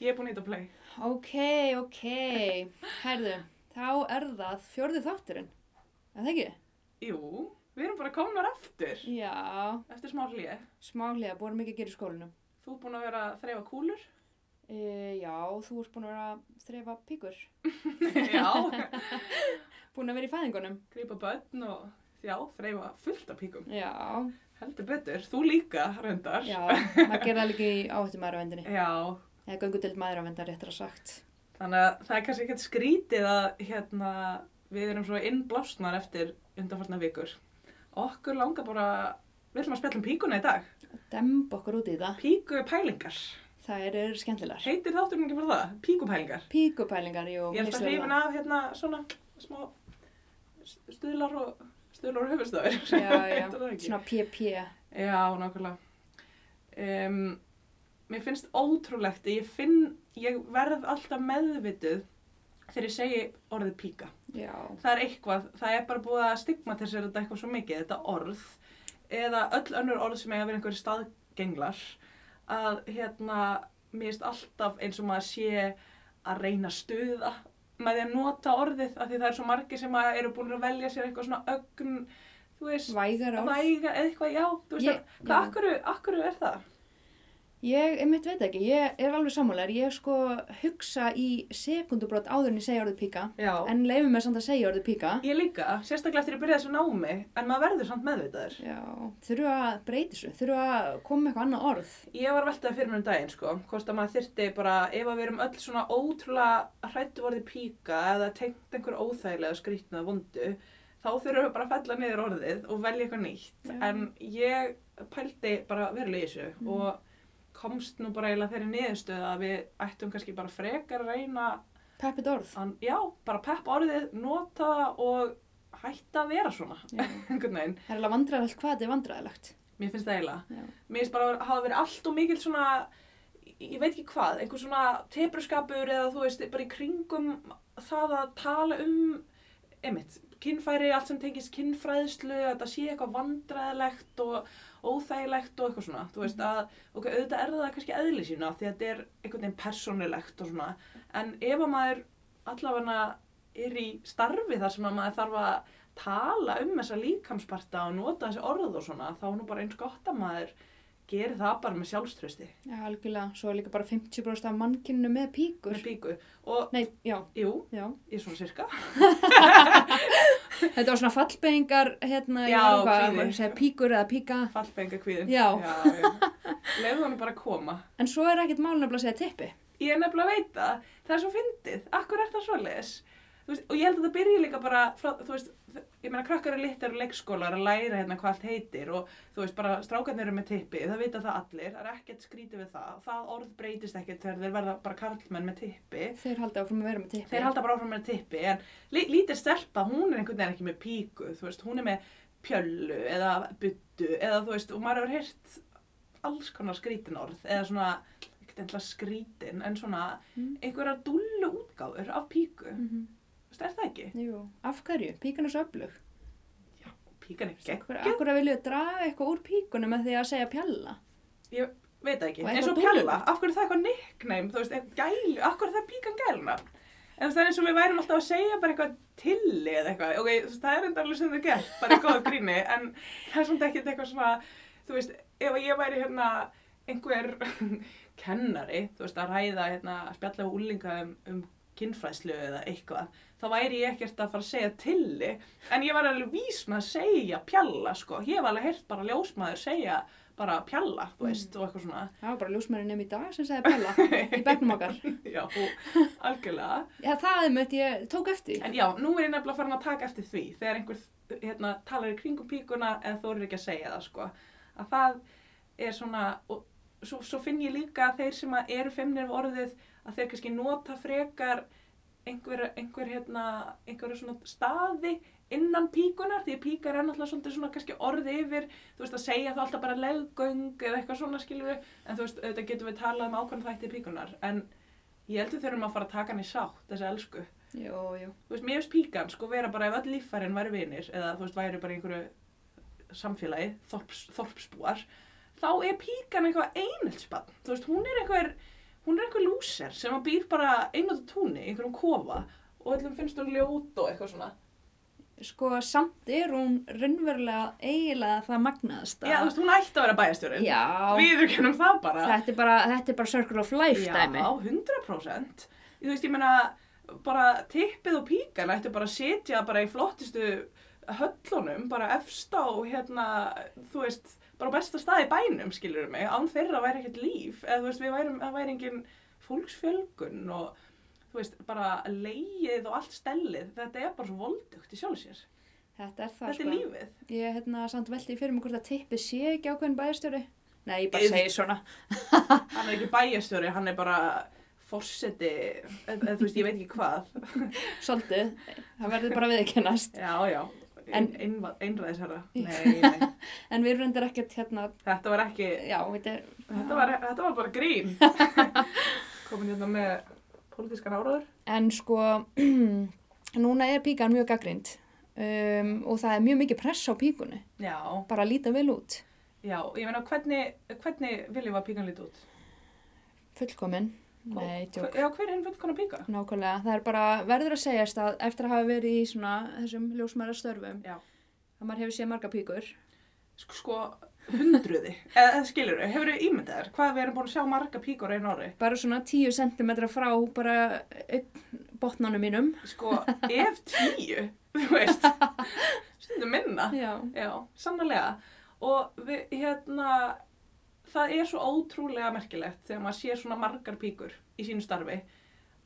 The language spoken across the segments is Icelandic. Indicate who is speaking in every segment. Speaker 1: Ég er búin að hita play.
Speaker 2: Ok, ok. Herðu, þá er það fjórði þátturinn. Er það ekki?
Speaker 1: Jú, við erum bara komnar aftur.
Speaker 2: Já,
Speaker 1: Eftir smá hlýja.
Speaker 2: smá hliða, búin mikið að gera í skólanum.
Speaker 1: Þú er búin að vera að þreifa kúlur.
Speaker 2: E, já, þú ert búin að vera að þrefa píkur.
Speaker 1: Já.
Speaker 2: Búin að vera í fæðingunum.
Speaker 1: Grípa börn og já, þreifa fullt af píkum.
Speaker 2: Já,
Speaker 1: Heldur betur. Þú líka, reyndar.
Speaker 2: já, maður gerði alveg í áhættu maðuravendinni.
Speaker 1: Já.
Speaker 2: Eða göngudild maðuravendar, réttar að sagt.
Speaker 1: Þannig að það er kannski ekkert skrítið að hérna, við erum svo innblásnar eftir undanfartna vikur. Okkur langar bara, við ætlum að spjalla um píkuna í dag.
Speaker 2: Demb okkur út í það.
Speaker 1: Píkupælingar.
Speaker 2: Það eru skemmtilegar.
Speaker 1: Heitir þátturinn ekki bara það? Píkupælingar.
Speaker 2: Píkupælingar, jú.
Speaker 1: Ég held að hrifin af hérna svona smá st- stuðlar og stuðlar og höfustafir.
Speaker 2: Já, já,
Speaker 1: Heitir það ekki?
Speaker 2: svona PP.
Speaker 1: Já, nákvæmlega. Um, mér finnst ótrúlegt að ég finn, ég verð alltaf meðvituð þegar ég segi orðið píka.
Speaker 2: Já,
Speaker 1: Það er eitthvað, það er bara búið að stigmatisera þetta eitthvað svo mikið, þetta orð eða öll önnur orð sem eiga að vera einhverju staðgenglar að hérna, mér finnst alltaf eins og maður sé að reyna að stuða með því að nota orðið af því það er svo margir sem að eru búin að velja sér eitthvað svona ögn, þú veist,
Speaker 2: vægar orð.
Speaker 1: væga eða eitthvað, já, þú veist,
Speaker 2: Ég-
Speaker 1: yeah,
Speaker 2: já.
Speaker 1: hvað, akkur, akkur er það?
Speaker 2: Ég, einmitt veit ekki, ég er alveg sammálar, ég sko hugsa í sekundubrott áður en ég segja orðið píka,
Speaker 1: Já.
Speaker 2: en leifum mér samt að segja orðið píka.
Speaker 1: Ég líka, sérstaklega eftir að byrja þessu námi, en maður verður samt meðvitaður.
Speaker 2: Já, þurfa að breyta þessu, þurfa að koma með eitthvað annað orð.
Speaker 1: Ég var veltað fyrir mér um daginn, sko, hvort að maður þyrti bara, ef að við erum öll svona ótrúlega hrættu orðið píka eða tengt einhver óþægilega skrýtnað vondu, þá þurfum við bara að fella niður orðið og velja eitthvað nýtt.
Speaker 2: Já.
Speaker 1: En ég pældi bara verulega í þessu
Speaker 2: Mm.
Speaker 1: og komst nú bara eiginlega þeirri niðurstöð að við ættum kannski bara frekar að reyna
Speaker 2: Peppið orð.
Speaker 1: að, já, bara peppa orðið, nota það og hætta að vera svona,
Speaker 2: Já.
Speaker 1: einhvern veginn.
Speaker 2: Það er alveg vandræðilegt hvað þetta er vandræðilegt.
Speaker 1: Mér finnst það eiginlega.
Speaker 2: Já.
Speaker 1: Mér finnst bara að hafa verið allt og mikil svona, ég veit ekki hvað, einhver svona tebruskapur eða þú veist, bara í kringum það að tala um, einmitt, kynfæri, allt sem tengist kynfræðslu, að það sé eitthvað vandræðilegt og óþægilegt og eitthvað svona, þú veist, að, ok, auðvitað er það kannski eðli sína því að þetta er einhvern veginn persónulegt og svona, en ef að maður allavega er í starfi þar sem að maður þarf að tala um þessa líkamsparta og nota þessi orð og svona, þá er nú bara eins gott að maður gerir það bara með sjálfströsti,
Speaker 2: Já, algjörlega, svo er líka bara 50% af mannkynnu með píkur.
Speaker 1: með píku og,
Speaker 2: Nei, já,
Speaker 1: jú,
Speaker 2: já.
Speaker 1: ég er svona sirka
Speaker 2: Þetta var svona fallbeigingar, hérna,
Speaker 1: Já,
Speaker 2: ég veit hvað,
Speaker 1: kvíði.
Speaker 2: maður segja píkur eða píka.
Speaker 1: fallbenga kvíðin
Speaker 2: Já.
Speaker 1: já, já. Leyfðu honum bara að koma
Speaker 2: En svo er ekkert málun að segja tippi.
Speaker 1: Ég er nefnilega að veita, það er svo fyndið, akkur er það svoleiðis? Þú Veist, og ég held að það byrja líka bara, frá, þú veist, ég meina krakkar er littar og leikskólar að læra hérna hvað allt heitir og þú veist bara strákarnir eru með tippi, það vita það allir, það er ekkert skrítið við það, það orð breytist ekkert þegar þeir verða bara karlmenn með tippi.
Speaker 2: Þeir halda áfram að vera með tippi.
Speaker 1: Þeir halda bara áfram með tippi en lí- lítið stelpa, hún er einhvern veginn ekki með píku, þú veist, hún er með pjöllu eða byttu eða þú veist, og maður hefur heyrt alls konar skrítin orð eða svona, ekkert endla skrítin, en svona
Speaker 2: Mm.
Speaker 1: einhverjar dullu útgáfur af píku,
Speaker 2: Mm
Speaker 1: þú veist, er það ekki?
Speaker 2: Jú, af hverju? Píkan er svo öflug.
Speaker 1: Píkan er gegn,
Speaker 2: Akkur, akkur að vilja draga eitthvað úr píkunum með því að segja pjalla?
Speaker 1: veit það ekki,
Speaker 2: Og
Speaker 1: eins og
Speaker 2: eitthvað
Speaker 1: pjalla,
Speaker 2: dúllulegt.
Speaker 1: af hverju er það eitthvað nickname, þú veist, eitthvað gælu, af hverju er það píkan gæluna? En þú veist, það er eins og við værum alltaf að segja bara eitthvað tilli eða eitthvað, ok, þú veist, það er enda alveg sem þau gert, bara í góðu gríni, en það er svona ekkert eitthvað svona, þú veist, ef ég væri hérna einhver kennari, þú veist, að ræða hérna, að spjalla og úlinga um, um kynfræðslu eða eitthvað, þá væri ég ekkert að fara að segja tilli, en ég var alveg vís með að segja pjalla, sko, ég var alveg heyrt bara ljósmaður segja bara pjalla, þú
Speaker 2: Mm.
Speaker 1: veist, og eitthvað svona,
Speaker 2: Það var bara ljósmærin nefn í dag sem segja pjalla í begnum okkar.
Speaker 1: já, algjörlega.
Speaker 2: Já, það er mött ég tók eftir.
Speaker 1: En já, nú er ég nefnilega farin að taka eftir því þegar einhver hérna, talar í kringum píkuna eða þú eru ekki að segja það sko. Að það er svona, og svo, svo finn ég líka að þeir sem að eru femnir við orðið að þeir kannski nota frekar einhver, einhver, hérna, einhver svona staði innan píkunar því að píkar er náttúrulega svolítið svona kannski orði yfir þú veist að segja það alltaf bara leggöng eða eitthvað svona skilur en þú veist auðvitað getum við talað um ákvæm þætti píkunar en ég heldur þurfum að fara að taka hann í sátt þessa elsku
Speaker 2: Jú, jú.
Speaker 1: þú veist, mér finnst píkan sko vera bara ef öll líffærin væri vinir eða þú veist, væri bara í einhverju samfélagi, þorps, þorpsbúar þá er píkan eitthvað einhilsbann, þú veist, hún er einhver hún er einhver lúser sem að býr bara einhvern túnni, í einhverjum kofa og öllum finnst hún ljót og eitthvað svona.
Speaker 2: Sko, samt er hún raunverulega eiginlega það magnaðast
Speaker 1: Já, þú veist, hún ætti að vera bæjastjórið.
Speaker 2: Já,
Speaker 1: Við kennum það bara.
Speaker 2: þetta er bara, þetta er bara circle of life dæmi.
Speaker 1: Já, 100%. Þú veist, ég meina, bara tippið og píkan ættu bara að sitja bara í flottistu höllunum, bara efst á, hérna, þú veist, bara á besta staði í bænum, skilur mig, án þeirra væri ekkert líf, eða þú veist, við værum, það væri engin fólksfjölgun og, þú veist, bara leið og allt stellið, þetta er bara svo voldugt í sjálf sér.
Speaker 2: Þetta er sko. það,
Speaker 1: Þetta er lífið.
Speaker 2: Ég, hérna, samt veldi fyrir mig hvort að tippið sé ekki ákveðin bæjarstjóri. Nei, ég bara
Speaker 1: Eð-
Speaker 2: segi svona.
Speaker 1: Hann er ekki bæjastjóri, hann er bara forseti, eða eða þú veist, ég veit ekki hvað.
Speaker 2: Svolítið. Það verður bara viðkennast.
Speaker 1: Já, já,
Speaker 2: En-
Speaker 1: Ein, einva- einræðisherra, nei, nei,
Speaker 2: En við reyndar ekkert hérna,
Speaker 1: þetta var ekki,
Speaker 2: já, þetta er,
Speaker 1: þetta var, þetta var bara grín. Komin hérna með pólitískan áraður.
Speaker 2: en sko, núna er píkan mjög gaggrind um, og það er mjög mikið press á píkunni.
Speaker 1: Já,
Speaker 2: Bara að líta vel út,
Speaker 1: já, ég meina, hvernig, hvernig viljum við að píkan líti út?
Speaker 2: fullkomin. Nei,
Speaker 1: Hva-
Speaker 2: tjók.
Speaker 1: Já, hver er hinn fullkona píka?
Speaker 2: Nákvæmlega, það er bara verður að segjast að eftir að hafa verið í svona þessum ljósmæra störfum
Speaker 1: Já.
Speaker 2: að maður hefur séð marga píkur
Speaker 1: Sko, sko hundruði, eða eða skilurðu, hefur við ímyndað þér, hvað við erum búin að sjá marga píkur á einu ári?
Speaker 2: bara svona 10 cm frá bara augn- botnanum mínum
Speaker 1: Sko, ef tíu, þú veist, stundum minna.
Speaker 2: Já,
Speaker 1: Já, sannlega. Og við, hérna, það er svo ótrúlega merkilegt þegar maður sér svona margar píkur í sínu starfi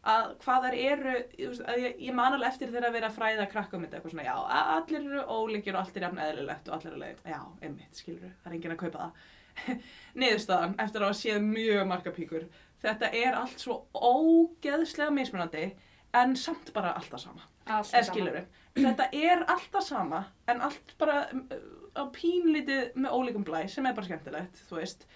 Speaker 1: að hvað þær eru, þú veist, að ég, ég man alveg eftir þeirra að vera að fræða krakka um þetta eitthvað svona, já, að allir eru ólíkir og allt er jafn eðlilegt og allir eru leið, já, einmitt, skilur það er enginn að kaupa það. Niðurstaðan, eftir að hafa séð mjög margar píkur, þetta er allt svo ógeðslega mismunandi en samt bara alltaf sama
Speaker 2: allt
Speaker 1: eða skilur þetta er alltaf sama en allt bara um, á pínlítið með ólíkum blæ sem er bara skemmtilegt þú veist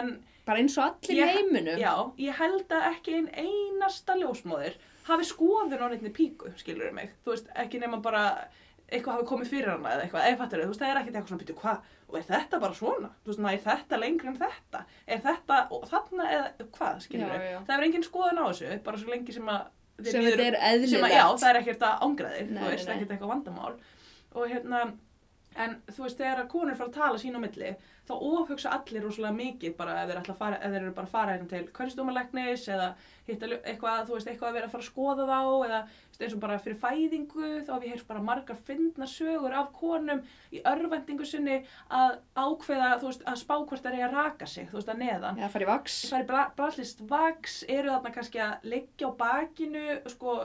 Speaker 1: en
Speaker 2: Bara eins og allir
Speaker 1: Ég-
Speaker 2: í heiminum
Speaker 1: já, ég held að ekki ein einasta ljósmóðir hafi skoðun á neittni píku skilur mig, þú veist, ekki nema bara eitthvað hafi komið fyrir hana eða eitthvað, eða fattur þú veist, það er ekkert eitthvað svona, býtu, hvað, og er þetta bara svona, þú veist, næ, er þetta lengri en þetta er þetta, og þarna eða hvað, skilur
Speaker 2: Já, já.
Speaker 1: það er engin skoðun á þessu bara svo lengi sem að þér
Speaker 2: sem
Speaker 1: líður-
Speaker 2: þetta er
Speaker 1: sem að, já,
Speaker 2: eðlilegt
Speaker 1: það er ekkert að ángra þig,
Speaker 2: Nei,
Speaker 1: þú
Speaker 2: nei,
Speaker 1: veist,
Speaker 2: nei.
Speaker 1: ekkert eitthvað vandamál og hérna, en þú veist, þegar að konur fara að tala sín á milli, þá ofhugsa allir rosalega mikið bara ef þeir, ætla að fara, ef þeir eru bara að fara hérna til hverjustómalegnis eða hitta ljó- eitthvað, þú veist, eitthvað að vera að fara að skoða þá eða þú veist, eins og bara fyrir fæðingu, þá hef ég heyrt bara margar fyndnar sögur af konum í örvendingu sinni að ákveða, þú veist, að spá hvort það er að raka sig, þú veist, að neðan
Speaker 2: Eða fara í vaks
Speaker 1: sværi brallist vaks eru þarna kannski að leggja á bakinu sko,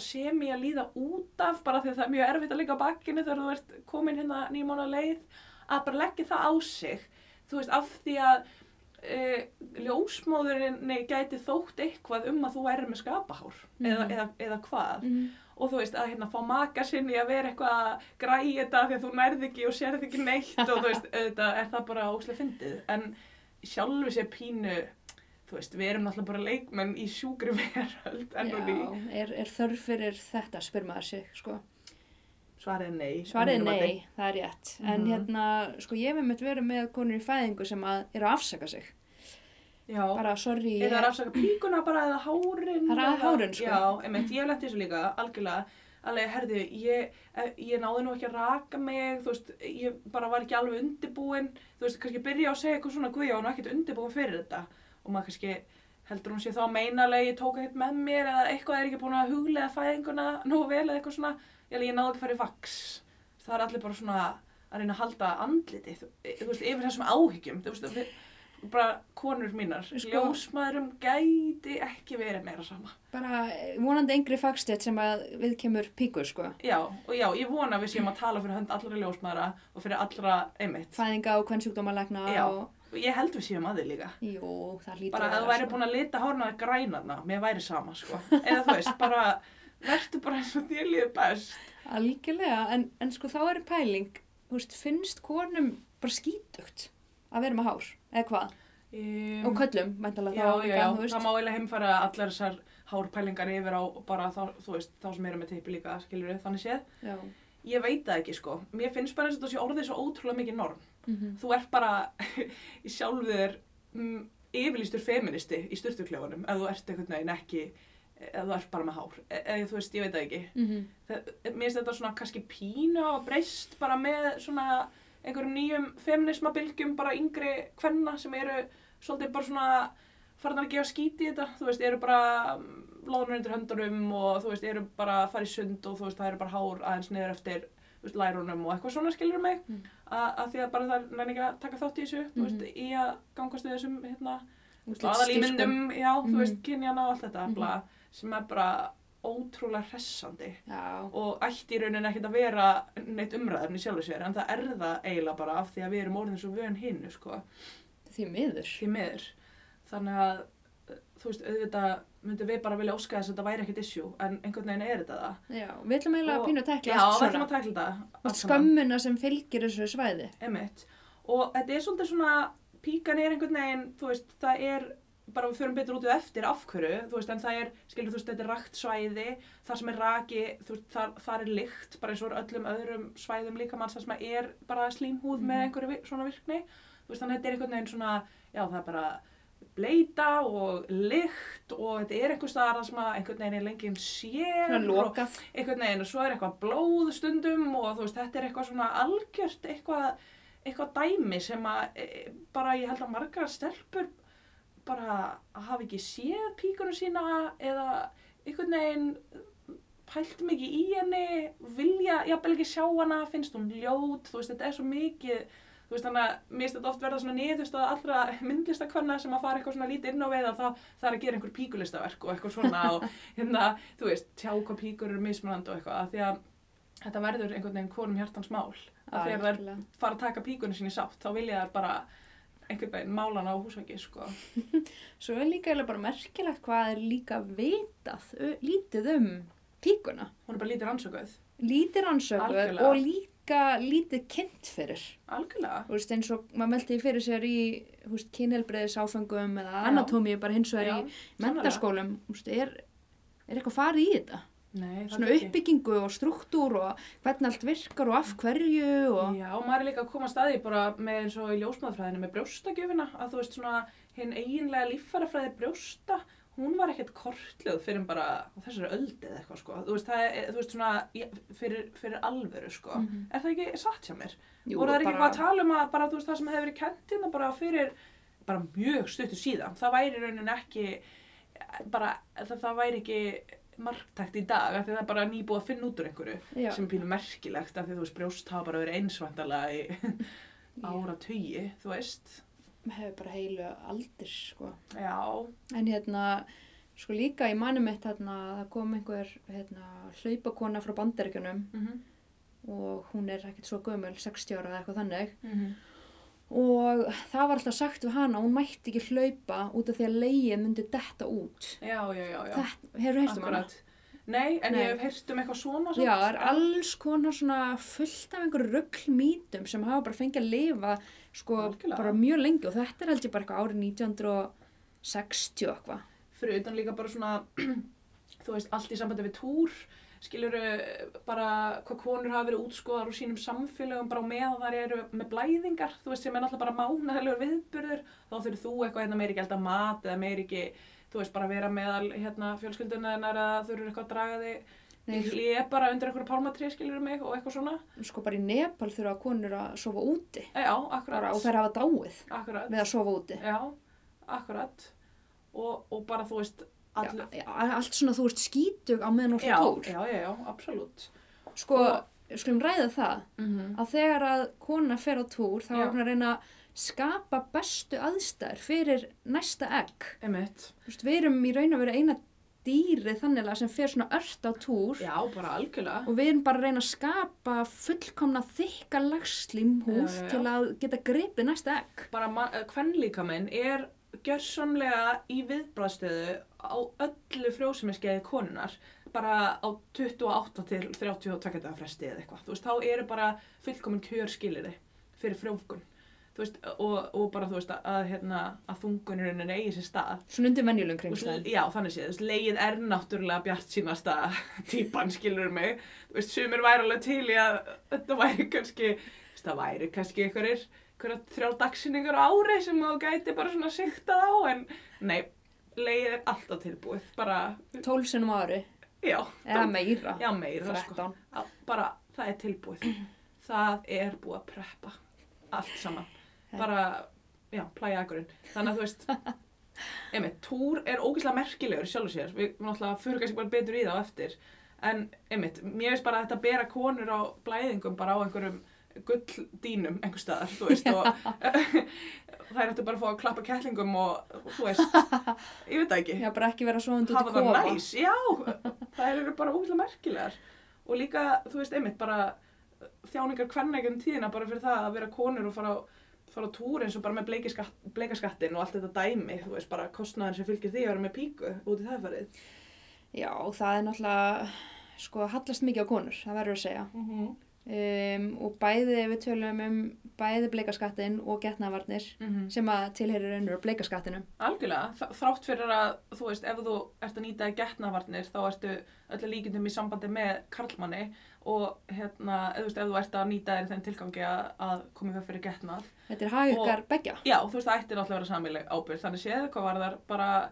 Speaker 1: sem ég að líða út af bara því að það er mjög erfitt að leggja á bakinu þegar þú ert komin hérna nýmána leið að bara leggja það á sig þú veist af því að e, ljósmóðurinni gæti þótt eitthvað um að þú væri með skapahár eða,
Speaker 2: Mhm.
Speaker 1: eða, eða hvað
Speaker 2: mm.
Speaker 1: og þú veist að hérna fá maka sinni að vera eitthvað að græja þetta af því að þú nærð ekki og sérð ekki neitt og þú veist auðvitað er það bara óslega fyndið en sjálfu sér pínu þú veist við erum náttúrulega bara leikmenn í sjúkri veröld enn og ný
Speaker 2: Já, er, er þörf fyrir þetta, spyr maður sig sko.
Speaker 1: svarið er nei
Speaker 2: Svarið
Speaker 1: Að
Speaker 2: er
Speaker 1: mínu mati.
Speaker 2: nei, það er rétt En
Speaker 1: Mhm.
Speaker 2: hérna, sko, ég hef meitt verið með konur í fæðingu sem að eru að afsaka sig
Speaker 1: já
Speaker 2: Bara, sorry,
Speaker 1: eða
Speaker 2: ég,
Speaker 1: er afsaka píkuna bara eða hárin
Speaker 2: Það er að
Speaker 1: eða-
Speaker 2: hárin, sko.
Speaker 1: já einmitt ég hef lett þessu líka algjörlega alveg herðu ég, eh, ég náði nú ekki að raka mig þú veist ég bara var ekki alveg undirbúin þú veist kannski byrja á að segja eitthvað svona guð ég var nú ekkert undirbúin fyrir þetta og maður kannski heldur hún sé þá meinalega ég tók ekkert með mér eða eitthvað er ekki búin að huglega fæðinguna nú vel eða eitthvað svona ég, alveg, ég náði ekki að fara í vaks það er allir bara svona að reyna að halda andliti þú, e, þú veist yfir þessum áhyggjum þú veist við, bara konur mínar
Speaker 2: Sko-
Speaker 1: ljósmaðurum gæti ekki verið meira sama
Speaker 2: bara vonandi engri fagstétt sem að við kemur píkur, sko
Speaker 1: Já, og já, ég vona að við séum að tala fyrir hönd allra ljósmaðra og fyrir allra einmitt.
Speaker 2: Fæðinga og hvern sjúkdómalegna
Speaker 1: Já.
Speaker 2: og
Speaker 1: Ég held við séum að þið líka.
Speaker 2: Jú, það lítur
Speaker 1: Bara að þú væri
Speaker 2: sko.
Speaker 1: búin að lita hárnaði grænarna, mér væri sama, sko. Eða þú veist, bara, verður bara eins og þér líður best.
Speaker 2: Algjörlega, en, en sko þá er pæling, þú veist, finnst konum bara skítugt að vera með hár, eða hvað?
Speaker 1: Um,
Speaker 2: Og köllum, mæntalega
Speaker 1: Já,
Speaker 2: þá,
Speaker 1: já,
Speaker 2: líka,
Speaker 1: já,
Speaker 2: þú veist.
Speaker 1: það má eiginlega heimfæra allar þessar hárpælingar yfir á bara þá, þú veist, þá sem eru með teipi líka, skilur við, þannig séð.
Speaker 2: Já,
Speaker 1: Ég veit það ekki, sko. Mér finnst bara eins og
Speaker 2: Mhm,
Speaker 1: þetta sé orðið svo ótrúlega mikið norm.
Speaker 2: mm -hmm.
Speaker 1: þú ert bara í sjálfu þér mm, yfirlýstur feministi í styrtuklefunum ef þú ert einhvern veginn ekki ef þú ert bara með hár E- eða þú veist, ég veit það ekki
Speaker 2: mm -hmm.
Speaker 1: það, mér finnst þetta svona kannski pínu á að breyst bara með svona einhverjum nýjum feminismabilgjum bara yngri kvenna sem eru svolítið bara svona farnar að gefa skíti í þetta, þú veist, eru bara lóðnur undir höndunum og þú veist, eru bara að fara í sund og þú veist, það eru bara hár aðeins niður eftir þú veist, lærunum og eitthvað svona skilur mig
Speaker 2: Mm.
Speaker 1: að, að því að bara það er næringi að taka þátt í þessu, þú veist, í að gangast við þessum, hérna, aðalímyndum, já,
Speaker 2: Mhm.
Speaker 1: þú veist, kynjana og allt þetta,
Speaker 2: Mhm.
Speaker 1: bla, sem er bara ótrúlega hressandi
Speaker 2: Já,
Speaker 1: og ætti í rauninni ekkert að vera neitt umræðarni sjálfur sér en það er það eiginlega bara af því að við erum orðin svo vön hinnu sko,
Speaker 2: því miður.
Speaker 1: því miður þannig að eh, þú veist, auðvitað myndum við bara vilja óska þess að þetta væri ekkert issue en einhvern veginn er þetta það
Speaker 2: Já, við ætlum eiginlega að
Speaker 1: Og-
Speaker 2: pínu að tekla
Speaker 1: Já,
Speaker 2: allt
Speaker 1: við ætlum
Speaker 2: svona.
Speaker 1: að tækla þetta
Speaker 2: Og
Speaker 1: allt saman.
Speaker 2: skömmina sem fylgir þessu svæði.
Speaker 1: Einmitt. Og þetta er svolítið svona, píkan er einhvern veginn, þú veist, það er, bara við förum betur út við eftir af hverju, þú veist, en það er, skilur þú veist, þetta er rakt svæði, þar sem er raki, þú veist, þar, þar er lykt, bara eins og er öllum öðrum svæðum líka manns, þar sem er bara slímhúð með
Speaker 2: Mhm.
Speaker 1: einhverju vi- svona virkni, þú veist, þannig að þetta er einhvern veginn svona, já, það er bara bleita og lykt og þetta er einhvers staðar þar sem að einhvern veginn er lengi um sér
Speaker 2: Svona
Speaker 1: og-
Speaker 2: lokað.
Speaker 1: einhvern veginn og svo er eitthvað blóð stundum og þú veist þetta er eitthvað svona algjört eitthvað, eitthvað dæmi sem að e, bara ég held að margar stelpur bara hafi ekki séð píkunum sína eða einhvern veginn pælt mikið í henni, vilja, jafnvel ekki sjá hana, finnst hún ljót, þú veist, þetta er svo mikið, þú veist, þannig að mér finnst þetta oft verða svona niðurstaða allra myndlistakvenna sem að fara eitthvað svona lítið inn á veið að það, það er að gera einhver píkulistaverk og eitthvað svona og hérna, þú veist, tjá hvað píkur eru mismunandi og eitthvað, af því að þetta verður einhvern veginn konum hjartans mál að þegar þær
Speaker 2: Algjörlega.
Speaker 1: fara að taka píkunni sinni sátt, þá vilja þær bara einhvern veginn málan á húsvæki, sko.
Speaker 2: Svo er líka eiginlega bara merkilegt hvað er líka vitað, ö- lítið um píkuna.
Speaker 1: Hún er bara lítið rannsökuð,
Speaker 2: Lítið rannsökuð
Speaker 1: Algjörlega.
Speaker 2: og líka lítið kynnt fyrir.
Speaker 1: algjörlega.
Speaker 2: Þú veist, eins og maður meldi fyrir sér í kynhelbreiðis áfengum eða anatómi bara hins vegar í mentaskólum. Þú veist, er, er eitthvað farið í þetta?
Speaker 1: Nei, það
Speaker 2: Svona
Speaker 1: er ekki.
Speaker 2: uppbyggingu og struktúr og hvernig allt virkar og af hverju og...
Speaker 1: Já, maður er líka að koma að staði bara með eins og í ljósmaðurfræðinu með brjóstagjöfina að þú veist svona hinn eiginlega líffærafræði brjósta hún var ekkert kortlöð fyrir bara á þessari öldi eða eitthvað sko þú veist, það er, þú veist svona í- fyrir, fyrir alvöru sko
Speaker 2: Mhm.
Speaker 1: er það ekki satt hjá mér?
Speaker 2: Jú,
Speaker 1: voru það ekki
Speaker 2: bara-
Speaker 1: eitthvað að tala um að bara þú veist það sem hefur verið kent hérna bara fyrir bara mjög stuttu síðan það væri í rauninni ekki bara það, það væri ekki marktækt í dag af því það er bara nýbúið að finna út úr einhverju
Speaker 2: Já.
Speaker 1: sem er pínu merkilegt af því þú veist brjóst hafa bara verið einsvæntalega í ára tugi, þú veist
Speaker 2: hefur bara heilu aldir sko.
Speaker 1: já,
Speaker 2: en hérna sko líka í manum mitt hérna, það kom einhver hérna, hlaupakona frá bandaríkjunum
Speaker 1: mm -hmm.
Speaker 2: og hún er ekkert svo gömul 60 ára eða eitthvað þannig og það var alltaf sagt við hana að hún mætti ekki hlaupa út af því að leiðin myndi detta út
Speaker 1: já, já, já, já
Speaker 2: þetta, hefur heilt um hana?
Speaker 1: Akkurat. nei, en
Speaker 2: Nei.
Speaker 1: ég hef heyrt um eitthvað svona
Speaker 2: Já, það er alls konar svona fullt af einhverju rugglmítum sem hafa bara fengið að lifa sko
Speaker 1: Algjörlega.
Speaker 2: bara mjög lengi og þetta er held ég bara eitthvað árið 1960 og eitthvað.
Speaker 1: fyrir utan líka bara svona þú veist, allt í sambandi við túr skilur bara hvað konur hafa verið útskoðar úr sínum samfélögum bara á meðan þar eru með blæðingar þú veist, sem er náttúrulega bara mánaðilegur viðburður þá þurfir þú eitthvað hérna meir ekki elda mat eða meir ekki, þú veist, bara vera meðal hérna fjölskylduna þennar að þurfir eitthvað að draga þig
Speaker 2: Nei,
Speaker 1: ég er bara undir einhverju pálmatrið skilur mig og eitthvað svona
Speaker 2: sko bara í Nepal þurfa konur að sofa úti
Speaker 1: Eh, já,
Speaker 2: bara og
Speaker 1: akkurat,
Speaker 2: þær hafa dáið
Speaker 1: akkurat
Speaker 2: við að sofa úti
Speaker 1: já, akkurat og, og bara þú veist
Speaker 2: Já, já, allt svona þú ert skítug á meðan
Speaker 1: já,
Speaker 2: og tór
Speaker 1: já, já, já, absolutt
Speaker 2: sko,
Speaker 1: og-
Speaker 2: skulum ræða það
Speaker 1: mm
Speaker 2: að þegar að kona fer á túr þá
Speaker 1: Já.
Speaker 2: er hún að reyna að skapa bestu aðstæður fyrir næsta egg
Speaker 1: Einmitt.
Speaker 2: Þú veist, við erum í raun að vera eina dýri þanniglega sem fer svona ört á túr
Speaker 1: Já, bara algjörlega.
Speaker 2: og við erum bara að reyna að skapa fullkomna þykka lagslímhúð
Speaker 1: Já, já, já.
Speaker 2: til að geta gripið næsta egg
Speaker 1: Bara hvernlíkaminn er gjörsamlega í viðbræðstöðu á öllu frjósumiskeiði konunar bara á 28 til 32 dagar fresti eða eitthvað. Þú veist, þá eru bara fullkominn kjörskilirði fyrir frjókun. Þú veist, og, og bara þú veist að, að, hérna, að þungunurinn er eigi sér stað.
Speaker 2: svona undir venjulegum
Speaker 1: Þú veist,
Speaker 2: kringstæðum
Speaker 1: Já, þannig séð, þú veist, leiðið er náttúrulega bjart sínasta típan, skilur mig. Þú veist, sumir væri alveg til í að þetta væri kannski, þú veist, það væri kannski einhverjir hverja þrjá dagsinningur á ári sem þú gæti bara svona siktað á en nei, leið er alltaf tilbúið bara,
Speaker 2: 12 sinum á ári,
Speaker 1: já,
Speaker 2: eða meira,
Speaker 1: já meira sko.
Speaker 2: 13.
Speaker 1: Að- bara það er tilbúið það er búið að preppa allt saman bara, já, plæja agurinn þannig að þú veist einmitt, túr er ógeðslega merkilegur í sjálf og sér, við náttúrulega fyrir kannski bara betur í það á eftir, en einmitt mér veist bara að þetta bera konur á blæðingum bara á einhverjum gulldínum einhver staðar, þú veist og þær ættu bara að fá að klappa kettlingum og þú veist ég veit það ekki
Speaker 2: Já, bara ekki vera svo undir
Speaker 1: hafa það næs, já, það eru bara ógeðslega merkilegar og líka, þú veist, einmitt bara uh, þjáningar hvernægjum tíðina bara fyrir það að vera konur og fara á, fara á túr eins og bara með bleikiskatt, bleikaskattin og allt þetta dæmi, þú veist, bara kostnaðin sem fylgir því að vera með píku út í það farið.
Speaker 2: Já, það er náttúrulega, sko, hallast mikið á konur, það verður að segja.
Speaker 1: Mm -hmm.
Speaker 2: Um, og bæði ef við tölum um bæði bleikaskattin og getnavarnir sem að tilherir ennur bleikaskattinum.
Speaker 1: Mhm. Algjörlega, þ- þrátt fyrir að, þú veist, ef þú ert að nýta getnavarnir þá ertu öllu líkindum í sambandi með karlmanni og hérna, eða þú veist, ef þú ert að nýta þér í þeim tilgangi að, að komið það fyrir getnað
Speaker 2: Þetta er hag
Speaker 1: Og-
Speaker 2: ykkar begja.
Speaker 1: Já, þú veist, það ætti náttúrulega að vera samileg ábyrgð, þannig séð hvað var þar bara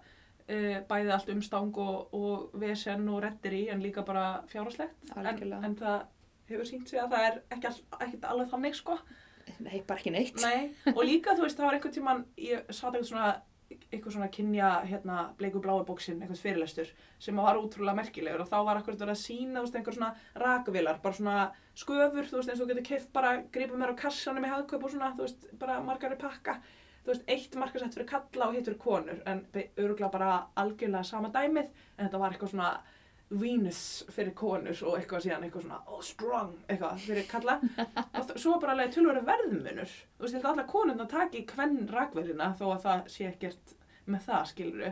Speaker 1: uh, bæði allt umstang og, og vesen og reddir í en líka bara fjárháslegt. En,
Speaker 2: Algjörlega.
Speaker 1: en það hefur sínt sig að það er ekki, all, ekki alveg þannig, sko.
Speaker 2: Nei, bara ekki neitt.
Speaker 1: Nei, og líka, þú veist, það var einhvern tíman, ég satt eitthvað svona, eitthvað svona kynja, hérna, bleiku bláu bóksinn, eitthvað fyrirlestur, sem var útrúlega merkilegur og þá var akkurat verið að sína, þú veist, einhver svona rakvilar, bara svona sköfur, þú veist, eins og þú getur keift bara, gripa mér á kassanum í hagkaup og svona, þú veist, bara margari pakka, þú veist, eitt markasett fyrir kalla og hitt fyrir konur, en öruglega bara algjörlega sama dæmið, en þetta var eitthvað svona, Venus fyrir konur og eitthvað síðan eitthvað svona oh, strong eitthvað fyrir kalla og þ- svo bara alveg tölvöru verðmunur þú veist, ég held að allar konurna taki kvenn rakverðina þó að það sé ekkert með það skilur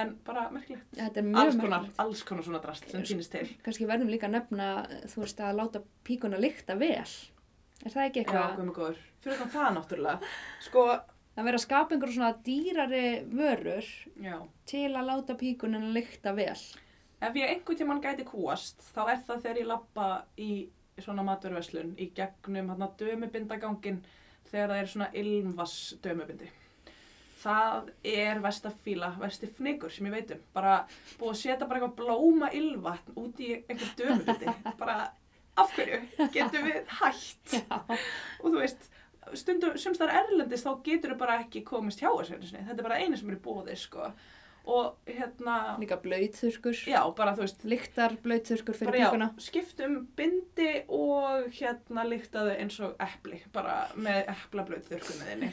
Speaker 1: en bara merkilegt
Speaker 2: Þetta er mjög
Speaker 1: alls konar,
Speaker 2: merkilegt.
Speaker 1: alls konar svona drast sem týnist til
Speaker 2: Kanski verðum líka að nefna, þú veist, að láta píkuna lykta vel. Er það ekki
Speaker 1: já,
Speaker 2: eitthvað?
Speaker 1: guð mig góður, fyrir þannig það náttúrulega sko,
Speaker 2: að vera að skapa einhverjum svona dýrari vörur
Speaker 1: já
Speaker 2: til að láta píkunin lykta vel.
Speaker 1: ef ég einhvern tímann gæti kúast þá er það þegar ég lappa í svona maturverslun í gegnum hérna dömubindagangin þegar það er svona ilmvass dömubindi það er vestafíla, vesti fnygur sem ég veit um, bara búið að setja bara eitthvað blóma ilmvatn út í einhver dömubindi, bara af hverju getum við hætt og þú veist stundum, sums þar erlendis þá getur við bara ekki komist hjá þessu einu sinni, þetta er bara einu sem er í bóði sko, og hérna
Speaker 2: Líka blöytþurkur,
Speaker 1: já, bara þú veist
Speaker 2: lyktar blöytþurkur fyrir
Speaker 1: bara já,
Speaker 2: píkuna.
Speaker 1: skiptum bindi og hérna líktaðu eins og epli, bara með eplablöð þurrkunniðinni,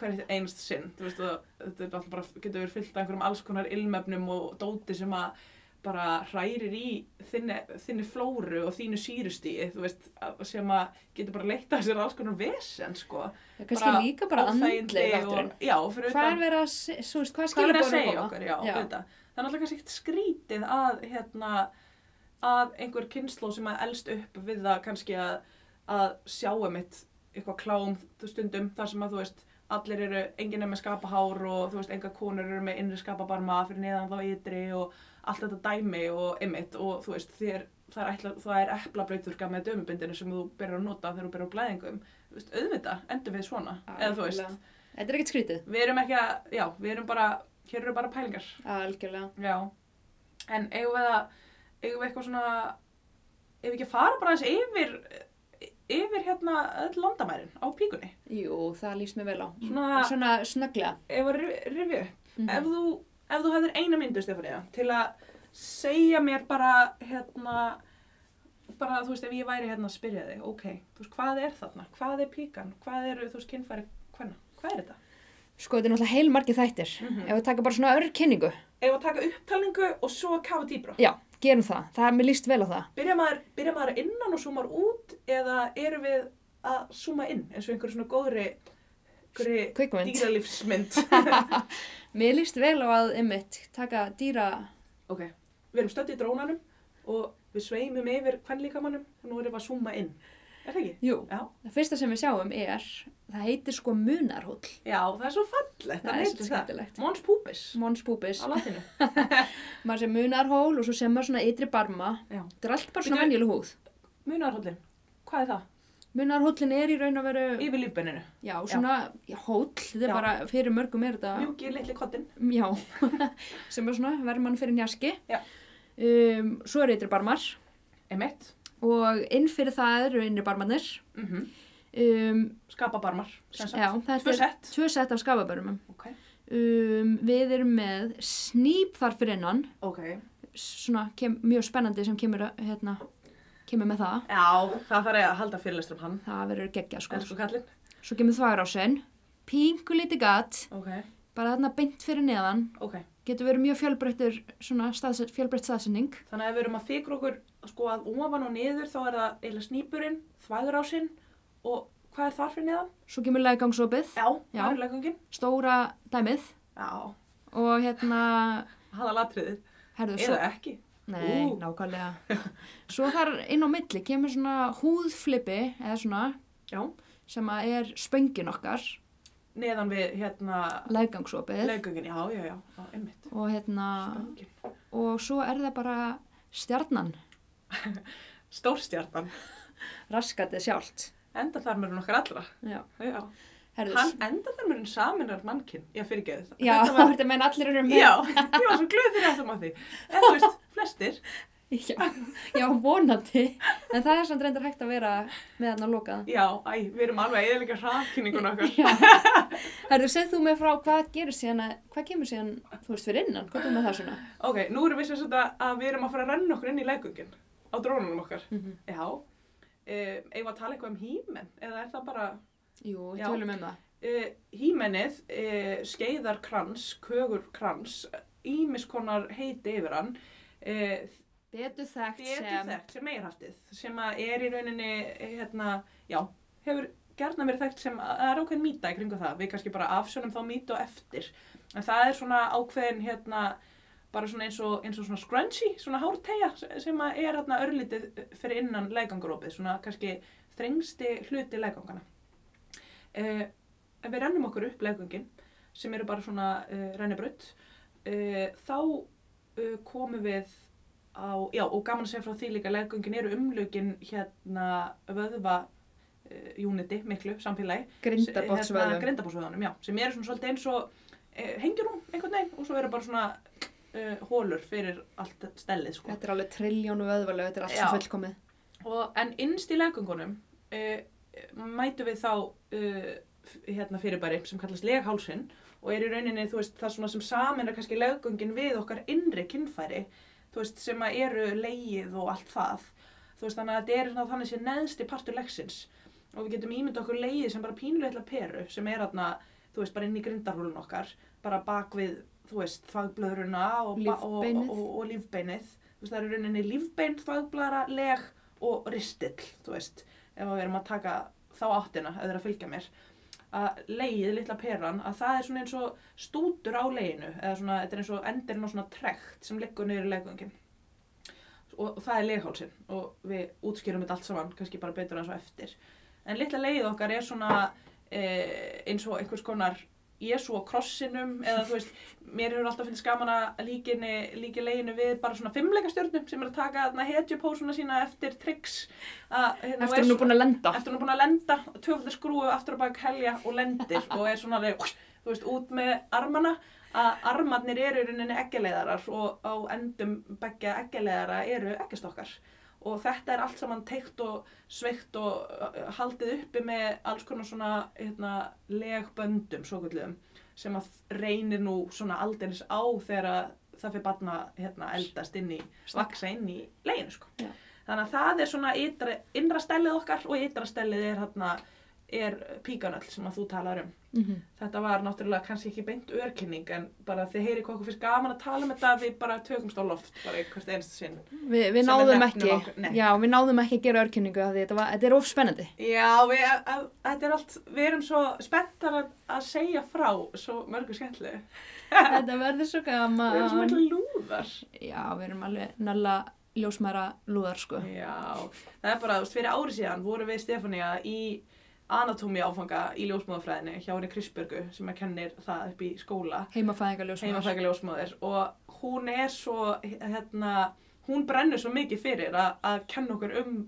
Speaker 1: hverjum einst sinn, þú veist, og þetta er alltaf bara, getur verið fyllt af einhverjum alls konar ilmefnum og dóti sem að bara hrærir í þinni, þinni flóru og þínu sýrustíi, þú veist, að- sem að getur bara leitt af sér alls konar vesen, sko.
Speaker 2: Já, kannski líka bara
Speaker 1: óþægindi
Speaker 2: andlega
Speaker 1: og-
Speaker 2: þátturinn.
Speaker 1: Já, fyrir
Speaker 2: Hvað er verið að, se- svo veist,
Speaker 1: hvað
Speaker 2: hvað
Speaker 1: er
Speaker 2: skilur
Speaker 1: að
Speaker 2: bóðum
Speaker 1: segja okkur, já, já. það er náttúrulega kannski ekkert skrítið að hérna, að einhver kynnsló sem að elst upp við það kannski að, að sjáu mitt eitthvað klám þú stundum þar sem að þú veist allir eru, enginn er með skapahár og þú veist, enga konur eru með innri skapabarma fyrir neðan þá ytri og allt þetta dæmi og ymmit og þú veist, þér, það er, ætla, það er eplabrauturka með dömubindinu sem þú byrjar að nota þegar þú byrjar á blæðingum, þú veist, auðvitað, endur við svona, eða þú veist,
Speaker 2: Þetta er ekkert skrítið.
Speaker 1: við erum ekki að, já, við erum bara, hér eru bara pælingar.
Speaker 2: Algjörlega.
Speaker 1: Já, en eigum við að, eigum við eitthvað svona, eigum við ekki að fara bara aðeins yfir, yfir hérna öll landamærin á píkunni?
Speaker 2: Jú, það líst mér vel á.
Speaker 1: Svona-
Speaker 2: Svona snögglega.
Speaker 1: Ef að rifi- rifja upp,
Speaker 2: Mhm.
Speaker 1: ef þú, ef þú hefðir eina myndu, Stefania, til að segja mér bara, hérna, bara, þú veist, ef ég væri hérna að spyrja þig, ok, þú veist, hvað er þarna, hvað er píkan, hvað eru, þú veist, kynfæri hvenna, hvað er þetta?
Speaker 2: Sko, þetta er náttúrulega heil margir þættir.
Speaker 1: Mhm.
Speaker 2: Ef við taka bara svona örkynningu.
Speaker 1: Ef að taka upptalningu og svo kafa dýbra.
Speaker 2: Já, gerum það. Það er mér líst vel á það.
Speaker 1: Byrja maður, byrja maður innan og súmar út eða eru við að súma inn eins og einhver svona góðri, góðri
Speaker 2: Kvikmynd.
Speaker 1: dýralífsmynd?
Speaker 2: Mér líst vel á að, ymmit, taka dýra
Speaker 1: ok, við erum stödd í drónanum og við sveimum yfir kvennlíkamannum og nú erum við að súma inn. Er það ekki?
Speaker 2: Jú,
Speaker 1: Já.
Speaker 2: það fyrsta sem við sjáum er, það heitir sko munarhóll.
Speaker 1: Já, það er svo fallegt,
Speaker 2: Það
Speaker 1: það
Speaker 2: er
Speaker 1: heitir það.
Speaker 2: svolítið skemmtilegt.
Speaker 1: Mons púbis
Speaker 2: Mons púbis.
Speaker 1: á latinu.
Speaker 2: Maður sem munarhól og svo sem maður svona ytri barma.
Speaker 1: Já.
Speaker 2: Þetta er allt bara svona
Speaker 1: Bíddu.
Speaker 2: venjuleg húð.
Speaker 1: Munarhóllin, hvað er það?
Speaker 2: Munarhóllin er í raun og veru,
Speaker 1: Yfir lífbenninu.
Speaker 2: já, svona já. hóll, þetta
Speaker 1: Já.
Speaker 2: er bara, fyrir mörgum er þetta,
Speaker 1: Mjúki litli kottinn.
Speaker 2: já, sem er svona verman fyrir njaski.
Speaker 1: Já.
Speaker 2: Um, svo eru ytri barmar
Speaker 1: Emitt.
Speaker 2: og inn fyrir það eru innri barmarnir.
Speaker 1: Mm -hmm.
Speaker 2: Um,
Speaker 1: Skapabarmar. sem sagt.
Speaker 2: já, þetta
Speaker 1: Tvö
Speaker 2: er
Speaker 1: sett.
Speaker 2: tvö sett af skafabörmum.
Speaker 1: Ok.
Speaker 2: Um, við erum með snýp þar fyrir innan,
Speaker 1: Ok.
Speaker 2: svona kem, mjög spennandi sem kemur, að- hérna, kemur með það.
Speaker 1: Já, það þarf ég að halda fyrirlestur um hann.
Speaker 2: Það verður geggja sko.
Speaker 1: Elsku kallinn.
Speaker 2: Svo kemur þvagrásinn, pingu lítið gat,
Speaker 1: Ok.
Speaker 2: bara þarna beint fyrir neðan,
Speaker 1: Ok.
Speaker 2: getur verið mjög fjölbreyttur, svona staðset, fjölbreytt staðsending.
Speaker 1: Þannig að ef við erum að fikra okkur sko að ofan og niður þá er það eiginlega snýpurinn, þvæðurásinn og hvað er þar fyrir neðan?
Speaker 2: Svo kemur legangsopið,
Speaker 1: Já,
Speaker 2: Já.
Speaker 1: það er leggangin.
Speaker 2: stóra dæmið
Speaker 1: Já,
Speaker 2: og hérna,
Speaker 1: haða latriðið.
Speaker 2: herðu svo,
Speaker 1: Eða ekki.
Speaker 2: nei,
Speaker 1: Ú.
Speaker 2: nákvæmlega. Svo þar inn á milli kemur svona húðflipi eða svona
Speaker 1: Já,
Speaker 2: sem að er spöngin okkar,
Speaker 1: neðan við hérna
Speaker 2: legangsopið
Speaker 1: leggangin. Já, já, já, já, einmitt.
Speaker 2: og hérna,
Speaker 1: Spöngin.
Speaker 2: og svo er það bara stjarnan,
Speaker 1: Stórstjarnan.
Speaker 2: raskatið sjálft.
Speaker 1: Enda þar mörun okkar allra.
Speaker 2: Já,
Speaker 1: Já.
Speaker 2: herðu
Speaker 1: Hann enda þar mörun saminar mannkinn. Ég fyrirgeði það.
Speaker 2: Já,
Speaker 1: Þetta var,
Speaker 2: þetta menn allir eru með
Speaker 1: já, ég var svo glöð fyrir þetta maður því. En þú veist, flestir.
Speaker 2: Já, já, vonandi. En það er samt reyndar hægt að vera með hann að lokað.
Speaker 1: Já, æ, við erum alveg eðalega hraðkynningun okkar.
Speaker 2: Já. Herru, segð þú mig frá hvað gerir síðan að, hvað kemur síðan, þú veist, fyrir innan? Hvað er með það svona?
Speaker 1: Ok, nú erum við sem sagt að við erum að fara að renna okkur inn í leggungin á drónunum okkar.
Speaker 2: Mhm.
Speaker 1: Já, um, eigum við að tala eitthvað um hýmen eða er það bara...
Speaker 2: Jú,
Speaker 1: Já.
Speaker 2: tölum um það.
Speaker 1: Uh, hýmenið, uh, skeiðarkrans, kögurkrans, ímis konar heiti yfir hann, uh,
Speaker 2: Betur þekkt
Speaker 1: betur
Speaker 2: sem...
Speaker 1: þekkt sem meirhaftið, sem að er í rauninni, eh, hérna, já, hefur gerna verið þekkt sem, það er ákveðin mýta í kringu það, við kannski bara afsjónum þá mýta og eftir, en það er svona ákveðin, hérna, bara svona eins og, eins og svona scrunchy, svona hártegja sem að er hérna örlítið fyrir innan legangarópið, svona kannski þrengsti hluti legangana. Uh, ef við rennum okkur upp legangin, sem eru bara svona uh, rennibraut, uh, þá uh, komum við á, já og gaman að segja frá því líka leggöngin eru umlögin hérna vöðva uh, uniti miklu samfélagi
Speaker 2: Grindabótsvöðum.
Speaker 1: grindabótsvöðunum, já, sem eru svona svolítið eins og uh, hengjurúm einhvern veginn og svo eru bara svona uh, hólur fyrir allt stellið sko.
Speaker 2: Þetta er alveg triljónu vöðvalög, þetta er allt
Speaker 1: Já.
Speaker 2: svo fullkomið.
Speaker 1: Og, en innst í leggöngunum uh, mætu við þá uh, f- hérna fyrirbæri sem kallast leghálsinn og er í rauninni þú veist, það svona sem samin er kannski leggöngin við okkar innri kynfæri þú veist, sem að eru leið og allt það þú veist, þannig að þetta er svona þannig sé neðsti partur leggsins og við getum ímynd okkur leiði sem bara pínulegla peru sem er þarna, þú veist, bara inn í grindarhólun okkar bara bak við, þú veist, þvagblöðruna og, ba- og,
Speaker 2: Lífbeinið.
Speaker 1: og, og lífbeinið þú veist, það er í rauninni lífbein, þvagblara, leg og ristill, þú veist ef að við erum að taka þá áttina eða að fylgja mér að leiðið litla peran að það er svona eins og stútur á leiðinu eða svona, þetta er eins og endirinn á svona trekt sem liggur niður í legungin og, og það er leghálsin og við útskýrum þetta allt saman, kannski bara betur eins og eftir en litla leið okkar er svona e, eins og einhvers konar Jésu á krossinum eða þú veist, mér hefur alltaf finnst gaman að líkinni, líki leginu við bara svona fimmleikastjörnum sem er að taka þarna hetjupósuna sína eftir tricks að, hérna, og er
Speaker 2: Eftir hún er
Speaker 1: svona-
Speaker 2: búin að lenda.
Speaker 1: eftir hún er búin að lenda, töfaldar skrúu aftur á bak helja og lendir og er svona alveg, þú veist, út með armana að armarnir eru í rauninni eggjaleðarar og á endum begja eggjaleðara eru eggjastokkar og þetta er allt saman teikt og sveikt og uh, haldið uppi með alls konar svona hérna, legböndum svo kvöldum sem að reynir nú svona aldeilis á þegar að það fyrir barna hérna, eldast inn í, vaksa inn í leginu sko.
Speaker 2: Já.
Speaker 1: Þannig að það er svona ytra, innra stellið okkar og ytra stellið er, hérna, er píkanöll sem að þú talar um.
Speaker 2: Mhm.
Speaker 1: Þetta var náttúrulega kannski ekki beint örkynning en bara þið heyrið hvað okkur fyrst gaman að tala um þetta við bara tökumst á loft bara hvert einstu sinn.
Speaker 2: Vi, við
Speaker 1: Sem við
Speaker 2: náðum
Speaker 1: nefnum
Speaker 2: ekki,
Speaker 1: okkur- nei.
Speaker 2: já, við náðum ekki að gera örkynningu af því þetta, var, þetta er of spennandi.
Speaker 1: Já, við, að, að, þetta er allt, við erum svo spenntar að, að segja frá svo mörgu skemmtli.
Speaker 2: þetta verður svo
Speaker 1: Við erum svo
Speaker 2: gaman.
Speaker 1: miklu lúðar.
Speaker 2: Já, við erum alveg nalla ljósmæra lúðar, sko.
Speaker 1: Já, það er bara, þú veist, fyrir ári síðan vorum við Stefania í anatómi áfanga í ljósmáðafræðinu hjá henni Krisbjörgu sem að kennir það upp í skóla.
Speaker 2: Heimafæðingar ljósmæra.
Speaker 1: heimafrækja ljósmóðir og hún er svo hérna, hún brennur svo mikið fyrir að, að kenna okkur um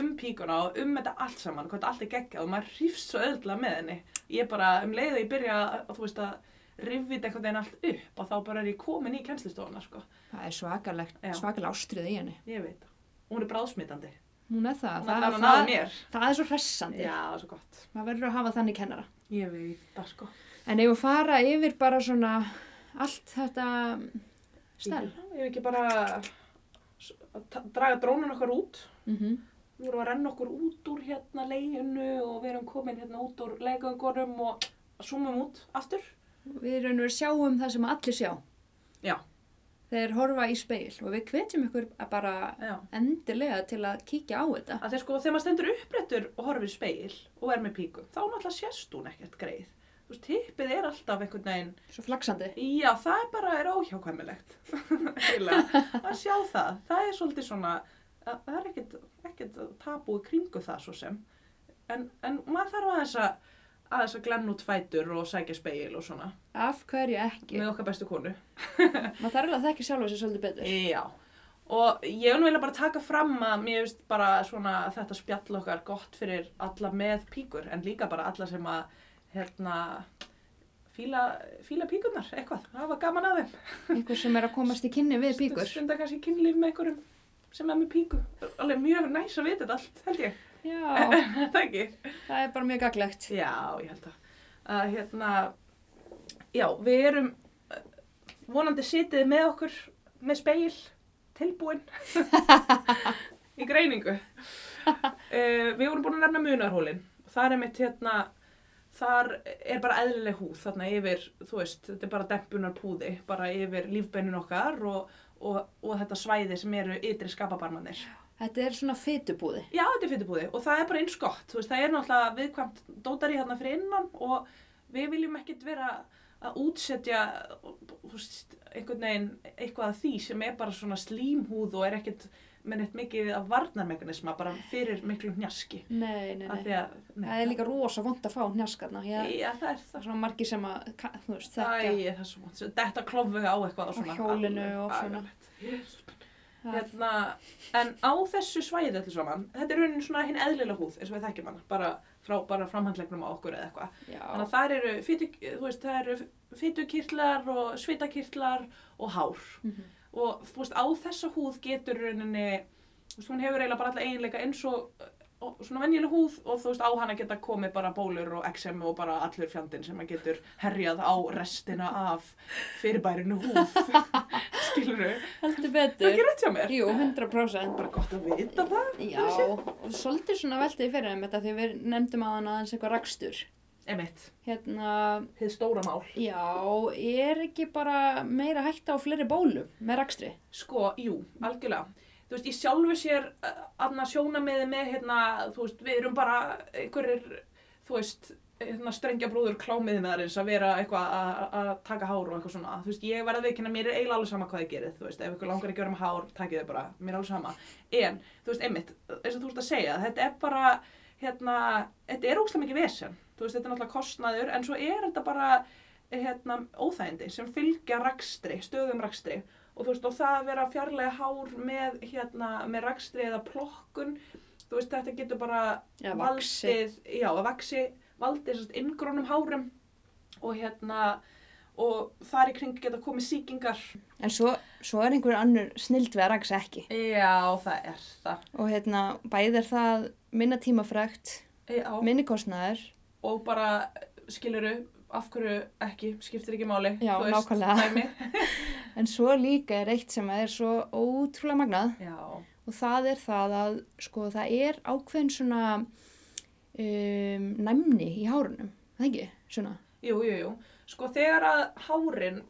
Speaker 1: um píkuna og um þetta allt saman, hvað þetta allt er geggjað og maður hrifst svo öðla með henni. Ég bara, um leið og ég byrja að, þú veist, að rifvita einhvern veginn allt upp og þá bara er ég komin í kennslistofuna, sko.
Speaker 2: Það er svakalegt,
Speaker 1: Já.
Speaker 2: svakalega ástrið í henni.
Speaker 1: Ég veit það. Og Hún er bráðsmitandi.
Speaker 2: Hún er það.
Speaker 1: Hún er
Speaker 2: það,
Speaker 1: alveg náðu
Speaker 2: það,
Speaker 1: mér.
Speaker 2: það er svo hressandi.
Speaker 1: Já, það er svo gott.
Speaker 2: Maður verður að hafa þannig kennara.
Speaker 1: Ég veit það, sko.
Speaker 2: En ef við fara yfir bara svona allt þetta stærl.
Speaker 1: Já, Ég hef ekki bara s- að ta- draga drónan okkar út.
Speaker 2: Mm -hmm.
Speaker 1: Við vorum að renna okkur út úr hérna leginu og við erum komin hérna út úr legöngunum og zoomum út aftur.
Speaker 2: Við raun og veru sjáum það sem allir sjá.
Speaker 1: Já.
Speaker 2: Þeir horfa í speil og við hvetjum ykkur að bara
Speaker 1: Já.
Speaker 2: endilega til að kíkja á þetta.
Speaker 1: Að þeir sko, þegar maður stendur upprættur og horfir í speil og er með píku, þá náttúrulega sést hún ekkert greið. Þú veist, tippið er alltaf einhvern veginn,
Speaker 2: Svo flaksandi.
Speaker 1: já, það er bara, er óhjákvæmilegt. Eiginlega. að sjá það, það er svolítið svona, að, það er ekkert, ekkert tabú í kringu það svo sem. En, en maður þarf aðeins að, aðeins að glenn út fætur og sækja speil og svona,
Speaker 2: Af hverju ekki?
Speaker 1: með okkar bestu konu.
Speaker 2: Maður þarf alveg að þekka sjálfa sér svolítið betur.
Speaker 1: Já, og ég vil nú vilja bara taka fram að mér finnst bara svona þetta spjall okkar gott fyrir alla með píkur en líka bara alla sem að hérna fíla, fíla píkurnar eitthvað, hafa gaman að þeim.
Speaker 2: Einhver sem er að komast í kynni við píkur.
Speaker 1: Stunda kannski kynlíf með einhverjum sem er með píku. Alveg mjög næs að vita þetta allt, held ég.
Speaker 2: Já,
Speaker 1: það ekki?
Speaker 2: það er bara mjög gaglegt.
Speaker 1: Já, ég held að. að hérna, já, við erum eh, vonandi sitið með okkur með speil tilbúin í greiningu. Uh, við vorum búin að nefna munarhólinn. Þar er mitt hérna, þar er bara eðlileg húð þarna yfir, þú veist, þetta er bara dempunar púði, bara yfir lífbeinin okkar og, og, og þetta svæði sem eru ytri skapabarmannir.
Speaker 2: Þetta er svona fytubúði.
Speaker 1: Já, þetta er fytubúði og það er bara eins gott, þú veist, það er náttúrulega viðkvæmt dótari hérna fyrir innan og við viljum ekkert vera að útsetja þú veist, einhvern veginn eitthvað að því sem er bara svona slímhúð og er ekkert með neitt mikið af varnarmekanisma bara fyrir miklu hnjaski.
Speaker 2: Nei, nei,
Speaker 1: Af
Speaker 2: nei.
Speaker 1: því að, nei,
Speaker 2: Það er líka rosa vond að fá hnjaskarna. Ég,
Speaker 1: Já, það er
Speaker 2: það er
Speaker 1: það.
Speaker 2: svona margir sem að, ka- þú
Speaker 1: Æ,
Speaker 2: veist, þetta.
Speaker 1: það er svo vant. Þetta klofðu á eitthvað og
Speaker 2: Á
Speaker 1: svona.
Speaker 2: hjólinu og
Speaker 1: alveg
Speaker 2: svona.
Speaker 1: agalegt.
Speaker 2: Það,
Speaker 1: hérna, en á þessu svæði öllu saman, þetta er raunin svona hinn eðlilega húð eins og við þekkjum hana, bara frá bara framhandlegnum á okkur eða eitthvað. Þannig
Speaker 2: já,
Speaker 1: að þar eru, fitu, þú veist, það eru fytukirtlar og svitakirtlar og hár.
Speaker 2: Mhm.
Speaker 1: Og þú veist, á þessa húð getur rauninni, þú veist, hún hefur eiginlega bara alla eiginleika eins og, og svona venjuleg húð og þú veist, á hana geta komið bara bólur og XM og bara allur fjandinn sem að getur herjað á restina af fyrirbærinu húð. Skilur þú? Það
Speaker 2: heldur
Speaker 1: er
Speaker 2: betur.
Speaker 1: ekki rétt hjá mér.
Speaker 2: Jú, 100%.
Speaker 1: bara gott að vita það.
Speaker 2: Já, og svolítið svona veltið fyrir þeim þetta því við nefndum aðan aðeins eitthvað rakstur.
Speaker 1: Emitt,
Speaker 2: Hérna,
Speaker 1: þið stóra mál.
Speaker 2: já, er ekki bara meira hætta á fleiri bólum með rakstri?
Speaker 1: Sko, jú, algjörlega. Þú veist, ég sjálfu sér aðna sjónameði með, hérna, þú veist, við erum bara einhverjir, þú veist, hérna, strengja brúður klámiðnaðarins að vera eitthvað að- að taka hár og eitthvað svona. Þú veist, ég verð að veikina, mér er eiginlega alveg sama hvað þið gerið, þú veist, ef ykkur langar ekki að vera með hár, takið þið bara, mér er alveg sama. En, þú veist, einmitt, eins og þú ert að segja, þetta er bara, hérna, þetta er óslega mikið vesen, þú veist, þetta er náttúrulega kostnaður, en svo er þetta bara, hérna, óþægindi sem fylgja rakstri, stöðum rakstri og þú veist, og það að vera fjarlæga hár með, hérna, með rakstri eða plokkun, þú veist, þetta getur bara
Speaker 2: Eða vaxi?
Speaker 1: valdið, já, að vaxi, valdið sérst inngrónum hárum og hérna, og þar í kring geta komið sýkingar.
Speaker 2: En svo, svo er einhver annur snild við að raksa ekki.
Speaker 1: Já, það er það.
Speaker 2: Og hérna, bæði er það minna tímafrækt,
Speaker 1: Já.
Speaker 2: minni kostnaður.
Speaker 1: og bara skiluru af hverju ekki, skiptir ekki máli
Speaker 2: Já,
Speaker 1: þú veist,
Speaker 2: nákvæmlega.
Speaker 1: dæmi.
Speaker 2: En svo líka er eitt sem er svo ótrúlega magnað
Speaker 1: Já,
Speaker 2: og það er það að sko það er ákveðin svona um, næmni í hárunum, það ekki? Svona.
Speaker 1: jú, jú, jú sko þegar að hárin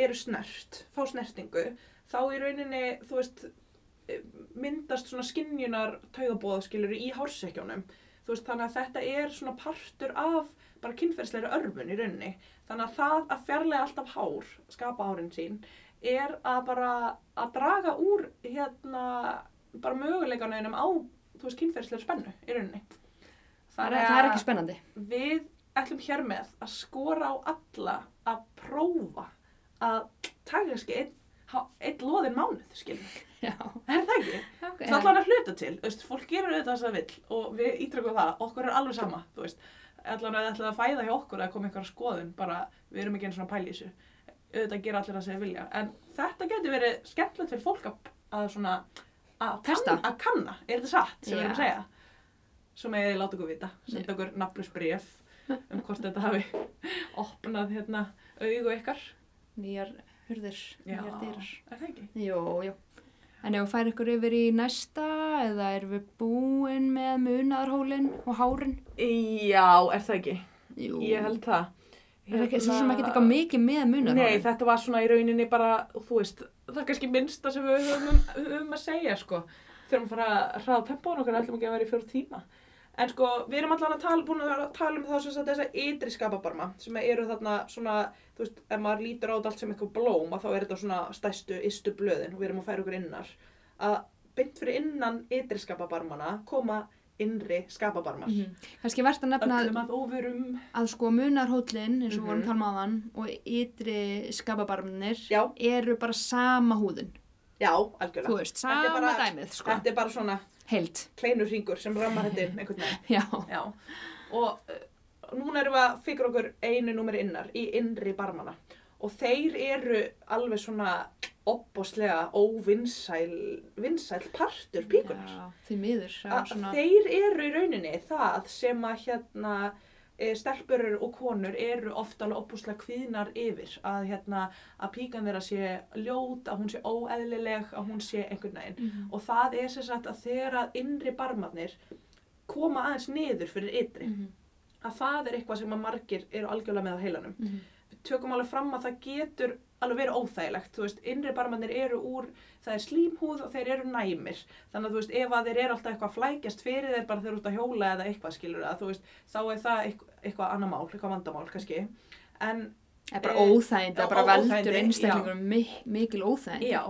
Speaker 1: eru snert, fá snertingu þá í rauninni, þú veist e, myndast svona skinjunar taugabóða skiluru í hársekjónum þú veist, þannig að þetta er svona partur af bara kynferðsleiri örfun í rauninni þannig að það að fjarlæga alltaf hár skapa hárin sín er að bara að draga úr hérna bara möguleikanauðinum á þú veist kynferðsleiri spennu í rauninni
Speaker 2: Það er, það er ekki spennandi.
Speaker 1: við ætlum hér með að skora á alla að prófa að taka kannski einn, há- einn loðin mánuð, skiljum.
Speaker 2: Já,
Speaker 1: Er það ekki?
Speaker 2: ok.
Speaker 1: Það er allan að hluta til, þú veist, fólk gerur auðvitað þess að vill og við ítrykkum það, okkur er alveg sama, þú veist, allan að það ætlaði að fæða hjá okkur að koma einhverja skoðun, bara við erum ekki einu svona pæli í þessu, auðvitað gera allir að segja vilja, en þetta getur verið skemmtilegt fyrir fólk að, að svona, að
Speaker 2: Testa.
Speaker 1: kann- að kanna, er þetta satt sem við erum að
Speaker 2: Já.
Speaker 1: segja? Svo megið þið láta okkur vita, senda okkur nafnusbréf um hvort þetta hafi opnað hérna augu ykkar,
Speaker 2: Nýjar hurðir, nýjar dýrar.
Speaker 1: er það ekki?
Speaker 2: Jó, jó. En ef við færum ykkur yfir í næsta eða erum við búin með munaðarhólinn og hárin?
Speaker 1: Já, er það ekki?
Speaker 2: Jú.
Speaker 1: Ég held það. Hérna-
Speaker 2: Það er ekki, svo sem ekki eitthvað mikið með
Speaker 1: Nei,
Speaker 2: munaðarhólinn.
Speaker 1: þetta var svona í rauninni bara, þú veist, það er kannski minnsta sem við höfum um, um að segja, sko. Þegar við fara að hraða tempónu okkar, ætlum ekki að vera í fjóru tíma. En sko, við erum allan að tala, búin að vera að tala um þá sem sagt þessa ytri skapabarma sem eru þarna svona, þú veist, ef maður lítur á þetta allt sem eitthvað blóm að þá er þetta svona stæstu, ystu blöðin og við erum að færa okkur innar. Að beint fyrir innan ytri skapabarmana koma innri skapabarmar.
Speaker 2: Mhm. Kannski verðt að nefna
Speaker 1: Öllum að óverum.
Speaker 2: að sko munarhóllin, eins og
Speaker 1: Mhm.
Speaker 2: vorum -hmm. vorum talmaðan, og ytri skapabarmnir
Speaker 1: Já,
Speaker 2: eru bara sama húðin.
Speaker 1: já, algjörlega.
Speaker 2: Þú veist,
Speaker 1: Þetta er
Speaker 2: sama
Speaker 1: bara-
Speaker 2: dæmið, sko.
Speaker 1: Þetta er bara svona
Speaker 2: Heilt.
Speaker 1: kleinur hringur sem rammar þetta inn einhvern veginn.
Speaker 2: Já.
Speaker 1: Já. Og uh, núna erum við að fikra okkur einu númer innar í innri barmana. Og þeir eru alveg svona opbóslega óvinsæl vinsæl partur píkunar.
Speaker 2: Já, því miður. já,
Speaker 1: Að
Speaker 2: svona-
Speaker 1: Ah, Þeir eru í rauninni það sem að hérna eh, stelpur og konur eru oft alveg opbúslega kvíðnar yfir að hérna að píkan þeirra sé ljót, að hún sé óeðlileg, að hún sé einhvern veginn
Speaker 2: Mhm.
Speaker 1: og það er sem sagt að þegar að innri barmarnir koma aðeins niður fyrir ytri
Speaker 2: Mhm,
Speaker 1: að það er eitthvað sem að margir eru algjörlega með á heilanum
Speaker 2: mhm.
Speaker 1: við tökum alveg fram að það getur alveg verið óþægilegt, þú veist, innri barmarnir eru úr, það er slímhúð og þeir eru næmir, þannig að þú veist, ef að þeir eru alltaf eitthvað að flækjast fyrir þeir bara þeir eru út að hjóla eða eitthvað skilur að þú veist, þá er það eitthvað, eitthvað annar mál, eitthvað vandamál kannski, en
Speaker 2: Það er bara
Speaker 1: Eh,
Speaker 2: óþægindi, það
Speaker 1: já,
Speaker 2: bara
Speaker 1: ó-
Speaker 2: veldur
Speaker 1: óþægindi,
Speaker 2: einstaklingur mik mikil óþægindi.
Speaker 1: Já,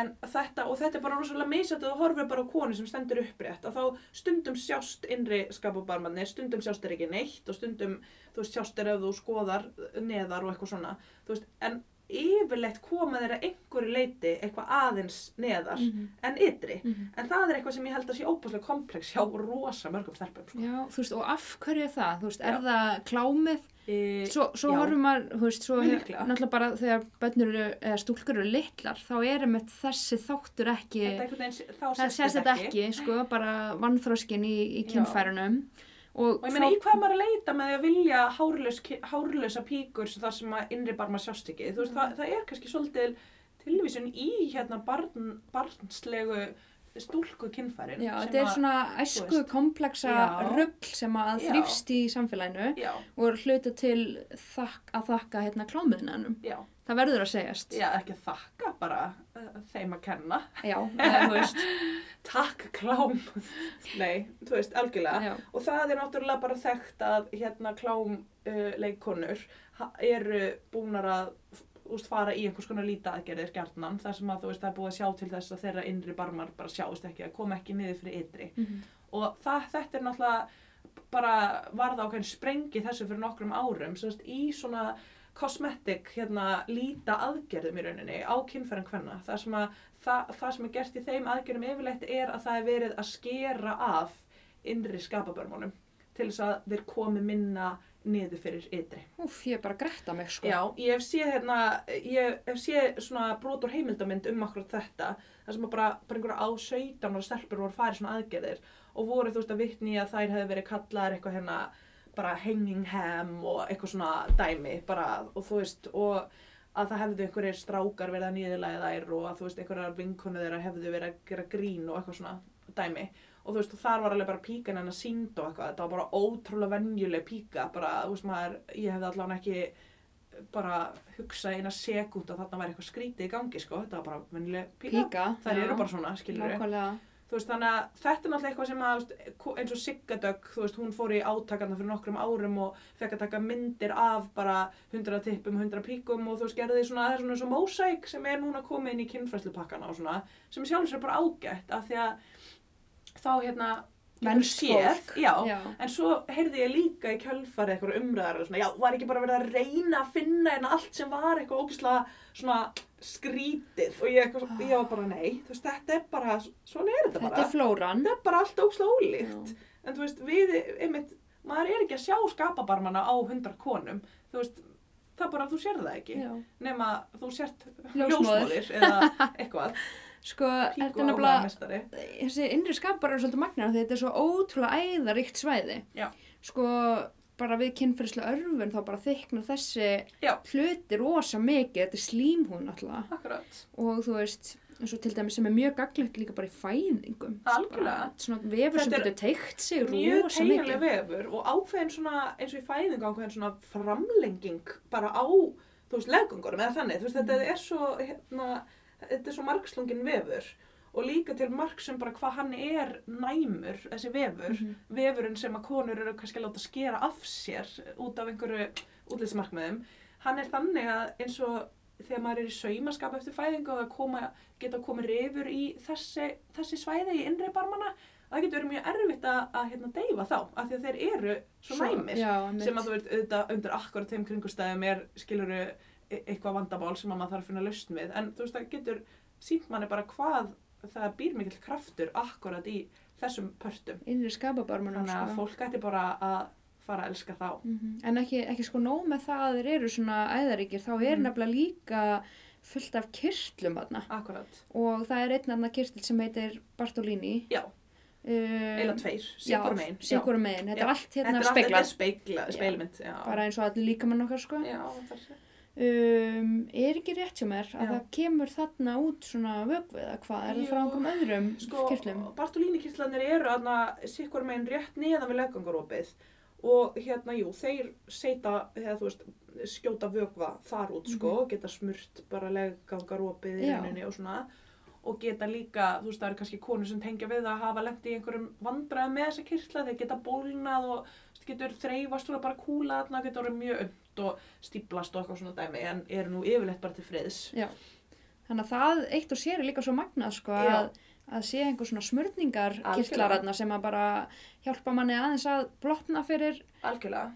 Speaker 1: en þetta, og þetta er bara rosalega meðsett að þú horfir bara á konu sem stendur upprétt að þá stundum sjást innri skapabarmannir, stundum sjást er ekki neitt og stundum, þú veist, sjást er ef þú skoðar neðar og eitthvað svona, þú veist, en yfirleitt koma þeirra einhverju leiti eitthvað aðeins neðar
Speaker 2: Mhm,
Speaker 1: en ytri.
Speaker 2: mhm.
Speaker 1: En það er eitthvað sem ég held að sé óbúslega komplex hjá rosa mörgum þarpum, sko.
Speaker 2: Já, þú veist, og af hverju er það? Þú veist, er
Speaker 1: Já.
Speaker 2: það klámið?
Speaker 1: E,
Speaker 2: Svo, svo
Speaker 1: já.
Speaker 2: horfum maður, þú veist, svo
Speaker 1: Mjög
Speaker 2: hef-
Speaker 1: líklega.
Speaker 2: náttúrulega bara þegar bönnur eru, eða stúlkur eru litlar, þá er einmitt þessi þáttur ekki,
Speaker 1: Þetta einhvern veginn, þá
Speaker 2: það sést þetta ekki, sko, bara vannþróskin í, í
Speaker 1: Já.
Speaker 2: kynfærunum. Og,
Speaker 1: Og ég meina, í hvað er maður að leita með því að vilja hárlaus, hárlausa píkur sem þar sem að innri barma sjást ekki? Þú veist, það,
Speaker 2: Mm.
Speaker 1: það er kannski svolítið tilvísun í hérna barn, barnslegu stúlku kynfærin.
Speaker 2: Já,
Speaker 1: sem
Speaker 2: þetta er
Speaker 1: að-
Speaker 2: svona æsku kompleksa
Speaker 1: Já.
Speaker 2: rugl sem að
Speaker 1: Já.
Speaker 2: þrýfst í samfélaginu
Speaker 1: Já,
Speaker 2: og er hluta til þak, að þakka hérna klámiðinanum.
Speaker 1: já,
Speaker 2: Það verður að segjast.
Speaker 1: já, ekki að þakka bara uh, þeim að kenna.
Speaker 2: Já, eða, þú veist.
Speaker 1: Takk, klám. Nei, þú veist, algjörlega.
Speaker 2: Já.
Speaker 1: Og það er náttúrulega bara þekkt að hérna klám uh, leikonur eru búnar að úst, fara í einhvers konar lítaaðgerðir gjarnan þar sem að þú veist það er búið að sjá til þess að þeirra innri barmar bara sjáist ekki að koma ekki niður fyrir ytri.
Speaker 2: Mhm.
Speaker 1: Og það, þetta er náttúrulega bara varða ákveðin sprengi þessu fyrir nokkrum árum sem sagt, í svona kosmetik hérna líta aðgerðum í rauninni á kynfæran hvenna. Það sem, að, það, það sem er gert í þeim aðgerðum yfirleitt er að það er verið að skera af innri skapabörmunum til þess að þeir komi minna niður fyrir ytri.
Speaker 2: Úf, ég er bara að gretta mig, sko.
Speaker 1: Já, ég hef séð hérna, ég hef séð svona brot úr heimildamind um akkurat þetta, þar sem að bara, bara einhverja á 17 ára stelpur voru farið svona aðgerðir og voru þú veist að vitni að þær hefði verið kallaðar eitthvað hérna bara hanging ham og eitthvað svona dæmi bara og þú veist og að það hefðu einhverjir strákar verið að nýðilega þær og að þú veist einhverjar vinkonu þeirra hefðu verið að gera grín og eitthvað svona dæmi og þú veist og þar var alveg bara píkan hennar sínd og eitthvað þetta var bara ótrúlega venjuleg píka bara þú veist maður ég hefði allavega ekki bara hugsað eina sekund að þarna væri eitthvað skrítið í gangi sko þetta var bara venjuleg píka,
Speaker 2: Píka.
Speaker 1: þær
Speaker 2: já.
Speaker 1: eru bara svona skilur
Speaker 2: Nákvæmlega.
Speaker 1: þú veist þannig að þetta er náttúrulega eitthvað sem að þú veist, ko- eins og Siggadögg, þú veist, hún fór í átakana fyrir nokkrum árum og fekk að taka myndir af bara 100 tippum, 100 píkum og þú veist, gerði svona, það er svona eins og mósæk sem er núna komið inn í kynfræslupakkana og svona, sem sjálfur sér bara ágætt af því að þá hérna getur
Speaker 2: Venst
Speaker 1: séð,
Speaker 2: fólk.
Speaker 1: já,
Speaker 2: Já.
Speaker 1: En svo heyrði ég líka í kjölfarið hérna eitthvað umræðar og svona, já, var ekki bara verið að reyna að finna en allt sem var eitthvað ógislega svona skrítið og ég, eitthvað, svo- ég var bara nei, þú veist, þetta er bara, svona er þetta bara.
Speaker 2: Þetta er flóran.
Speaker 1: Þetta er bara allt óslega ólíkt.
Speaker 2: Já.
Speaker 1: En þú veist, við, einmitt, maður er ekki að sjá skapabarmana á hundra konum. Þú veist, það er bara, þú sér það ekki.
Speaker 2: Já.
Speaker 1: Nema þú sért
Speaker 2: Ljósmóðir.
Speaker 1: ljósmóðir eða eitthvað.
Speaker 2: Sko, þetta er
Speaker 1: Píku
Speaker 2: nefnilega,
Speaker 1: áhugamestari.
Speaker 2: þessi innri skapar eru svolítið magnar því þetta er svo ótrúlega æðaríkt svæði
Speaker 1: Já.
Speaker 2: sko bara við kynferðislega örfun þá bara þyknar þessi
Speaker 1: Já.
Speaker 2: hluti rosa mikið þetta er slímhún alltaf
Speaker 1: Akkurat.
Speaker 2: og þú veist eins og til dæmis sem er mjög gaglegt líka bara í fæðingum
Speaker 1: Algjörlega.
Speaker 2: Bara svona vefur sem
Speaker 1: Þetta er
Speaker 2: getur teikt sig
Speaker 1: Mjög
Speaker 2: rosa
Speaker 1: tegjanlega
Speaker 2: mikið
Speaker 1: vefur og ákveðin svona, eins og í fæðingu ákveðin svona framlenging bara á, þú veist, leggungurum eða þannig. Þú veist,
Speaker 2: Mm.
Speaker 1: þetta er svo, hérna, þetta er svo margslungin vefur og líka til marg sem bara hvað hann er næmur, þessi vefur.
Speaker 2: Mhm.
Speaker 1: vefurinn sem að konur eru kannski að láta skera af sér út af einhverju útlýtsmarkmiðum, hann er þannig að eins og þegar maður er í saumaskap eftir fæðingu og að koma, geta komið reyfur í þessi, þessi svæði í innri barmana, það getur verið mjög erfitt að, að hérna, deyfa þá, af því að þeir eru svo næmir,
Speaker 2: já,
Speaker 1: sem að þú veit auðvitað undir akkur þeim kringustæðum er skiluru eitthvað vandamál sem að maður þarf að finna lausn við, en þú veist það getur sínt manni bara hvað það býr mikill kraftur akkurat í þessum pörtum
Speaker 2: innri skapabarmanum
Speaker 1: Þannig að
Speaker 2: sko.
Speaker 1: fólk ætti bara að fara að elska þá.
Speaker 2: Mhm. en ekki, ekki sko nóg með það að þeir eru svona æðaríkir þá er
Speaker 1: Mhm.
Speaker 2: nefnilega líka fullt af kyrtlum aðna
Speaker 1: Akkurat.
Speaker 2: og það er einn annar kirtil sem heitir Bartolini
Speaker 1: Já,
Speaker 2: um,
Speaker 1: eila tveir, síkur megin.
Speaker 2: síkur megin, þetta
Speaker 1: Já.
Speaker 2: er allt
Speaker 1: Þetta
Speaker 2: hérna
Speaker 1: er allt- þetta
Speaker 2: speglað
Speaker 1: er speikla,
Speaker 2: Já.
Speaker 1: speilmynd, já.
Speaker 2: bara eins og allir líkamann okkar sko
Speaker 1: Já, það sé.
Speaker 2: um, er ekki rétt hjá mér að
Speaker 1: Já.
Speaker 2: það kemur þarna út svona vögvið að hvað er það
Speaker 1: Jú.
Speaker 2: frá einhverjum öðrum
Speaker 1: Sko,
Speaker 2: kirtlum
Speaker 1: Bartolínikirtlanir eru aðna síkur megin rétt neðan við leggangarópið og hérna, jú, þeir seita, þegar þú veist, skjóta vögva þar út, sko, geta smurt bara leggangarópið í
Speaker 2: Mhm. Já.
Speaker 1: rauninni og svona og geta líka, þú veist, það eru kannski konur sem tengja við að hafa lent í einhverjum vandræðum með þessa kirtla, þeir geta bólnað og þú veist, getur þreifast úr að bara kúla þarna, getur orðið mjög umt og stíplast og eitthvað svona dæmi, en eru nú yfirleitt bara til friðs.
Speaker 2: já. þannig að það eitt og sér er líka svo magnað sko
Speaker 1: Já.
Speaker 2: að, að sé einhver svona smörningar
Speaker 1: Algjörlega.
Speaker 2: kirtlaratna sem að bara hjálpa manni aðeins að blotna fyrir
Speaker 1: Algjörlega.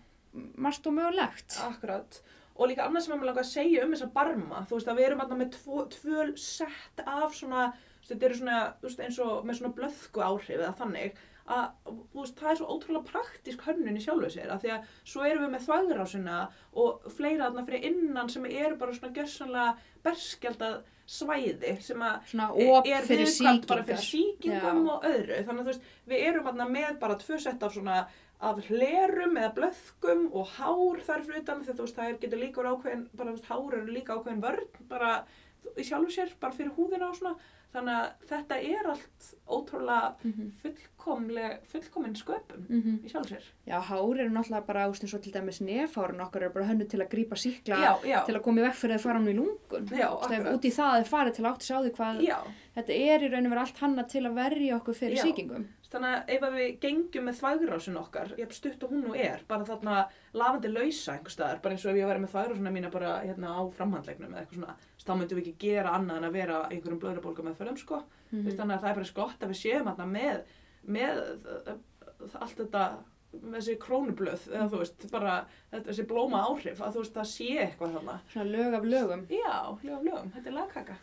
Speaker 2: margt og mögulegt
Speaker 1: Akkurat. Og líka annað sem ég mér langa að segja um þessa barma, þú veist að við erum alltaf með tvo, tvö sett af svona, þú veist, þetta eru svona, þú veist, eins og með svona blöðku áhrif eða þannig, að, þú veist, það er svo ótrúlega praktísk hönnun í sjálfu sér, af því að svo erum við með þvægrásina og fleira þarna fyrir innan sem eru bara svona gjörsanlega berskjaldað svæði sem að
Speaker 2: svona op
Speaker 1: E- er
Speaker 2: fyrir
Speaker 1: viðkvæmt bara fyrir
Speaker 2: sýkingar
Speaker 1: sýkingum
Speaker 2: Já.
Speaker 1: og öðru þannig að þú veist, við erum þarna með bara tvö sett af svona af hlerum eða blöðkum og hár þar fyrir utan þegar þú veist, það er getur líka verið ákveðin bara þú veist, hár eru líka ákveðin vörn bara þú- í sjálfu sér, bara fyrir húðina og svona þannig að þetta er allt ótrúlega
Speaker 2: Mhm.
Speaker 1: fullkomleg fullkomin sköpum
Speaker 2: Mhm.
Speaker 1: í sjálfu sér
Speaker 2: Já, hár eru náttúrulega bara, úst, eins og til dæmis nefhárun okkar eru bara hönnu til að grípa síkla
Speaker 1: já, já,
Speaker 2: til að koma í vekk fyrir að fara hann í lungun.
Speaker 1: já,
Speaker 2: Þú veist, ef
Speaker 1: akkurat
Speaker 2: út í það er farið til átt að sjá því hvað
Speaker 1: já,
Speaker 2: þetta er í raun og vera allt hanna til að verja okkur fyrir
Speaker 1: Já.
Speaker 2: sýkingum.
Speaker 1: þannig að ef að við gengjum með þvægrásun okkar, ég hef stutt og hún nú er, bara þarna lafandi lausa einhver staðar, bara eins og ef ég væri með þvægrásuna mína bara hérna á framhandlegnum eða eitthvað svona, þess að þá myndum við ekki gera annað en að vera í einhverjum blöðrubólgum með fölum sko, mm
Speaker 2: Mhm.
Speaker 1: þannig að það er bara eins gott að við séum þarna með, með uh, uh, allt þetta, með þessi krónublöð, eða þú veist, bara þetta- þessi blóma áhrif, að þú veist, það sé eitthvað þarna.
Speaker 2: Svona lög af lögum.
Speaker 1: Já, lögum, lögum, þetta er lagkaka.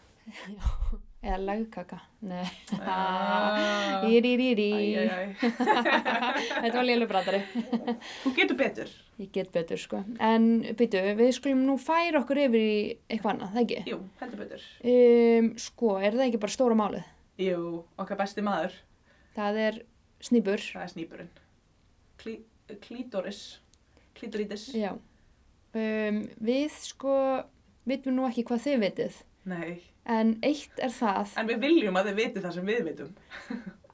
Speaker 2: Eða lagkaka. Nei.
Speaker 1: Ah.
Speaker 2: Íririri.
Speaker 1: Æ, æ, æ.
Speaker 2: Þetta var lélubrandari.
Speaker 1: Þú getur betur.
Speaker 2: Ég get betur, sko. En byttu, við skulum nú færa okkur yfir í eitthvað annað, það ekki?
Speaker 1: Jú, heldur betur.
Speaker 2: Um, sko, er það ekki bara stóra málið?
Speaker 1: Jú, okkar besti maður,
Speaker 2: Það er snýbur.
Speaker 1: það er snýpurinn. Klí, eh, klítoris, klítorítis.
Speaker 2: Já, um, við sko, vitum nú ekki hvað þið vitið,
Speaker 1: Nei,
Speaker 2: en eitt er það
Speaker 1: en við viljum að þið viti það sem við vitum.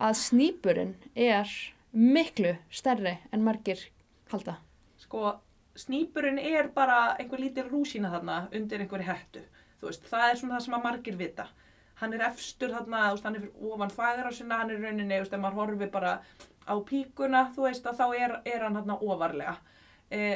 Speaker 2: að snýpurinn er miklu stærri en margir halda.
Speaker 1: Sko, snýpurinn er bara einhver lítil rúsína þarna undir einhverju hættu. Þú veist, það er svona það sem að margir vita. Hann er efstur þarna, þú veist, hann er fyrir ofan þvæðra sinna, hann er í rauninni, þú veist, ef maður horfi bara á píkuna, þú veist, að þá er, er hann þarna ofarlega. Eh,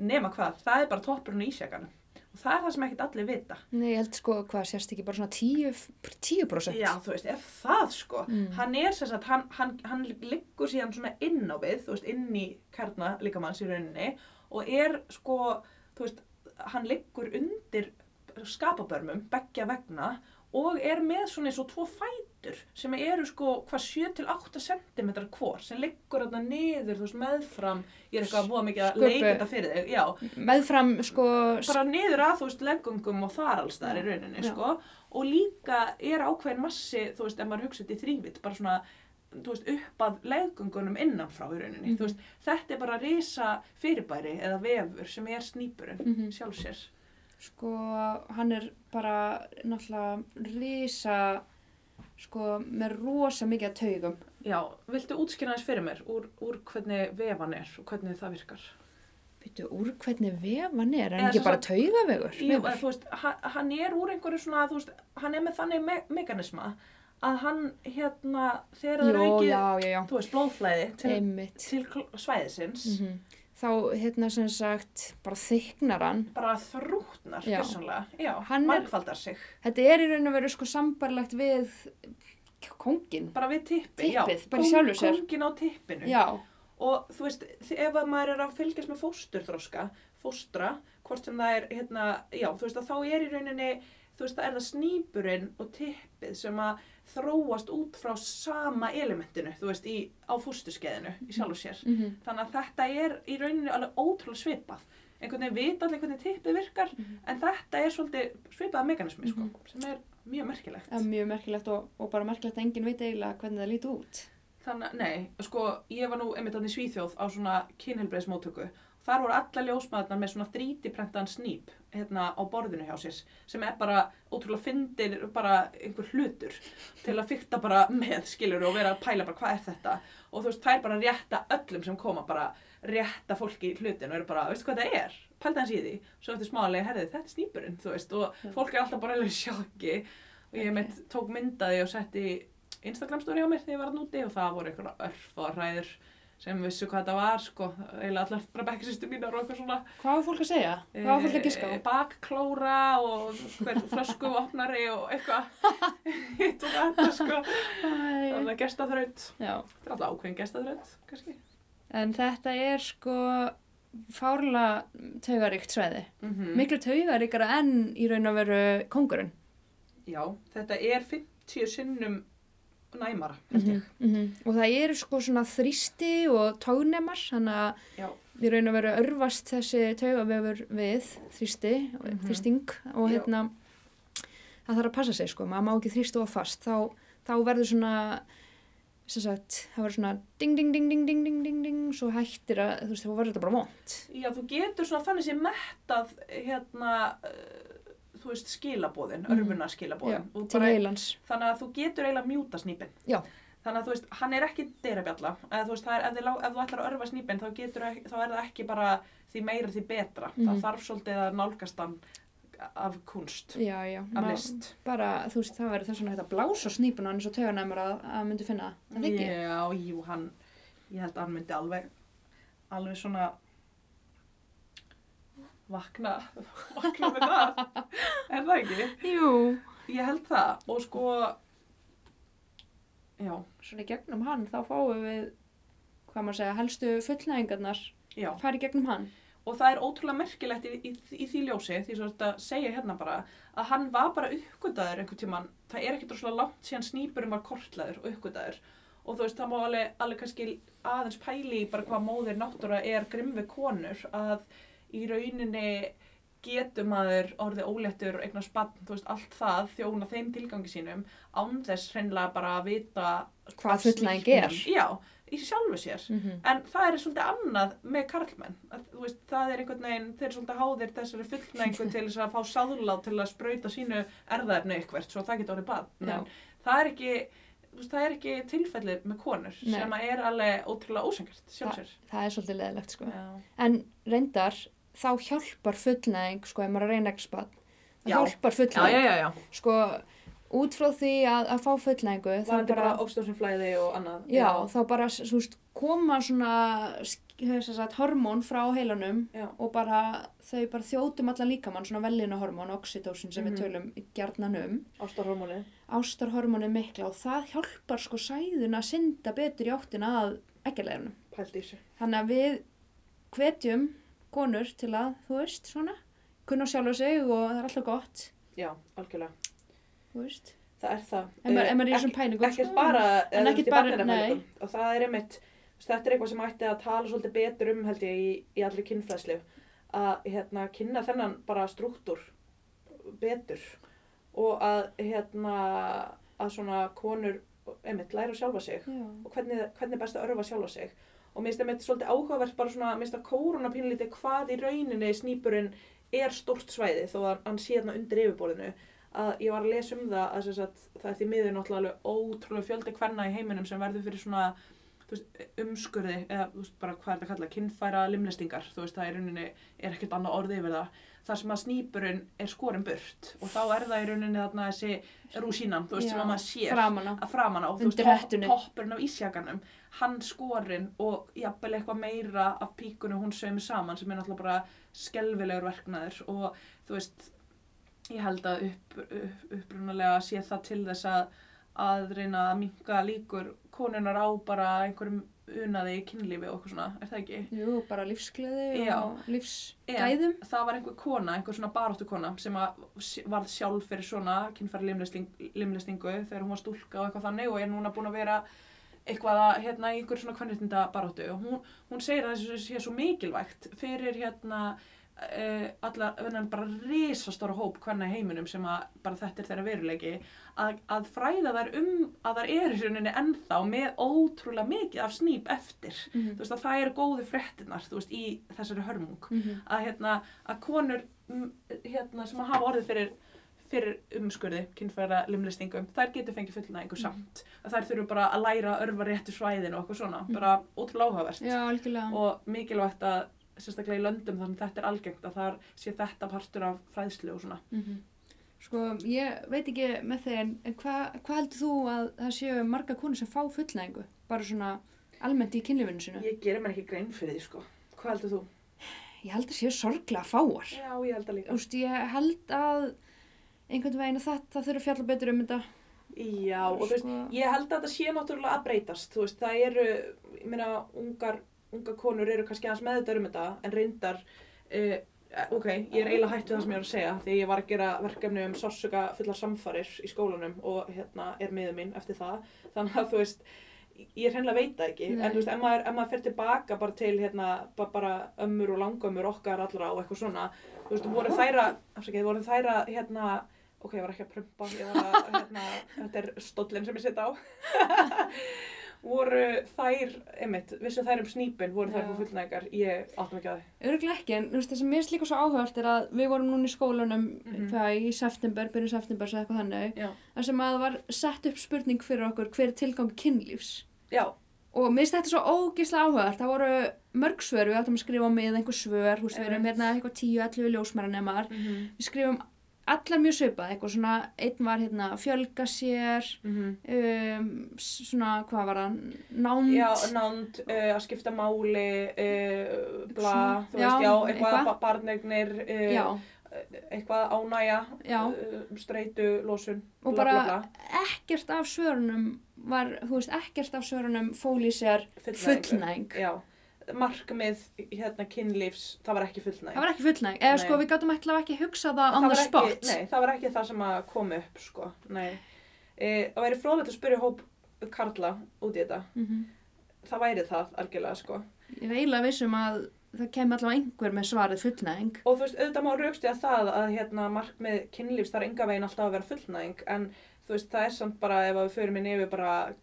Speaker 1: nema hvað, það er bara toppurinn í ísjakanum. Og það er það sem ekkert allir vita.
Speaker 2: Nei, ég held sko, hvað sérst ekki, bara svona 10%? 10%?
Speaker 1: Já, þú veist, ef það sko,
Speaker 2: Mm.
Speaker 1: hann er sem sagt, hann, hann, hann liggur síðan svona inn á við, þú veist, inn í kærna líkamanns í rauninni og er sko, þú veist, hann liggur undir skapabörmum, beggja vegna og er með svona eins og tvo fætur sem eru sko hvað 7-8 cm hvor sem liggur þarna niður, þú veist, meðfram ég er eitthvað að búa mikið að
Speaker 2: Sköpu.
Speaker 1: leika þetta fyrir þig já,
Speaker 2: meðfram sko s-
Speaker 1: bara niður að þú veist leggungum og þar alls þar í
Speaker 2: Já,
Speaker 1: rauninni
Speaker 2: já.
Speaker 1: sko og líka er ákveðin massi þú veist ef maður hugsa þetta í þrývitt bara svona þú veist upp að leggungunum innanfrá í rauninni
Speaker 2: Mhm.
Speaker 1: þú veist þetta er bara risa fyrirbæri eða vefur sem er snýpurinn mm
Speaker 2: Mhm.
Speaker 1: sjálf sér
Speaker 2: sko hann er bara náttúrulega risa sko með rosa mikið að taugum
Speaker 1: já, viltu útskýra þess fyrir mér úr, úr hvernig vefan er og hvernig það virkar
Speaker 2: veitu úr hvernig vef hann er, er
Speaker 1: Eða
Speaker 2: hann ekki
Speaker 1: sem
Speaker 2: bara
Speaker 1: sagt-
Speaker 2: taugavegur
Speaker 1: Jú,
Speaker 2: Vefur?
Speaker 1: eða, þú veist, ha- hann er úr einhverju svona þú veist, hann er með þannig me mekanisma að hann hérna þegar það er
Speaker 2: Jó,
Speaker 1: aukið
Speaker 2: já, já, já,
Speaker 1: þú veist blóðflæði til,
Speaker 2: einmitt
Speaker 1: til kl- svæðisins
Speaker 2: mm þá hérna sem sagt bara þyknar hann
Speaker 1: bara þrútnar
Speaker 2: Já.
Speaker 1: vissanlega, já,
Speaker 2: Hann er-
Speaker 1: margfaldar sig
Speaker 2: þetta er í raun og veru sko sambarlegt við kongin
Speaker 1: bara við tippi,
Speaker 2: Tippið,
Speaker 1: já,
Speaker 2: bara í sjálfu sér.
Speaker 1: kongin á tippinu
Speaker 2: já,
Speaker 1: og þú veist, þi- ef að maður er að fylgjast með fósturþroska, fóstra hvort sem það er, hérna, já, þú veist að þá er í rauninni, þú veist, það er það snýpurinn og tippið sem að þróast út frá sama elementinu, þú veist, í, á fóstuskeiðinu í sjálfu sér
Speaker 2: mm
Speaker 1: þannig að þetta er í rauninni alveg ótrúlega svipað einhvern veginn vita allir hvernig tippið virkar
Speaker 2: Mhm.
Speaker 1: en þetta er svolítið svipað mekanismi sko, sem er mjög merkilegt
Speaker 2: það er mjög merkilegt og, og bara merkilegt að enginn veit eiginlega hvernig það líti út
Speaker 1: þannig að, nei, sko, ég var nú einmitt þarna í Svíþjóð á svona kynhelbreismótöku þar voru alla ljósmaðurnar með svona 3D-prentan snýp hérna á borðinu hjá sér sem er bara ótrúlega fyndin bara einhver hlutur til að fykta bara með skilur og vera að pæla bara hvað er þetta og þú veist, þær bara rétta öllum sem koma bara rétta fólki hlutin og eru bara, veistu hvað þetta er? Pælda hans í því, svo eftir smálega, herði þetta er snýpurinn, þú veist, og
Speaker 2: Já.
Speaker 1: fólk er alltaf bara alveg í sjokki og ég mitt tók myndaði og setti Instagram story á mér þegar ég var að núti og það voru einhverja örfáræður sem vissu hvað þetta var sko, eiginlega allar bara bekkisistu mínar og eitthvað svona
Speaker 2: hvað var fólk að segja? hvað var fólk að giska á?
Speaker 1: Eh, Bakklóra og hver flösku opnari og eitthvað hitt og þetta sko
Speaker 2: Æ. eh,
Speaker 1: þannig að gestaþraut,
Speaker 2: já,
Speaker 1: þetta er alltaf ákveðin gestaþraut kannski
Speaker 2: en þetta er sko fárla taugaríkt svæði
Speaker 1: mm
Speaker 2: miklu taugaríkara enn í raun og veru kongurinn
Speaker 1: Já, þetta er 50 sinnum næmara
Speaker 2: mm
Speaker 1: held ég
Speaker 2: og það eru sko svona þrýsti og tógnemar þannig að
Speaker 1: Já,
Speaker 2: við raun að vera örfast þessi taugavefur við þrýsti,
Speaker 1: Mhm.
Speaker 2: þrýsting og
Speaker 1: Já.
Speaker 2: hérna það þarf að passa sig sko, maður má ekki þrýsta of fast þá, þá verður svona sem sagt, það verður svona ding ding ding ding ding ding ding ding svo hættir að, þú veist, þá verður þetta bara vond
Speaker 1: Já, þú getur svona þannig sem mettað hérna, uh, þú veist, skilabóðin,
Speaker 2: Mhm.
Speaker 1: örfuna skilabóðin.
Speaker 2: til heilans
Speaker 1: þannig að þú getur eiginlega mjúta snýpin.
Speaker 2: Já.
Speaker 1: Þannig að þú veist, hann er ekki dyrabjalla. Eða, þú veist, það er, ef, þið lá, ef þú ætlar að örfa snýpin, þá, getur, ekki- þá er það ekki bara því meira því betra.
Speaker 2: Mhm.
Speaker 1: Það þarf svolítið að nálgast hann af kunst,
Speaker 2: já, já,
Speaker 1: af
Speaker 2: ma-
Speaker 1: list.
Speaker 2: bara, þú veist, það verður þess vegna hægt að blása snípuna hann eins og tauganæmur að, að myndi finna það, það ekki
Speaker 1: Já, jú, hann, ég held að hann myndi alveg, alveg svona vakna, vakna með það, er það ekki?
Speaker 2: jú,
Speaker 1: Ég held það og sko, já,
Speaker 2: svona í gegnum hann þá fáum við, hvað maður segja helstu fullnæðingarnar
Speaker 1: já.
Speaker 2: fara í gegnum hann
Speaker 1: og það er ótrúlega merkilegt í, í, í því ljósi því svo þetta segja hérna bara að hann var bara uppgötaður einhvern tíman það er ekkert rosalega langt síðan snýpurum var kortlaður og uppgötaður og þú veist það má alveg, alveg kannski aðeins pæli í bara hvað móðir náttúra er grimm við konur að í rauninni getur maður orðið óléttur og eignar spann, þú veist, allt það þjóna þeim tilgangi sínum án þess hreinlega bara að vita
Speaker 2: Hvað fullnæging
Speaker 1: snýpnum-
Speaker 2: er.
Speaker 1: Já, í sjálfu sér.
Speaker 2: mm
Speaker 1: En það er svolítið annað með karlmenn. Að, þú veist, það er einhvern veginn, þeir eru svolítið háðir þessari fullnægingu til þess að fá sáðlá til að sprauta sínu erðaefni eitthvert svo það getur orðið badn.
Speaker 2: Já.
Speaker 1: En það er ekki, þú veist, það er ekki tilfellið með konur
Speaker 2: Nei.
Speaker 1: sem að er alveg ótrúlega ósengart sjálfsér.
Speaker 2: Það er svolítið leðilegt sko.
Speaker 1: Já.
Speaker 2: En reyndar, þá hjálpar fullnæðing sko, ef maður er að reyna ekki spatt. Það
Speaker 1: Já. Já,
Speaker 2: hjálpar
Speaker 1: já,
Speaker 2: fullnæðing.
Speaker 1: já, já.
Speaker 2: Sko, út frá því að, að fá fullnæðingu, þá
Speaker 1: Það er
Speaker 2: bara,
Speaker 1: bara óstofnum flæði og annað.
Speaker 2: já, þá bara, s- þú veist, koma svona, hefur þess að hormón frá heilanum
Speaker 1: Já.
Speaker 2: og bara, þau bara þjótum allan líkamann, svona velina hormón, oxytocin sem
Speaker 1: Mhm.
Speaker 2: við tölum gjarnan um,
Speaker 1: Ástarhormónið.
Speaker 2: ástarhormónu mikla og það hjálpar sko sæðuna að synda betur í áttina að ekkilegunum.
Speaker 1: Pælt í þessu.
Speaker 2: Þannig að við hvetjum konur til að, þú veist, svona, kunna á sjálfa sig og það er alltaf gott,
Speaker 1: já, algjörlega.
Speaker 2: þú veist.
Speaker 1: Það er það.
Speaker 2: En maður,
Speaker 1: Eh,
Speaker 2: en maður er í
Speaker 1: ekki-
Speaker 2: þessum pæningum.
Speaker 1: ekkert
Speaker 2: sko.
Speaker 1: bara,
Speaker 2: en
Speaker 1: eða
Speaker 2: ekkert
Speaker 1: ekki
Speaker 2: bara-
Speaker 1: bara,
Speaker 2: nei.
Speaker 1: og það er einmitt, þú veist, þetta er eitthvað sem ætti að tala svolítið betur um held ég í, í allri kynfræðslu að hérna kynna þennan bara struktúr betur og að hérna að svona konur einmitt læra sjálfa sig
Speaker 2: Já,
Speaker 1: og hvernig, hvernig er best að örfa sjálfa sig og mér finnst það með svolítið áhugavert bara svona, mér finnst það kóruna pínlítið hvað í rauninni snýpurinn er stórt svæði þó að hann sé hérna undir yfirborðinu að ég var að lesa um það að sem sagt, það er því miður náttúrulega alveg ótrúlega fjöldi hverna í heiminum sem verður fyrir svona þú veist, umskurði eða þú veist, bara hvað er þetta að kalla, kynfæra limlistingar þú veist það í rauninni er ekkert annað orði yfir það þar sem að snýpurinn er skorin burt og þá er það í rauninni þarna þessi rúsínan, þú veist, sem
Speaker 2: Já,
Speaker 1: að maður sér
Speaker 2: Framan á.
Speaker 1: að framan á, þú veist,
Speaker 2: Undir
Speaker 1: topp,
Speaker 2: hettunni.
Speaker 1: toppurinn af ísjakanum, hann skorinn og jafnvel eitthvað meira af píkunum hún sögum saman sem er náttúrulega bara skelfilegur verknaður og þú veist, ég held að upp, upp, upprunalega sé það til þess að, að reyna að minka líkur konunar á bara einhverjum unaði í kynlífi og eitthvað svona, er það ekki?
Speaker 2: Jú, bara lífsgleði
Speaker 1: Já.
Speaker 2: og
Speaker 1: En
Speaker 2: lífsgæðum.
Speaker 1: það var einhver kona, einhver svona baráttu kona sem að s- varð sjálf fyrir svona kynfæri limlistingu þegar hún var stúlka og eitthvað þannig og er núna búin að vera eitthvað að, hérna, í einhver svona kvennréttinda baráttu og hún, hún segir að þessu sé svo mikilvægt fyrir hérna uh, alla, þennan bara risastóra hóp hvernig heiminum sem að bara þetta er þeirra veruleiki að, að fræða þær um að þær eru í rauninni ennþá með ótrúlega mikið af snýp eftir
Speaker 2: Mhm.
Speaker 1: þú veist að það eru góðu fréttinar þú veist í þessari hörmung
Speaker 2: Mhm.
Speaker 1: að, hérna, að konur mm, hérna, sem að hafa orðið fyrir, fyrir umskurði, kynfæra limlistingum, þær getur fengið fullnægingu samt. Að þær þurfu bara að læra að örfa réttu svæðin og eitthvað svona, bara ótrúlega áhugavert.
Speaker 2: Já, algjörlega.
Speaker 1: Og mikilvægt að, sérstaklega í löndum þar sem þetta er algengt, að þar sé þetta partur af fræðslu og svona.
Speaker 2: Mhm. Sko, ég veit ekki með þeir, en en hvað hva heldur þú að það séu marga konur sem fá fullnæðingu? Bara svona almennt í kynlifinu sinu?
Speaker 1: Ég gerir mér ekki grein fyrir því, sko. Hvað heldur þú?
Speaker 2: Ég held að séu sorglega fáar.
Speaker 1: Já, ég held að
Speaker 2: Þú veist, ég held að einhvern veginn að þetta þurfa að fjalla betur um þetta.
Speaker 1: Já, og þú veist,
Speaker 2: Sko-
Speaker 1: ég held að þetta sé náttúrulega að breytast, þú veist, það eru, ég meina, ungar, ungar konur eru kannski aðeins meðvitað um þetta, en reyndar, uh, ok, ég er eiginlega hætt við það sem ég er að segja, því ég var að gera verkefni um sássuga fullar samfarir í skólanum og hérna er miður mín eftir það, þannig að þú veist, ég hreinlega veit það ekki,
Speaker 2: Nei.
Speaker 1: en þú veist, ef maður, ef maður fer tilbaka bara til, hérna, bara, bara ömmur og langömmur okkar allra og eitthvað svona, þú veist, voru þæra, afsakið, voru þæra, hérna, ok, ég var ekki að prumpa, ég var að, hérna, þetta er stóllin sem ég setja á, voru þær, einmitt, vissu þær um snýpin, voru þær
Speaker 2: Já.
Speaker 1: fyrir fullnægar, ég áttum ekki að því.
Speaker 2: Öruglega ekki, en þú veist, það sem mér er líka svo áhört er að við vorum núna í skólanum
Speaker 1: Mhm.
Speaker 2: hvað, í september, byrjun september, eða eitthvað þannig,
Speaker 1: Já,
Speaker 2: þar sem að var sett upp spurning fyrir okkur hver er tilgang kynlífs.
Speaker 1: já,
Speaker 2: Og mér finnst þetta svo ógislega áhugavert, það voru mörg svör, við áttum að skrifa með einhver svör, hú veist, við erum
Speaker 1: Einmitt.
Speaker 2: hérna eitthvað 10-11 ljósmæranemar,
Speaker 1: mm -hmm.
Speaker 2: við skrifum allar mjög svipað, eitthvað svona, einn var hérna fjölga sér,
Speaker 1: Mhm.
Speaker 2: um, s- svona, hvað var það, nánd,
Speaker 1: já nánd, uh, að skipta máli, uh, bla,
Speaker 2: Svona,
Speaker 1: þú veist,
Speaker 2: já,
Speaker 1: já, eitthvað,
Speaker 2: eitthvað.
Speaker 1: eitthvað. barnegnir,
Speaker 2: já,
Speaker 1: uh, eitthvað ánæja,
Speaker 2: Já.
Speaker 1: uh, streitu, losun,
Speaker 2: Og
Speaker 1: bla,
Speaker 2: bara
Speaker 1: bla, bla,
Speaker 2: ekkert af svörunum var, þú veist, ekkert af svörunum fól í sér
Speaker 1: fullnægingu.
Speaker 2: fullnæg.
Speaker 1: Já, markmið, hérna, kynlífs, það var ekki fullnæg.
Speaker 2: Það var ekki fullnæg,
Speaker 1: Nei.
Speaker 2: eða sko við gáttum alltaf ekki hugsað það
Speaker 1: það
Speaker 2: on the
Speaker 1: var
Speaker 2: spot.
Speaker 1: Ekki, nei, það var ekki það sem að kom upp, sko. Nei. E, það væri fróðlegt að spyrja hóp Karla út í þetta.
Speaker 2: Mhm.
Speaker 1: Það væri það algjörlega, sko.
Speaker 2: Ég er eiginlega vissum að það kemur allavega einhver með svarið fullnæg.
Speaker 1: Og þú veist, auðvitað má raukstja það að hérna, markmið kynlífs þarf enga veginn alltaf að vera fullnæðing, en þú veist, það er samt bara ef að við förum inn yfir bara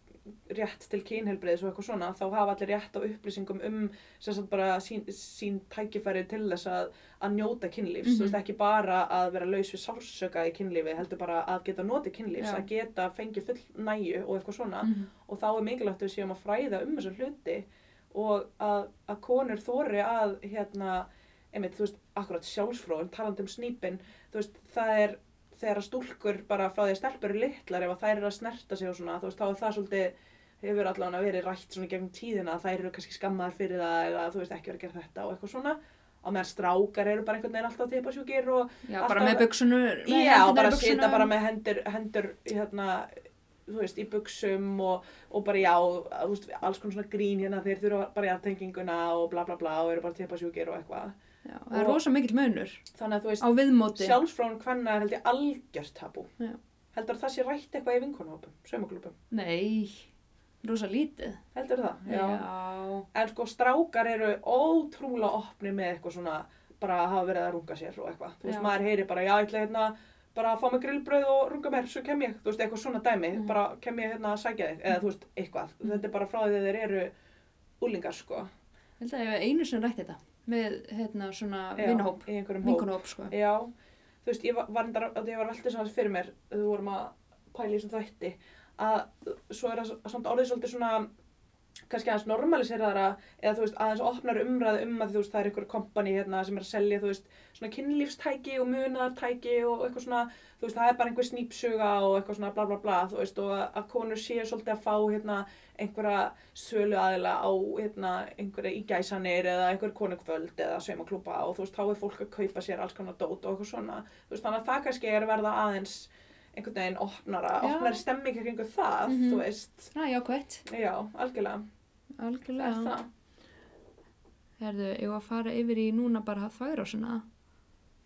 Speaker 1: rétt til kynhelbriðis og eitthvað svona, þá hafa allir rétt á upplýsingum um sem sagt bara sín, sín tækifæri til þess að, að njóta kynlífs,
Speaker 2: Mhm.
Speaker 1: þú veist, ekki bara að vera laus við sársöka í kynlífi, heldur bara að geta notið kynlífs,
Speaker 2: Já.
Speaker 1: að geta fengið fullnæju og eitthvað svona
Speaker 2: Mhm.
Speaker 1: og þá er mikilvægt að við séum að fræða um þessar hluti og að, að konur þóri að hérna, einmitt, þú veist, akkurat sjálfsfróðum, talandi um snýpin, þú veist, það er þegar að stúlkur bara frá því að stelpur eru litlar ef að þær eru að snerta sig og svona, þú veist, þá er það svolítið hefur allan að verið rætt svona gegn tíðina að þær eru kannski skammaðar fyrir það eða þú veist ekki verið að gera þetta og eitthvað svona á meðan strákar eru bara einhvern veginn alltaf tipasjúkir og
Speaker 2: Já,
Speaker 1: Alltaf-
Speaker 2: bara með buksunur.
Speaker 1: Já, bara sita bara með hendur, hendur hérna, þú veist, í buksum og, og bara já, þú veist, alls konar svona grín hérna, þeir þurfa bara í aftenginguna og bla bla bla og eru bara tepasjúkir og eitthvað.
Speaker 2: Já, það
Speaker 1: Og-
Speaker 2: er rosa mikill munur
Speaker 1: Þannig að þú veist,
Speaker 2: á viðmóti.
Speaker 1: sjálfsfrón hvenna er held ég algjört tabú.
Speaker 2: Já.
Speaker 1: Heldur það sé rætt eitthvað í vinkonhópum, saumaglúpum?
Speaker 2: Nei, rosa lítið.
Speaker 1: Heldur það?
Speaker 2: Já.
Speaker 1: En sko strákar eru ótrúlega opni með eitthvað svona bara að hafa verið að runga sér og eitthvað. Þú veist,
Speaker 2: Já.
Speaker 1: maður heyri bara, já, ég ætla hérna bara að fá mig grillbröð og runga mér, svo kem ég, þú veist, eitthvað svona dæmi,
Speaker 2: Mhm.
Speaker 1: bara kem ég hérna að sækja þig, eða þú veist, eitthvað.
Speaker 2: Mhm.
Speaker 1: Þetta er bara frá því að þeir eru úlingar, sko.
Speaker 2: Ég held að ég hef einu sinni rætt þetta með hérna svona
Speaker 1: Já,
Speaker 2: vinnhóp,
Speaker 1: Í einhverjum hóp.
Speaker 2: vinkunhóp sko.
Speaker 1: Já, þú veist, ég var, var, endar, ég var alltaf svona fyrir mér, þegar við vorum að pæla í þessum þætti, að svo er það samt orðið svolítið svona, kannski aðeins normaliseraðara, eða þú veist, aðeins opnar umræði um að þú veist, það er einhver kompani hérna sem er að selja, þú veist, svona kynlífstæki og munartæki og eitthvað svona, þú veist, það er bara einhver snýpsuga og eitthvað svona bla bla bla, þú veist, og að að konur séu svolítið að fá hérna einhverja sölu aðila á hérna einhverja ígæsanir eða einhver konukvöld eða saumaklúpa og þú veist, þá er fólk að kaupa sér alls konar dót og eitthvað svona, þú veist, þannig að það kannski er að verða aðeins einhvern veginn opnara,
Speaker 2: Já.
Speaker 1: opnari stemming kringu það,
Speaker 2: Mhm.
Speaker 1: þú veist,
Speaker 2: Það er jákvætt,
Speaker 1: já, algjörlega, það er
Speaker 2: algjörlega.
Speaker 1: það.
Speaker 2: Herðu, ég var að fara yfir í núna bara þværásuna,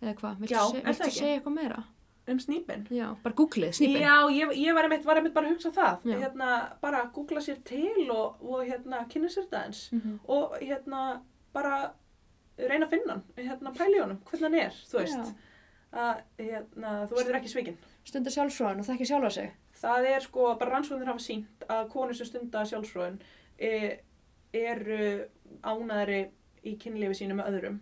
Speaker 2: eða hvað, viltu,
Speaker 1: Já,
Speaker 2: se,
Speaker 1: er það
Speaker 2: viltu
Speaker 1: ekki?
Speaker 2: segja eitthvað meira?
Speaker 1: Um snýpin?
Speaker 2: Já, bara googlið, snýpin.
Speaker 1: Já, ég, ég var, einmitt, var einmitt bara að hugsa það,
Speaker 2: Já.
Speaker 1: hérna, bara að googla sér til og, og hérna, kynna sér þetta eins.
Speaker 2: Mhm.
Speaker 1: og hérna bara reyna að finna hann, hérna pæla í honum, hvernig hann er, þú veist,
Speaker 2: Já.
Speaker 1: að hérna, þú verður ekki svikinn.
Speaker 2: Stunda sjálfsfróðan og þekki sjálfa sig.
Speaker 1: Það er sko, bara rannsóknir hafa sínt að konur sem stunda sjálfsróðun e, eru ánæðari í kynlífi sínu með öðrum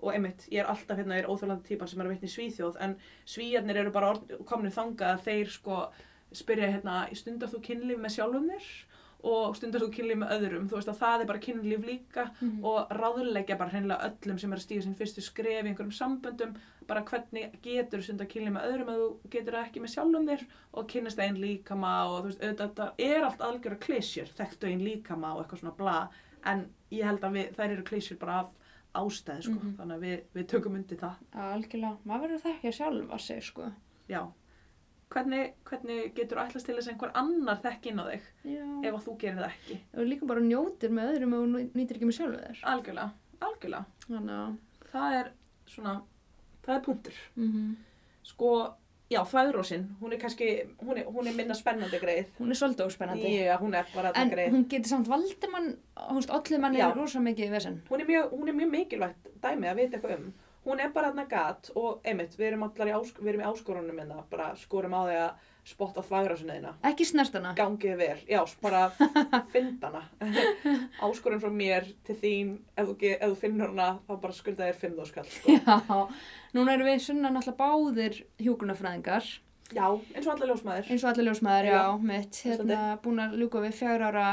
Speaker 1: og einmitt, ég er alltaf hérna, ég er óþjólandi típan sem er að vitna í Svíþjóð en Svíjarnir eru bara komin þangað að þeir sko spyrja hérna, stundar þú kynlíf með sjálfum þér og stundar þú kynlíf með öðrum, þú veist að það er bara kynlíf líka
Speaker 2: Mhm.
Speaker 1: og ráðleggja bara hreinlega öllum sem er að stíga sín fyrstu skref í einhverjum samböndum bara hvernig getur sunda kynli með öðrum að þú getur það ekki með sjálfum þér og kynnast einn líkama og þú veist, auðvitað þetta er allt algjör að klísjur, þekktu einn líkama og eitthvað svona bla en ég held að við, þær eru klísjur bara af ástæði sko,
Speaker 2: Mhm.
Speaker 1: þannig að við, við tökum undir það,
Speaker 2: Algjörlega, maður verður að þekkja sjálfa sig sko.
Speaker 1: já hvernig, hvernig getur ætlast til þess að einhver annar þekki inn á þig
Speaker 2: Já.
Speaker 1: ef að þú gerir það ekki,
Speaker 2: Og líka bara njótir með öðrum og nú- nýtir ekki með sjálfu þér.
Speaker 1: algjörlega algjörlega,
Speaker 2: Þannig að,
Speaker 1: það er svona það er punktur
Speaker 2: mhm.
Speaker 1: sko, já, þvæðrósin, hún er kannski, hún er, hún er minna spennandi greið.
Speaker 2: hún er svolítið óspennandi.
Speaker 1: Já, hún er bara
Speaker 2: En
Speaker 1: þetta greið.
Speaker 2: hún getur samt valdið mann, hún veist, allir mann
Speaker 1: Já.
Speaker 2: er rosa mikið í vesen.
Speaker 1: Hún er, mjög, hún er mjög mikilvægt dæmi að vita eitthvað um. Hún er bara þarna gat og einmitt, við erum allar í, ásk við erum í áskorunum minna, bara skorum á því að spotta þvæðrósinu þína.
Speaker 2: Ekki snert hana.
Speaker 1: Gangið vel, já, bara fyndana. Áskorun frá mér til þín, ef þú, ge- ef þú finnur hana, þá bara skulda þér fimm þúskall, sko.
Speaker 2: Já, núna erum við sunna náttúrulega báðir hjúkunarfræðingar,
Speaker 1: Já, eins og allar ljósmaður.
Speaker 2: eins og allir ljósmaður, já,
Speaker 1: Já,
Speaker 2: mitt, hérna búin að ljúka við fjár ára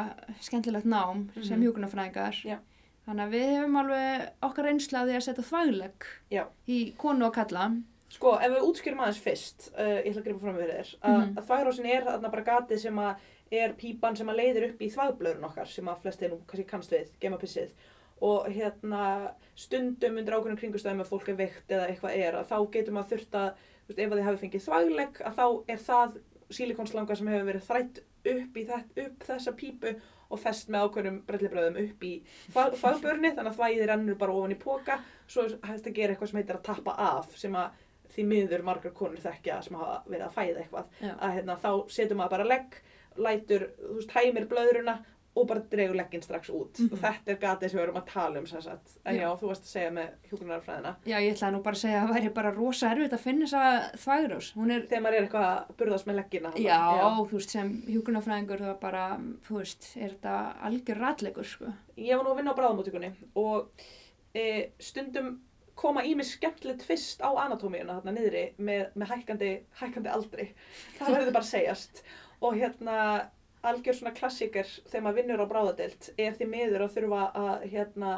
Speaker 2: skemmtilegt nám sem
Speaker 1: Mhm.
Speaker 2: hjúkunarfræðingar.
Speaker 1: Já.
Speaker 2: Þannig að við hefum alveg okkar reynsla af því að setja þvægleg
Speaker 1: Já.
Speaker 2: í konu og kalla.
Speaker 1: Sko, ef við útskýrum aðeins fyrst, uh, ég ætla að gripa fram við þér, að mm
Speaker 2: Mhm.
Speaker 1: -hmm. þvægrósin er þarna bara gatið sem að er pípan sem að leiðir upp í þvægblöðurinn okkar sem að flestir nú kannski kannst við, gemapissið og hérna stundum undir ákveðnum kringustöðum að fólk er veikt eða eitthvað er að þá getur maður þurft að, þú veist, ef að þið hafi fengið þvægleg að þá er það sílikonslanga sem hefur verið þrætt upp í þetta, upp þessa pípu og fest með ákveðnum brellibröðum upp í þvægbörni þannig að þvægið rennur bara ofan í póka svo er hægt að gera eitthvað sem heitir að tappa af sem að því miður margar konur þekkja sem hafa verið að fæða eitthvað
Speaker 2: Já.
Speaker 1: að hérna, þá setur maður bara legg lætur, þú veist, hæmir blöðruna og bara dregur legginn strax út
Speaker 2: Mhm.
Speaker 1: og þetta er gatið sem við erum að tala um sem sagt. en
Speaker 2: Já.
Speaker 1: já, þú varst að segja með hjúkunarfræðina
Speaker 2: Já, ég ætlaði nú bara að segja að það væri bara rosa erfitt að finna þessa þvægrós. Hún er,
Speaker 1: þegar maður er eitthvað að burðast með leggina
Speaker 2: já, þú veist, sem hjúkunarfræðingur það bara, þú veist, er þetta algjör ratlegur, sko.
Speaker 1: ég var nú að vinna á bráðamótíkunni og e, stundum koma í mig skemmtilegt fyrst á anatómíuna þarna niðri með, með hækkandi, hækkandi aldri það verður bara að segjast og hérna algjör svona klassíker þegar maður vinnur á bráðadelt er því miður að þurfa að hérna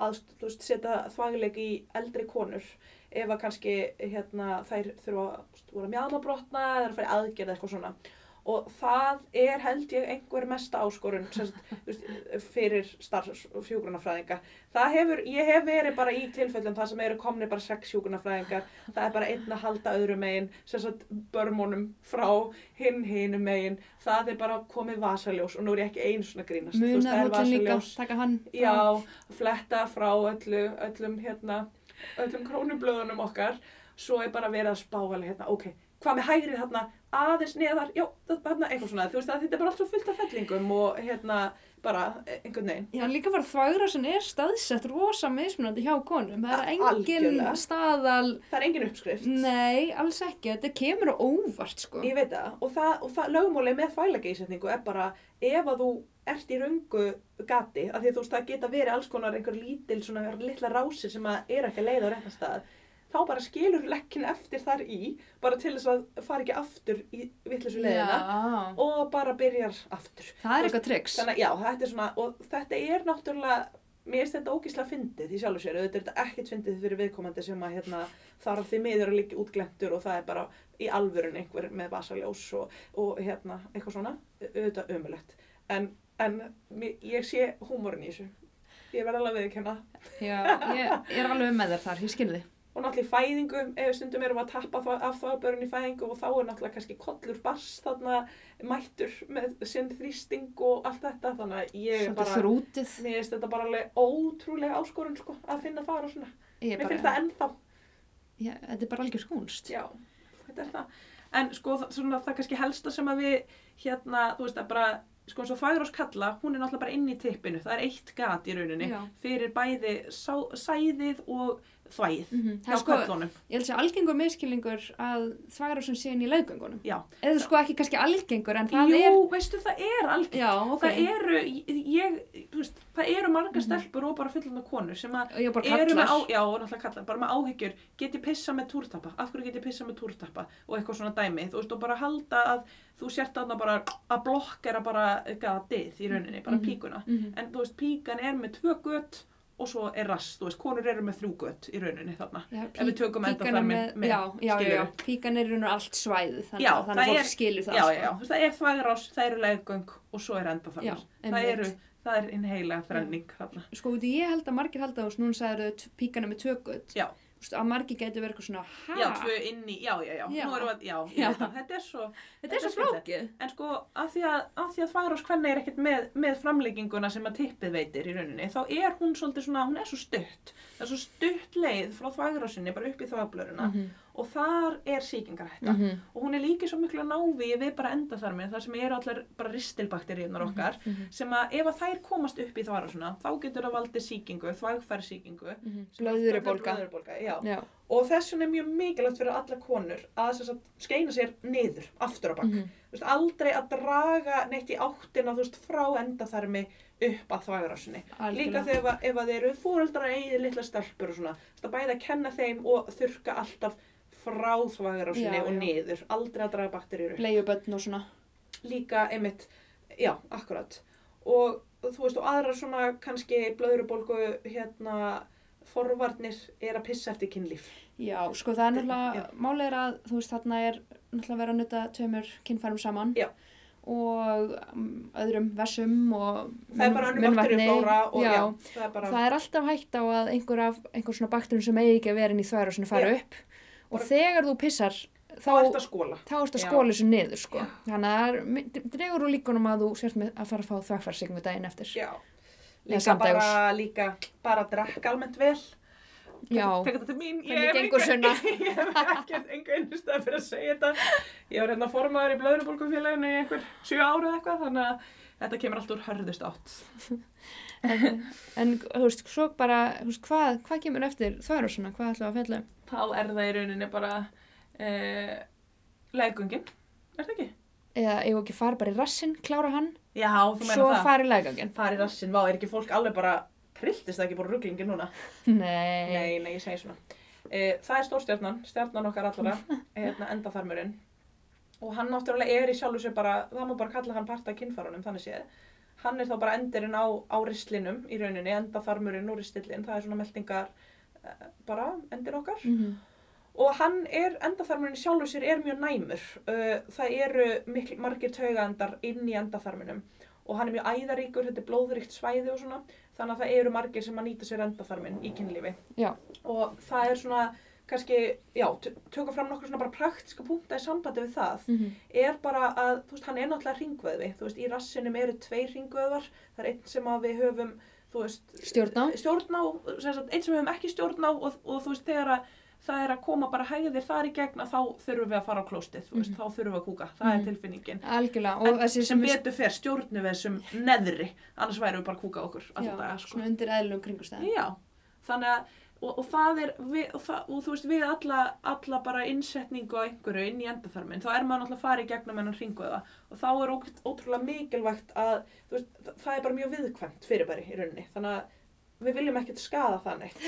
Speaker 1: að þú veist, setja þvagleik í eldri konur ef að kannski hérna, þær þurfa að þú veist, voru að mjálmabrotna eða að fara í aðgerð eða eitthvað svona og það er held ég einhver mesta áskorun sem, sagt, þú veist, fyrir starfs og hjúgrunafræðinga. Það hefur, ég hef verið bara í tilfellum það sem eru komni bara sex hjúgrunafræðingar, það er bara einn að halda öðru megin, sem sagt börmónum frá hinn hinn megin, það er bara komið vasaljós og nú er ég ekki einu svona að grínast. Þú veist, það er
Speaker 2: Munarhóllin líka,
Speaker 1: vasaljós.
Speaker 2: taka hann. frá-
Speaker 1: Já, fletta frá öllu, öllum, hérna, öllum krónublöðunum okkar. Svo er bara verið að spá alveg hérna, ok, hvað með hægrið hérna, aðeins neðar, já, þetta hérna, eitthvað svona. Þú veist að þetta er bara allt svo fullt af fellingum og hérna, bara eh, einhvern veginn.
Speaker 2: Já, líka bara þvægra sem er staðsett rosa mismunandi hjá konum. Það er
Speaker 1: A-
Speaker 2: engin
Speaker 1: algjörlega.
Speaker 2: staðal,
Speaker 1: Það er engin uppskrift.
Speaker 2: nei, alls ekki. Þetta kemur á óvart, sko.
Speaker 1: Ég veit það. Og það, og það lögmálið með þvælageisetningu er bara ef að þú ert í röngu gati, af því að þú veist það geta verið alls konar einhver lítil svona litla rásir sem að er ekki að leiða á réttan stað, þá bara skilur lekkin eftir þar í, bara til þess að fara ekki aftur í vittlisu leiðina
Speaker 2: Já.
Speaker 1: og bara byrjar aftur.
Speaker 2: Það
Speaker 1: Þú
Speaker 2: er
Speaker 1: veist,
Speaker 2: eitthvað triks.
Speaker 1: Þannig að já, þetta er svona, og þetta er náttúrulega, mér finnst þetta ógíslega fyndið í sjálfu sér, auðvitað er þetta ekkert fyndið fyrir viðkomandi sem að hérna, þarf því miður að líka útglendur og það er bara í alvörun einhver með vasaljós og, og hérna, eitthvað svona, auðvitað ömulegt. En, en mér- ég sé húmórin í þessu, ég verð alveg að viðkenna.
Speaker 2: Já, ég er alveg með þér þar, ég skilði.
Speaker 1: Og náttúrulega í fæðingu, ef stundum erum við að tappa þva- af þvábörun í fæðingu og þá er náttúrulega kannski kollur bars þarna mættur með sinn þrýsting og allt þetta, þannig að ég er
Speaker 2: Svolítið
Speaker 1: bara...
Speaker 2: þrútið.
Speaker 1: Mér finnst þetta bara alveg ótrúlega áskorun sko, að finna það og svona.
Speaker 2: Ég er
Speaker 1: Mér finnst
Speaker 2: bara-
Speaker 1: það ennþá.
Speaker 2: Já, þetta er bara algjör skúnst.
Speaker 1: Já, þetta er það. En sko það, svona, það kannski helsta sem að við hérna, þú veist að bara, sko eins og Fagrós Kalla, hún er náttúrulega bara inn í tippinu. Það er eitt gat í rauninni
Speaker 2: Já.
Speaker 1: fyrir bæði sá, sæðið og þvæð
Speaker 2: Mhm. Það
Speaker 1: hjá
Speaker 2: er sko-
Speaker 1: köllunum.
Speaker 2: Ég held að sé algengur miskilningur að þvægra sem sé inn í laugöngunum.
Speaker 1: Já.
Speaker 2: Eða sko ekki kannski algengur, en það
Speaker 1: Jú,
Speaker 2: er...
Speaker 1: veistu það er algjörn.
Speaker 2: Já, ok. Mhm.
Speaker 1: Það eru, ég, þú veist, það eru marga stelpur og bara fullan konur sem að
Speaker 2: Og ég bara
Speaker 1: eru með, á,
Speaker 2: kallar.
Speaker 1: já, og náttúrulega kallar, bara með áhyggjur, get ég pissa með túrtappa, af hverju get ég pissa með túrtappa og eitthvað svona dæmi, þú veist, og bara halda að þú sért þarna bara að blokkera bara gatið í rauninni, bara
Speaker 2: Mhm.
Speaker 1: píkuna,
Speaker 2: Mhm.
Speaker 1: en þú veist, píkan er með tvö gött og svo er rass, þú veist, konur eru með þrjú gött í rauninni þarna,
Speaker 2: Já,
Speaker 1: ef við tökum
Speaker 2: píkan er
Speaker 1: endaþarminn með,
Speaker 2: já, já, já, já,
Speaker 1: skilurðu.
Speaker 2: píkan er í raun og allt svæðið, þannig,
Speaker 1: Já,
Speaker 2: að- þannig
Speaker 1: það
Speaker 2: að
Speaker 1: er-
Speaker 2: fólk skilur það.
Speaker 1: já,
Speaker 2: sko.
Speaker 1: já, já, þú veist, það er þvagrás, það eru leggöng og svo er
Speaker 2: Já,
Speaker 1: endaþarmur. það
Speaker 2: einmitt.
Speaker 1: eru, það er hinn heila þrenning þarna.
Speaker 2: Sko, veitu, ég held að margir held að núna sagður þau píkana með tökut.
Speaker 1: Já.
Speaker 2: Þú veist, að margir getur verið eitthvað svona, hæ?
Speaker 1: Já, tvö inn í, já, já, já,
Speaker 2: Já.
Speaker 1: nú erum við að, já, ég
Speaker 2: Já.
Speaker 1: veit það, þetta er svo,
Speaker 2: Þetta er svo
Speaker 1: skrítið.
Speaker 2: flókið.
Speaker 1: En sko, af því að, af því að þvagrás kvenna er ekkert með, með framlegginguna sem að tippið veitir í rauninni, þá er hún svolítið svona, hún er svo stutt. Það er svo stutt leið frá þvagrásinni bara upp í þvagblöruna
Speaker 2: Mhm.
Speaker 1: og þar er sýkingarhætta.
Speaker 2: Mhm.
Speaker 1: Og hún er líka í svo miklu návi við bara endaþarminn, þar sem eru allar bara ristilbakteríunar okkar,
Speaker 2: mhm.
Speaker 1: sem að ef að þær komast upp í þvarásuna, þá getur það valdið sýkingu, þvagfærsýkingu.
Speaker 2: Blöðurubólga.
Speaker 1: Blöðurubólga, já.
Speaker 2: mhm. Já.
Speaker 1: Og þess vegna er mjög mikilvægt fyrir alla konur að þess að skeina sér niður, aftur á bak.
Speaker 2: Mhm.
Speaker 1: Þú veist, aldrei að draga neitt í áttina, þú veist, frá endaþarmi upp að þvagrasunni. Líka
Speaker 2: Algjörlega.
Speaker 1: þegar ef að- ef að þeir eru fóreldrar eigið litla stelpur og svona. Þú veist, að bæða að kenna þeim og þurka alltaf frá þvagrasunni
Speaker 2: Já,
Speaker 1: og
Speaker 2: já.
Speaker 1: niður. Aldrei að draga bakteríur upp
Speaker 2: Bleiubötn og svona.
Speaker 1: líka einmitt, já, akkurat og þú veist og aðrar svona kannski blöðrubólgu hérna forvarnir er að pissa eftir kynlíf
Speaker 2: Já, sko það er
Speaker 1: Já.
Speaker 2: náttúrulega, málið er að þú veist þarna er náttúrulega verið að nuta tveimur kynfærum saman
Speaker 1: Já.
Speaker 2: og mm, öðrum vessum og
Speaker 1: það er bara önnur
Speaker 2: munnvatni.
Speaker 1: bakterjuflóra og já, það er bara
Speaker 2: það er alltaf hægt á að einhver, af, einhver svona bakturinn sem eigi ekki að vera inn í þværu og svona fara
Speaker 1: Já.
Speaker 2: upp og
Speaker 1: Bara-
Speaker 2: þegar þú pissar þá,
Speaker 1: þá ert að skóla
Speaker 2: þá ertu að
Speaker 1: Já.
Speaker 2: skóla þessu niður sko. þannig að það er- mi- dregur úr líkunum að þú sért með að fara að fá þvæfarsignum daginn eftir
Speaker 1: já.
Speaker 2: Eða
Speaker 1: líka
Speaker 2: samdægurs.
Speaker 1: bara líka bara að drekka almennt vel
Speaker 2: Já,
Speaker 1: Tekur þetta til mín,
Speaker 2: Hvernig gengur,
Speaker 1: enga- ég hef ekkert enga einnustæð fyrir að segja þetta. Ég var hérna formaður í blöðrubólgufélaginu í einhver sjö ára eða eitthvað, þannig að þetta kemur allt úr hörðust átt.
Speaker 2: en þú veist, svo bara þú veist, hvað, hvað kemur eftir þværu svona, hvað ætlum við að fjalla um?
Speaker 1: þá er það í rauninni bara uh, leggungin, er það ekki?
Speaker 2: eða eigum við ekki að fara bara í rassin, klára hann
Speaker 1: Já, þú meina
Speaker 2: svo
Speaker 1: það.
Speaker 2: fara í laggangin
Speaker 1: Fari rassin, vá, er ekki fólk alveg bara, trilltist það ekki bara rugglingin núna?
Speaker 2: nei,
Speaker 1: Nei, nei, ég segi svona. Uh, það er stórstjarnan, stjarnan okkar allara, hérna endaþarmurinn. Og hann náttúrulega er í sjálfu sér bara, það má bara kalla hann parta kynfarunum, þannig séð. Hann er þá bara endirinn á, á ristlinum í rauninni, endaþarmurinn og ristlinn, það er svona meldingar, uh, bara eh, endir okkar.
Speaker 2: Mhm.
Speaker 1: og hann er, endaþarmurinn sjálfur sér er mjög næmur uh, það eru mikl, margir taugaendar inn í endaþarminum og hann er mjög æðaríkur, þetta er blóðríkt svæði og svona þannig að það eru margir sem að nýta sér endaþarmin í kynlífi
Speaker 2: Já.
Speaker 1: og það er svona kannski, já, t- tökum fram nokkur svona bara praktiska punkta í sambandi við það
Speaker 2: Mm
Speaker 1: er bara að, þú veist, hann er náttúrulega ringvöðvi, þú veist, í rassinum eru tveir ringvöðvar, það er einn sem að við höfum, þú veist,
Speaker 2: Stjórn á.
Speaker 1: stjórn á, sem sagt, einn sem við höfum ekki stjórn á og, og þú veist, þegar að það er að koma bara hægðir þar í gegn að þá þurfum við að fara á klóstið, þú veist,
Speaker 2: Mhm.
Speaker 1: þá þurfum við að kúka, það
Speaker 2: Mhm.
Speaker 1: er tilfinningin. En
Speaker 2: Algjörlega. Og þessi
Speaker 1: sem
Speaker 2: við-
Speaker 1: betur fer stjórnum við þessum neðri, annars værum við bara að kúka okkur
Speaker 2: Já,
Speaker 1: alltaf daga, sko.
Speaker 2: svona undir eðlum kringustæðum.
Speaker 1: Já, þannig að og, og það er, við, og, það, og þú veist, við alla, alla bara innsetningu á einhverju inn í endaþarmin, þá er maður náttúrulega að fara í gegnum hennan hringuða og þá er ók- ótrúlega mikilvægt að, þú veist, þa- það er bara mjög viðkvæmt fyrirbæri í rauninni, þannig að við viljum ekkert skaða það neitt.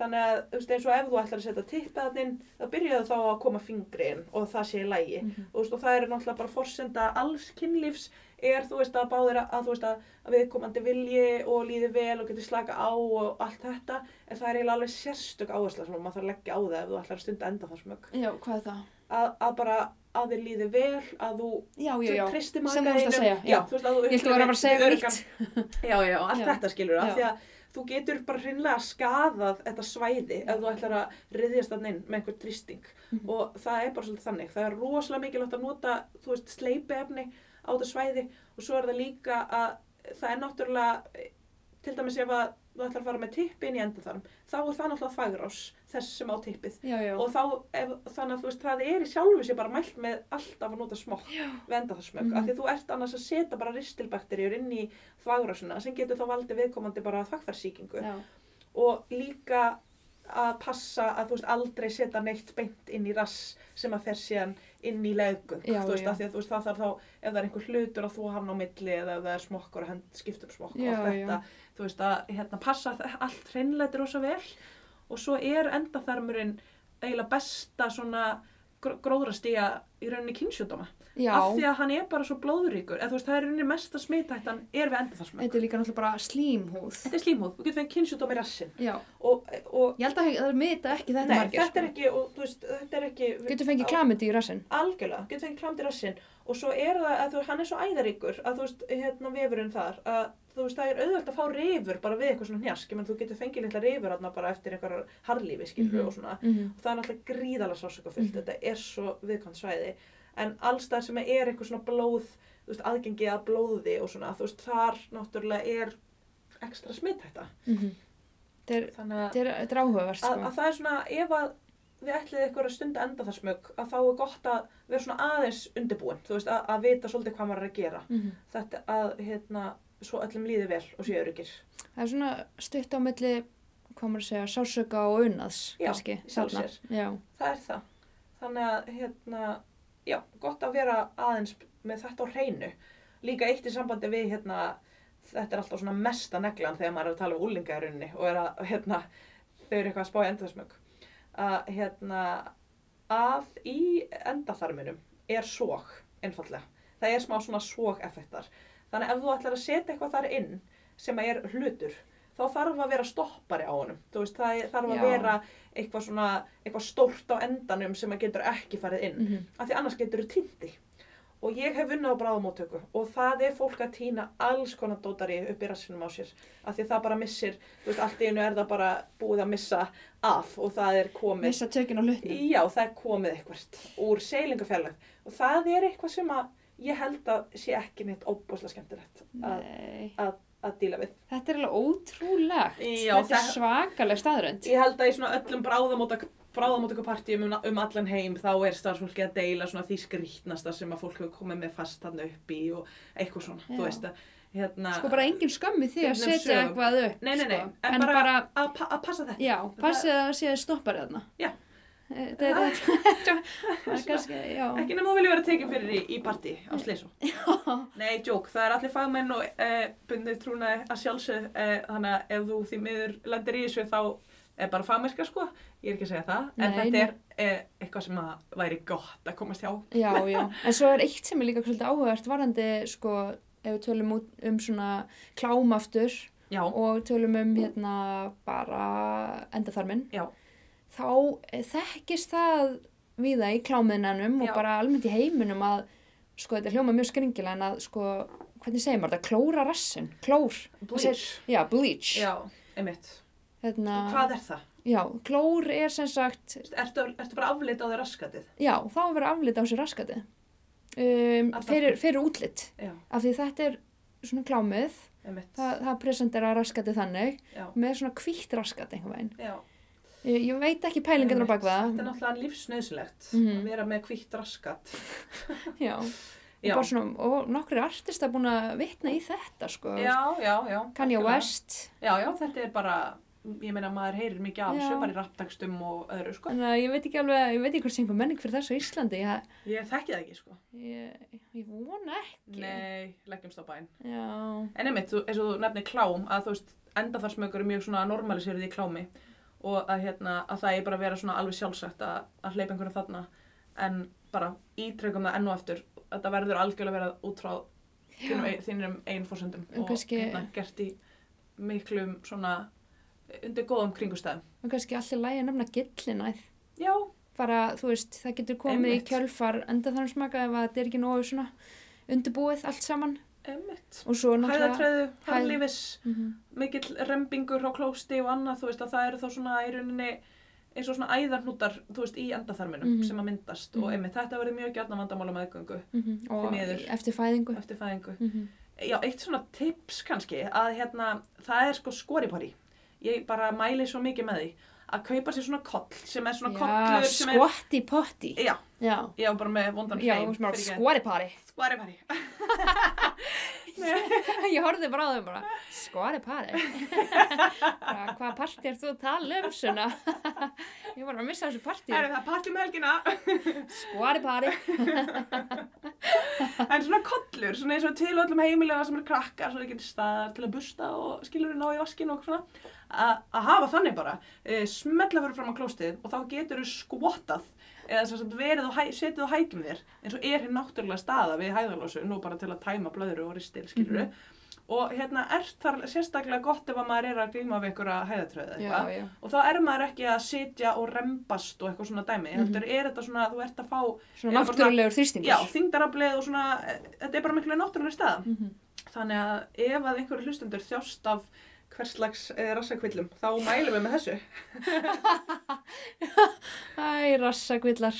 Speaker 1: Þannig að, þú veist, eins og ef þú ætlar að setja tippaðinn, þá byrjaðu þá að koma fingri inn og það sé í lægi
Speaker 2: Mhm.
Speaker 1: og, þú veist, og það er náttúrulega bara forsenda alls kynlífs er þú veist að báðir að, að þú veist að, að viðkomandi vilji og líði vel og geti slaka á og allt þetta en það er eiginlega alveg sérstök áhersla sem maður þarf að leggja á það ef þú ætlar að stunda enda þar smög
Speaker 2: Já, hvað er það?
Speaker 1: að, að bara að þið líði vel að þú
Speaker 2: Já, já, já.
Speaker 1: tristi
Speaker 2: Sem þú varst að segja, já.
Speaker 1: já, þú veist að þú
Speaker 2: Ég ætti að vera bara að segja
Speaker 1: upplifir
Speaker 2: nýtt.
Speaker 1: já, já, allt
Speaker 2: Já.
Speaker 1: þetta skilur
Speaker 2: Já.
Speaker 1: af því að þú getur bara hreinlega skadað þetta svæði ef þú ætlar að riðjast þannig inn með einhver tristing
Speaker 2: Mhm.
Speaker 1: og það er bara svolítið þannig það er rosalega mikilvægt að nota þú veist sleipiefni á þetta svæði og svo er það líka að það er náttúrulega eh, til dæmis ef að þú ætlar að fara með tippi inn í endaþarm þá er það náttúrulega fagrás þess sem á tippið
Speaker 2: Já, já.
Speaker 1: og þá, ef, þannig að þú veist, það er í sjálfu sér bara mælt með alltaf að nota smokk venda það smökk,
Speaker 2: Mhm.
Speaker 1: af því þú ert annars að setja bara ristilbakterjur inn í þvagrásuna sem getur þá valdið viðkomandi bara þvagfærsýkingu
Speaker 2: Já,
Speaker 1: og líka að passa að þú veist aldrei setja neitt beint inn í rass sem að fer síðan inn í legung,
Speaker 2: Já,
Speaker 1: þú veist,
Speaker 2: já.
Speaker 1: af því að þú veist það þarf þá ef það er einhver hlutur að þú hann á milli eða ef það er smokkur að hend skipt um smokk og
Speaker 2: Já,
Speaker 1: allt þetta, þú veist að hérna passa að allt hreinleiti rosa vel og svo er endaþarmurinn eiginlega besta svona gróðrastíja í rauninni kynnsjúdóma
Speaker 2: já.
Speaker 1: af því að hann er bara svo blóðuríkur eða þú veist það er í rauninni mesta smithættan er við endaþarmur
Speaker 2: Þetta er líka náttúrulega bara slímhúð.
Speaker 1: þetta er slímhúð, þú getur fengið kynnsjúdóma í rassin
Speaker 2: Já.
Speaker 1: og, og
Speaker 2: Ég held að það er mita ekki þetta
Speaker 1: Nei,
Speaker 2: margir. sko.
Speaker 1: þetta er ekki, og, þú veist, þetta er ekki
Speaker 2: Getur fengið klamið í rassinn.
Speaker 1: algjörlega, getur fengið klamt í rassinn og svo er það að þú, hann er svo æðaríkur að þú veist, hérna vefurinn þar að þú veist, það er auðvelt að fá reyfur bara við eitthvað svona hnjask, menn þú getur fengið litla reyfur hérna bara eftir einhverjar harlífi, skilur
Speaker 2: Mhm.
Speaker 1: og svona
Speaker 2: Mm -hmm.
Speaker 1: og það er náttúrulega gríðalega sásökafullt
Speaker 2: Mhm.
Speaker 1: þetta er svo viðkvæmt svæði en allstað sem er eitthvað svona blóð þú veist, aðgengi að blóði og svona þú veist, þar náttúrulega er ekstra smithætta
Speaker 2: Mhm. Þetta er,
Speaker 1: þannig að
Speaker 2: þetta er, þetta er
Speaker 1: að,
Speaker 2: áhugavert, sko.
Speaker 1: að það er svona ef að við ætlið ykkur að stunda enda þar smög að þá er gott að vera svona aðeins undirbúin þú veist að, að vita svolítið hvað maður er að gera
Speaker 2: Mm -hmm.
Speaker 1: þetta að hérna svo öllum líði vel og séu öryggir
Speaker 2: Það er svona stutt á milli, hvað maður að segja, sásöka og unnaðs,
Speaker 1: Já,
Speaker 2: kannski.
Speaker 1: í sjálfu
Speaker 2: þarna. Já,
Speaker 1: það er það þannig að hérna já, gott að vera aðeins með þetta á hreinu líka eitt í sambandi við hérna þetta er alltaf svona mesta neglan þegar maður er að tala um úlinga í rauninni og er að hérna þau eru eitthvað að spá í endaþarsmögg að hérna að í endaþarminum er sóg einfallega það er smá svona sóg effektar þannig að ef þú ætlar að setja eitthvað þar inn sem er hlutur þá þarf að vera stoppari á honum þú veist það er- þarf að
Speaker 2: Já.
Speaker 1: vera eitthvað svona eitthvað stórt á endanum sem að getur ekki farið inn
Speaker 2: mm
Speaker 1: af því annars getur þú týndi og ég hef vunnið á bráðamóttöku og það er fólk að týna alls konar dótari upp í rassinum á sér af því það bara missir, þú veist, allt í einu er það bara búið að missa af og það er komið
Speaker 2: missa tökin á hlutnum.
Speaker 1: já, það er komið eitthvert úr seilingafjarlæg og það er eitthvað sem að ég held að sé ekki neitt óbúslega skemmtilegt að,
Speaker 2: Nei.
Speaker 1: að díla við
Speaker 2: Þetta er alveg ótrúlegt.
Speaker 1: Já,
Speaker 2: þetta er
Speaker 1: það-
Speaker 2: svakaleg staðrönd.
Speaker 1: Ég held að í svona öllum bráðamótökupartíum um, um allan heim þá er starfsfólki að deila svona því skrýtnasta sem að fólk hefur komið með fast hann upp í og eitthvað svona,
Speaker 2: Já.
Speaker 1: þú veist að hérna,
Speaker 2: Sko bara engin skömmi því að
Speaker 1: Nefnum
Speaker 2: setja
Speaker 1: sögum.
Speaker 2: eitthvað upp.
Speaker 1: Nei, nei, nei,
Speaker 2: Sko.
Speaker 1: en
Speaker 2: En
Speaker 1: bara-
Speaker 2: bara,
Speaker 1: að, pa að passa þetta.
Speaker 2: já, passið að það sé stopparið þarna.
Speaker 1: Já. Ah.
Speaker 2: Þetta er þetta. Það er kannski, já.
Speaker 1: Ekki nema þú vilja vera tekin fyrir í, í partí á Sleiso. Nei, djók, það er allir fagmenn og e, bundið trúnaði að sjálfsög, e, þannig að ef þú því miður lendir í þessu þá er bara fagmennska sko, ég er ekki að segja það, en
Speaker 2: Nei,
Speaker 1: þetta er e, eitthvað sem að væri gott að komast hjá.
Speaker 2: Já, já. En svo er eitt sem er líka svolítið áhugavert varandi, sko, ef við tölum út um svona klámaftur
Speaker 1: Já,
Speaker 2: og tölum um hérna bara endaþarminn.
Speaker 1: já,
Speaker 2: þá eh, þekkist það við það í klámiðnanum
Speaker 1: Já.
Speaker 2: og bara almennt í heiminum að sko þetta hljóma mjög skringila en að sko, hvernig segir maður þetta, klóra rassin, klór,
Speaker 1: Bleach.
Speaker 2: já, bleach.
Speaker 1: Já, einmitt.
Speaker 2: Hérna,
Speaker 1: Hvað er það?
Speaker 2: já, klór er sem sagt,
Speaker 1: Ertu, ertu bara afleit á því raskatið?
Speaker 2: já, þá er verið aflita á sér raskati um,
Speaker 1: Af
Speaker 2: fyrir,
Speaker 1: þáttum.
Speaker 2: fyrir útlit,
Speaker 1: Já,
Speaker 2: af því þetta er svona klámið,
Speaker 1: einmitt.
Speaker 2: það, það presentera raskati þannig,
Speaker 1: Já,
Speaker 2: með svona hvítt raskat einhvern veginn.
Speaker 1: já.
Speaker 2: Ég, ég veit ekki pælingarnar á
Speaker 1: einmitt.
Speaker 2: bakvað,
Speaker 1: Þetta er náttúrulega lífsnauðsilegt
Speaker 2: Mhm.
Speaker 1: að vera með hvitt raskat.
Speaker 2: já, og
Speaker 1: Já,
Speaker 2: bara svona, og nokkri artista búin að vitna í þetta, sko,
Speaker 1: já, já, já.
Speaker 2: Kanye
Speaker 1: algjörlega.
Speaker 2: West,
Speaker 1: Já, já, þetta er bara, ég meina maður heyrir mikið af
Speaker 2: Já.
Speaker 1: þessu, bara í rappdagstum og öðru, sko.
Speaker 2: þannig að ég veit ekki alveg, ég veit ekki hvort sé einhver menning fyrir þessu á Íslandi, ég,
Speaker 1: Ég þekki það ekki, sko.
Speaker 2: ég, ég vona ekki.
Speaker 1: Nei, leggjumst á bæn.
Speaker 2: Já,
Speaker 1: En einmitt, þú, eins og þú nefnir klám, að þú veist, endafarsmögur er mjög svona normaliserið í klámi og að, hérna, að það er bara að vera svona alveg sjálfsagt að, að hleypa einhverjum þarna en bara ítrekum það enn og eftir þetta verður algjörlega að vera út frá þínum, ein- þínum eigin fórsöndum
Speaker 2: En kannski-
Speaker 1: og hérna, gert í miklum svona undir góðum kringustæðum.
Speaker 2: og kannski allir lægi að nefna gillinæð.
Speaker 1: Já,
Speaker 2: Bara, þú veist, það getur komið
Speaker 1: Einmitt.
Speaker 2: í kjölfar enda þannig smaka ef að þetta er ekki nógu svona undirbúið allt saman.
Speaker 1: einmitt.
Speaker 2: Og svo náttúrulega...
Speaker 1: Hæðatræðu,
Speaker 2: Hæð-
Speaker 1: hæðlífis,
Speaker 2: Mhm.
Speaker 1: mikill rembingur á klósti og annað, þú veist að það eru þá svona í rauninni eins og svona æðarhnútar, þú veist, í endaþarminum
Speaker 2: Mhm.
Speaker 1: sem að myndast og
Speaker 2: Mhm.
Speaker 1: einmitt þetta verður mjög gjarnan vandamálum aðgöngu
Speaker 2: mhm.
Speaker 1: Því miður.
Speaker 2: Og eftir fæðingu.
Speaker 1: eftir fæðingu.
Speaker 2: Mhm.
Speaker 1: Já, eitt svona tips kannski að hérna, það er sko skoripari. Ég bara mæli svo mikið með því að kaupa sér svona koll sem er svona
Speaker 2: Mhm. Já,
Speaker 1: kollur sem er...
Speaker 2: skotti potti.
Speaker 1: Já,
Speaker 2: Já.
Speaker 1: ég var bara með vondan
Speaker 2: Já,
Speaker 1: hreim.
Speaker 2: smá skori pari.
Speaker 1: Skoripari.
Speaker 2: Ég horfði bara á þau bara, skori pari. bara, hvaða parti er þú að tala um svona? ég var að missa þessu parti.
Speaker 1: Það er það partum helgina.
Speaker 2: Skori pari.
Speaker 1: En svona kollur, svona eins og til á öllum heimilega sem eru krakkar, svona ekki staðar til að busta og skilur ná í vaskin og svona. A- Að hafa þannig bara, e, smetla fyrir fram á klóstið og þá getur þú skvotað eða sem sagt verið og hæ, setið og hækjum þér eins og er hér náttúrulega staða við hæðalósu, nú bara til að tæma blöðru og ristil, skilur
Speaker 2: Mhm.
Speaker 1: Og hérna er þar sérstaklega gott ef að maður er að glíma við einhverja hæðatröðu eða
Speaker 2: já,
Speaker 1: eitthvað.
Speaker 2: já.
Speaker 1: Og þá er maður ekki að sitja og rembast og eitthvað svona
Speaker 2: Mhm.
Speaker 1: dæmi. Mm er þetta svona að þú ert að fá Eða
Speaker 2: Svona
Speaker 1: bara svona-
Speaker 2: náttúrulegur þrýstingur.
Speaker 1: Já, þyngdaraflið og svona, e, þetta er bara miklu náttúrulega staða.
Speaker 2: Mhm.
Speaker 1: Þannig að ef að einhverju hlustendur þjást af hverslags e, rassakvillum, þá mælum við með þessu.
Speaker 2: Æ, rassakvillar.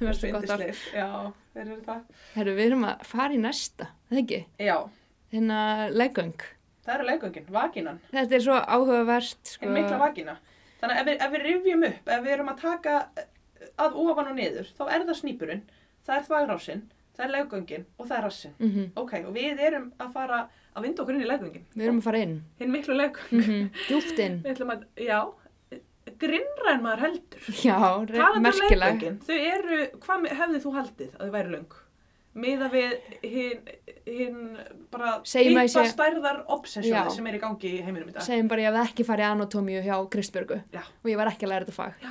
Speaker 2: Mér finnst það gott orð.
Speaker 1: Yndislegir. Já, þeir eru það.
Speaker 2: Herru, við erum að fara í næsta, það ekki?
Speaker 1: Já,
Speaker 2: Hérna, leggöng.
Speaker 1: það eru leggöngin, vaginan,
Speaker 2: Þetta er svo áhugavert, sko.
Speaker 1: sko... mikla vagina. Þannig að ef við, ef við rifjum upp, ef við erum að taka e, að ofan og niður, þá er það snýpurinn, það er þvagrásinn, það er leggöngin og það er rassin.
Speaker 2: Mhm.
Speaker 1: Ok, og við erum að fara að vinda okkur inn í leggöngin.
Speaker 2: Við erum að fara inn.
Speaker 1: Hinn miklu leggöng.
Speaker 2: Mm -hmm. Djúpt inn.
Speaker 1: Við ætlum að, já, e, grinnra en maður heldur.
Speaker 2: Já,
Speaker 1: Talandi um
Speaker 2: merkileg.
Speaker 1: leikvöngin, þau eru, hvað hefði þú haldið að þau væri löng? Miða við hinn, hin bara
Speaker 2: Segjum að ég sé-
Speaker 1: stærðar
Speaker 2: Já.
Speaker 1: obsessjóði sem er í gangi í heiminum í dag.
Speaker 2: Segjum bara ég hafði ekki farið í anatómíu hjá Kristbjörgu
Speaker 1: Já.
Speaker 2: og ég var ekki að læra þetta fag.
Speaker 1: Já.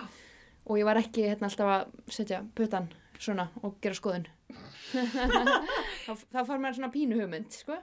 Speaker 2: Og ég var ekki hérna alltaf að setja putan svona og gera skoðun. þá, þá fór mér svona pínu hugmynd, sko.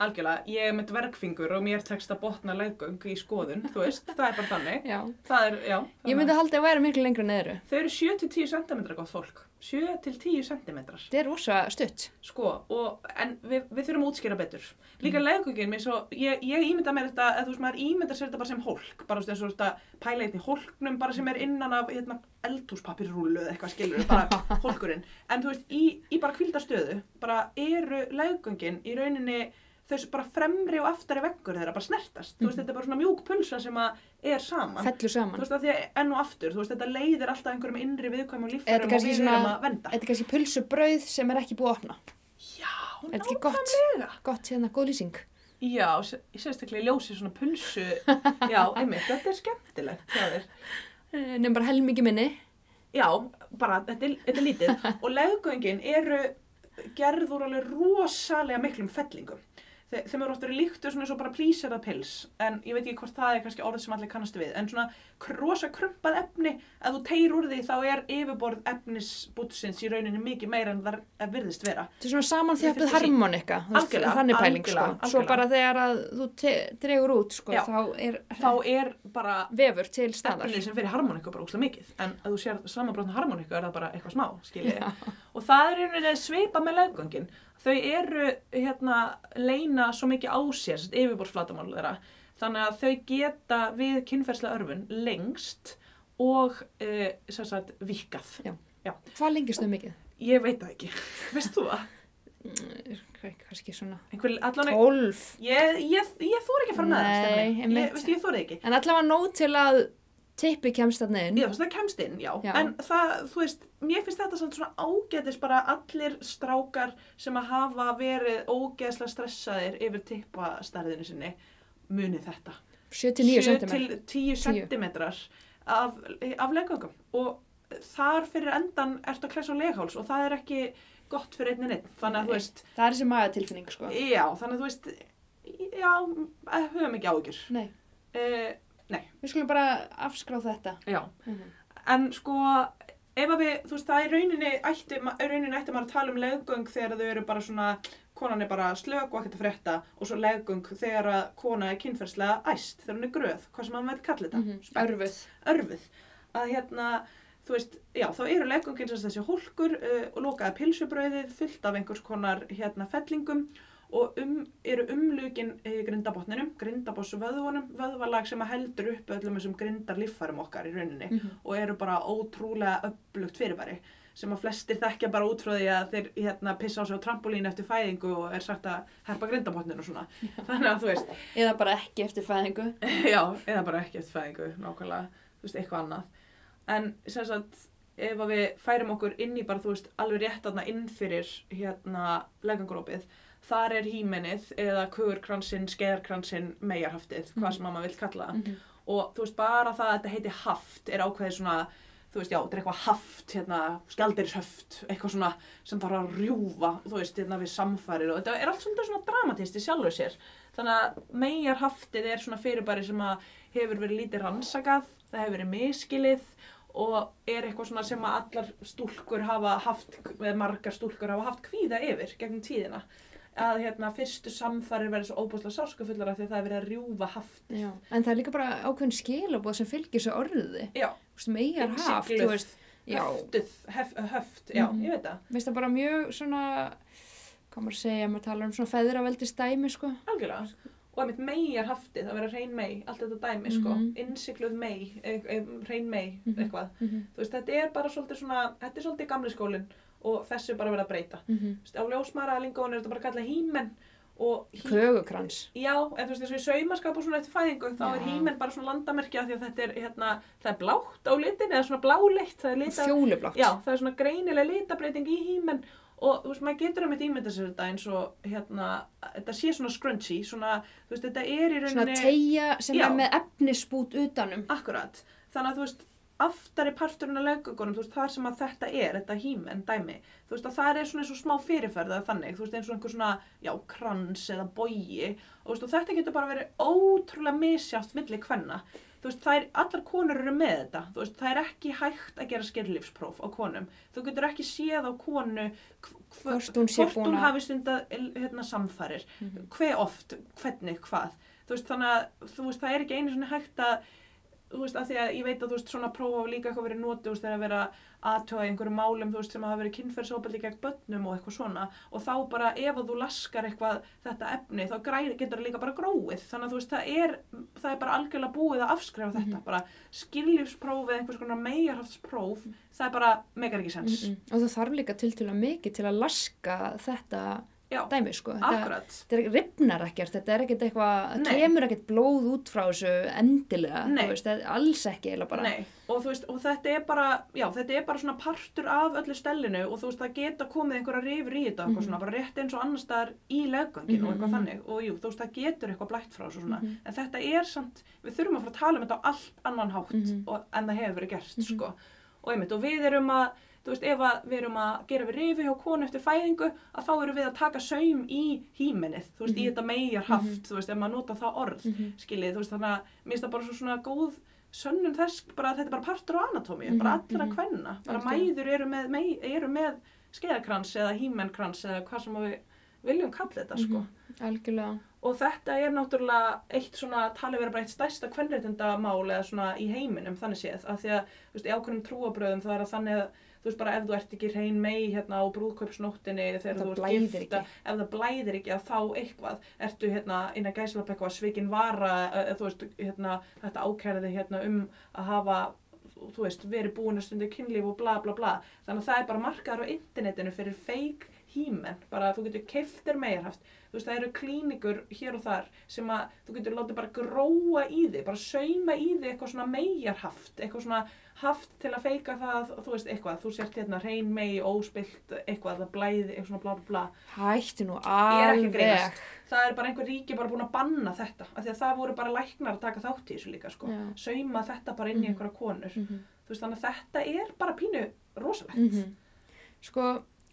Speaker 1: Algjörlega, ég er með dvergfingur og mér tekst að botna leikvöng í skoðun, þú veist, það er bara þannig.
Speaker 2: Já.
Speaker 1: Það er, já. það
Speaker 2: Ég
Speaker 1: er-
Speaker 2: myndi að halda að væri miklu lengra neðru.
Speaker 1: Þau eru 7-10 cm gott fólk. 7-10 cm.
Speaker 2: Þetta er rosa stutt.
Speaker 1: Sko, og, en við, við þurfum að útskýra betur. Líka mm. leggöngin, svo, ég, ég ímynda mér þetta, eða þú veist, maður ímynda sér þetta bara sem hólk, bara þú veist, eins og þetta pæla einn í hólknum, bara sem er innan af, hérna, eldhúspapirrúlu eða eitthvað skilur, bara hólkurinn. En þú veist, í, í bara kvíldastöðu, bara eru leggöngin í rauninni, þau þessu bara fremri og aftari veggur þeirra bara snertast. Þú veist, þetta er bara svona mjúk pulsa sem að er saman.
Speaker 2: Mm. Fellur saman.
Speaker 1: Þú veist, að því að enn og aftur, þú veist, þetta leiðir alltaf einhverjum innri viðkvæmum
Speaker 2: Eða
Speaker 1: líffærum
Speaker 2: þetta er
Speaker 1: og
Speaker 2: kannski
Speaker 1: við
Speaker 2: svona-
Speaker 1: erum að venda.
Speaker 2: Þetta er kannski pulsubrauð sem er ekki búið að opna.
Speaker 1: Já,
Speaker 2: Er þetta ekki gott?
Speaker 1: nákvæmlega.
Speaker 2: Gott hérna, góð lýsing.
Speaker 1: Já, sé- sérstaklega í ljósi svona pulsu, já, einmitt, þetta er skemmtilegt hjá þér.
Speaker 2: Eh, Nefn bara helmingi minni.
Speaker 1: Já, bara, þetta er, þetta er lítið og leggöngin eru gerður alveg rosalega miklum fellingum. þe- þeim eru oft verið líktu svona eins og bara plísera pils en ég veit ekki hvort það er kannski orðið sem allir kannast við en svona kr- rosa krumpað efni að þú teir úr því þá er yfirborð efnisbútsins í rauninni mikið meira en það er- virðist vera
Speaker 2: Þetta er svona samanþjöppuð
Speaker 1: Fyrsta sín.
Speaker 2: harmonika, þú veist,
Speaker 1: Algjörlega,
Speaker 2: þannig pæling sko.
Speaker 1: algjörlega,
Speaker 2: Svo
Speaker 1: algjörlega.
Speaker 2: bara þegar að þú te- dregur út sko,
Speaker 1: Já.
Speaker 2: þá er
Speaker 1: þá er bara
Speaker 2: vefur til staðar.
Speaker 1: efni sem fyrir harmoníku bara úslega mikið en að þú sér samanbrotna harmoníku er það bara eitthvað smá skiljiði og það er einhvern veginn að svipa með leggöngin þau eru hérna leina svo mikið á sér yfirborðflatamál þeirra þannig að þau geta við kynferðslega örfun lengst og e, sem sagt vikað
Speaker 2: Já. Hvað lengist þau mikið?
Speaker 1: ég veit það ekki, veist þú það?
Speaker 2: Hvað- Kannski svona
Speaker 1: Einhver, allan,
Speaker 2: 12.
Speaker 1: ég, ég, ég þóra ekki að fara með það
Speaker 2: Nei,
Speaker 1: Stephanie.
Speaker 2: einmitt.
Speaker 1: ég, veist, ég þóra ekki
Speaker 2: En allavega nóg til að tippi kemst þarna inn.
Speaker 1: Já, þú veist, það kemst inn, já.
Speaker 2: Já.
Speaker 1: En það, þú veist, mér finnst þetta samt svona ágætis bara allir strákar sem að hafa verið ógeðslega stressaðir yfir tippastarðinu sinni munið þetta.
Speaker 2: 79
Speaker 1: Sjö
Speaker 2: cm.
Speaker 1: Til 10 sentimetrar af, af legöngum. Og þar fyrir endan ertu að klæsa á legháls og það er ekki gott fyrir einn en einn. Þannig að þú
Speaker 2: Nei.
Speaker 1: veist,
Speaker 2: Það er þessi magatilfinning sko.
Speaker 1: já, þannig að þú veist, já, eh, höfum ekki áhyggjur.
Speaker 2: Nei,
Speaker 1: Uh,
Speaker 2: við skulum bara afskrá þetta.
Speaker 1: já. En sko, ef að við, þú veist, það er rauninni ætti, ma- í rauninni ætti maður að tala um leggöng þegar þau eru bara svona, konan er bara slök og ekkert að frétta og svo leggöng þegar að kona er kynferðslega æst, þegar hún er gröð, hvað sem maður vil kalla þetta,
Speaker 2: Mhm,
Speaker 1: Spennt.
Speaker 2: Örfuð.
Speaker 1: örfuð. Að hérna, þú veist, já, þá eru leggöngin sem þessi hólkur uh, og lokaða pilsubrauðið fullt af einhvers konar hérna fellingum og um, eru umlukin uh, grindabotninum, grindabossvöðvunum, vöðvalag sem að heldur upp öllum þessum grindarliffarum okkar í rauninni
Speaker 2: Mhm.
Speaker 1: og eru bara ótrúlega upplugt fyrirbæri sem að flestir þekkja bara út frá því að þeir hérna, pissa á sig á trampolín eftir fæðingu og er sagt að herpa grindabotnin og svona. Þannig að þú veist,
Speaker 2: Eða bara ekki eftir fæðingu.
Speaker 1: já, eða bara ekki eftir fæðingu, nákvæmlega, þú veist, eitthvað annað. En sem sagt, ef að við færum okkur inn í bara, þú veist, alveg rétt aðna inn fyrir hérna leggangrópið, þar er hýmenið eða kugurkransinn, skeiðarkransinn, megarhaftið, hvað sem mamma vil kalla það
Speaker 2: Mhm.
Speaker 1: og þú veist bara það að þetta heiti haft er ákveðið svona þú veist já, þetta er eitthvað haft hérna, skjaldirishöft eitthvað svona sem þarf að rjúfa þú veist, hérna við samfærir og þetta er allt svolítið svona dramatist í sjálfu sér þannig að megar haftið er svona fyrirbæri sem að hefur verið lítið rannsakað það hefur verið miskilið og er eitthvað svona sem að allar stúlkur hafa haft, eða margar stúlkur hafa haft kvíða yfir gegnum tíðina að hérna fyrstu samfærir verið svo óbúslega sárskafullar af því að það er verið að rjúfa haft
Speaker 2: Já. En það er líka bara ákveðin skilabóð sem fylgir svo orðið.
Speaker 1: Já,
Speaker 2: Þú veist, megar haft, þú
Speaker 1: innsigluð,
Speaker 2: veist. Já,
Speaker 1: höftuð, hef, höft, já,
Speaker 2: Mhm.
Speaker 1: ég veit það,
Speaker 2: veist það bara mjög svona, hvað maður að segja, maður talar um svona feðraveldi stæmi, sko.
Speaker 1: algjörlega. Og einmitt mei er haftið, það verið reyn mei, allt þetta dæmi, sko,
Speaker 2: Mhm.
Speaker 1: innsikluð mei, e, e, reyn mei,
Speaker 2: Mhm.
Speaker 1: eitthvað. Þú veist, þetta er bara svolítið svona, þetta er svolítið gamli skólinn og þessu er bara verið að breyta. Þú veist, á ljósmaraðlingun er þetta bara kallað hímen og hí-
Speaker 2: Kögukrans.
Speaker 1: Já, en þú veist, þessu í saumaskap og svona eftir fæðingu, þá er
Speaker 2: Já.
Speaker 1: hímen bara svona landamerkja því að þetta er, hérna, það er blátt á litin eða svona bláleitt, það er litað
Speaker 2: Fjólublátt.
Speaker 1: Já, það er svona greinileg litabreiting í hýmen og þú veist, maður getur um eitt ímynda sér þetta eins og hérna, þetta sé svona scrunchy, svona, þú veist, þetta er í rauninni...
Speaker 2: Svona tegja sem
Speaker 1: Já.
Speaker 2: er með efnisbút utanum.
Speaker 1: Akkurat, þannig að þú veist, aftari parturinn af leggöngunum, þú veist, þar sem að þetta er, þetta hýmen dæmi, þú veist, að það er svona eins og smá fyrirferð eða þannig, þú veist, eins og einhver svona, já, krans eða bogi og þú veist, og þetta getur bara verið ótrúlega misjátt milli kvenna. Þú veist, það er, allar konur eru með þetta, þú veist, það er ekki hægt að gera skilífspróf á konum. Þú getur ekki séð á konu hv- hv-
Speaker 2: Hvort hún sé
Speaker 1: hvort
Speaker 2: búin að-
Speaker 1: hafi stundað hérna, samfærir,
Speaker 2: Mhm.
Speaker 1: hve oft, hvernig, hvað. Þú veist, þannig að, þú veist, það er ekki einu svona hægt að, þú veist, að því að ég veit að, þú veist, svona prófa hafa líka eitthvað verið notið, þú veist, þegar að vera aðtöga einhverjum málum, þú veist, sem hafa verið kynferðsópaldi gegn börnum og eitthvað svona og þá bara ef að þú laskar eitthvað þetta efni, þá græð, getur það líka bara gróið þannig að þú veist, það er, það er bara algjörlega búið að afskrifa þetta,
Speaker 2: Mhm.
Speaker 1: bara skiljöfsprófið, einhvers konar megarhaftspróf
Speaker 2: Mhm.
Speaker 1: það er bara, megar ekki sens
Speaker 2: Mm Og það þarf líka til til að mikið til að laska þetta
Speaker 1: Já.
Speaker 2: dæmi, sko. Þetta,
Speaker 1: Akkurat,
Speaker 2: þetta er- rifnar ekkert, þetta er ekkert eitthvað, það
Speaker 1: Nei.
Speaker 2: kemur ekkert blóð út frá þessu endilega,
Speaker 1: Nei.
Speaker 2: þú veist, það er alls ekki eiginlega bara.
Speaker 1: Nei, og þú veist, og þetta er bara, já, þetta er bara svona partur af öllu stellinu og þú veist, það geta komið einhverja rifur í þetta, mm
Speaker 2: Mhm.
Speaker 1: svona, bara rétt eins og annar staðar í leggöngin og eitthvað
Speaker 2: Mhm, mhm.
Speaker 1: þannig og jú, þú veist, það getur eitthvað blætt frá þessu svona,
Speaker 2: Mhm.
Speaker 1: en þetta er samt, við þurfum að fara að tala um þetta á allt annan hátt
Speaker 2: Mhm.
Speaker 1: og, en það hefur verið gert,
Speaker 2: Mhm.
Speaker 1: sko, og einmitt, og við erum að þú veist, ef að við erum að gera við rifu hjá konu eftir fæðingu að þá erum við að taka saum í hýmenið, þú veist, í
Speaker 2: Mhm.
Speaker 1: þetta megarhaft þú veist, ef maður nota það orð,
Speaker 2: Mm -hmm.
Speaker 1: skiljið, þú veist, þannig að mér finnst það bara svo svona góð sönnum þess, bara að þetta er bara partur á anatómi,
Speaker 2: Mhm,
Speaker 1: bara allra
Speaker 2: mhm.
Speaker 1: kvenna, bara
Speaker 2: Algjörlega.
Speaker 1: mæður eru með, mei, eru með skeiðakrans eða hýmenkrans eða hvað sem við viljum kalla þetta, sko.
Speaker 2: Mhm, Algjörlega.
Speaker 1: Og þetta er náttúrulega eitt svona, talið vera bara eitt stærsta kvenréttindamál eða svona í heiminum, þannig séð, af því að, þú veist, í ákveðnum trúabröðum það er að þannig að, þú veist, bara ef þú ert ekki hrein mei hérna á brúðkaupsnóttinni þegar
Speaker 2: Það
Speaker 1: þú
Speaker 2: blæðir
Speaker 1: ert gifta,
Speaker 2: ekki.
Speaker 1: ef það blæðir ekki að þá eitthvað, ertu hérna innan gæslapp eitthvað svikin vara, eða, þú veist, hérna, þetta ákærði hérna um að hafa, þú veist, verið búin að stundu kynlíf og bla bla bla, þannig að það er bara markaður á internetinu fyrir fake hýmen, bara að þú getur keiftir meirhaft, þú veist, það eru klínikur hér og þar sem að þú getur látið bara gróa í þig, bara sauma í þig eitthvað svona meirhaft, eitthvað svona haft til að feika það, að, þú veist, eitthvað, þú sért hérna reyn mei, óspilt, eitthvað, það blæði, eitthvað svona bla bla bla,
Speaker 2: Hætti nú
Speaker 1: Ég er ekki að
Speaker 2: alveg.
Speaker 1: grínast. það er bara einhver ríki bara búin að banna þetta af því að það voru bara læknar að taka þátt í þessu líka sko.
Speaker 2: Já.
Speaker 1: sauma þetta bara inn í
Speaker 2: Mhm.
Speaker 1: einhverja konur
Speaker 2: Mm -hmm.
Speaker 1: þú veist þannig að þetta er bara pínu rosalegt
Speaker 2: mm Sko,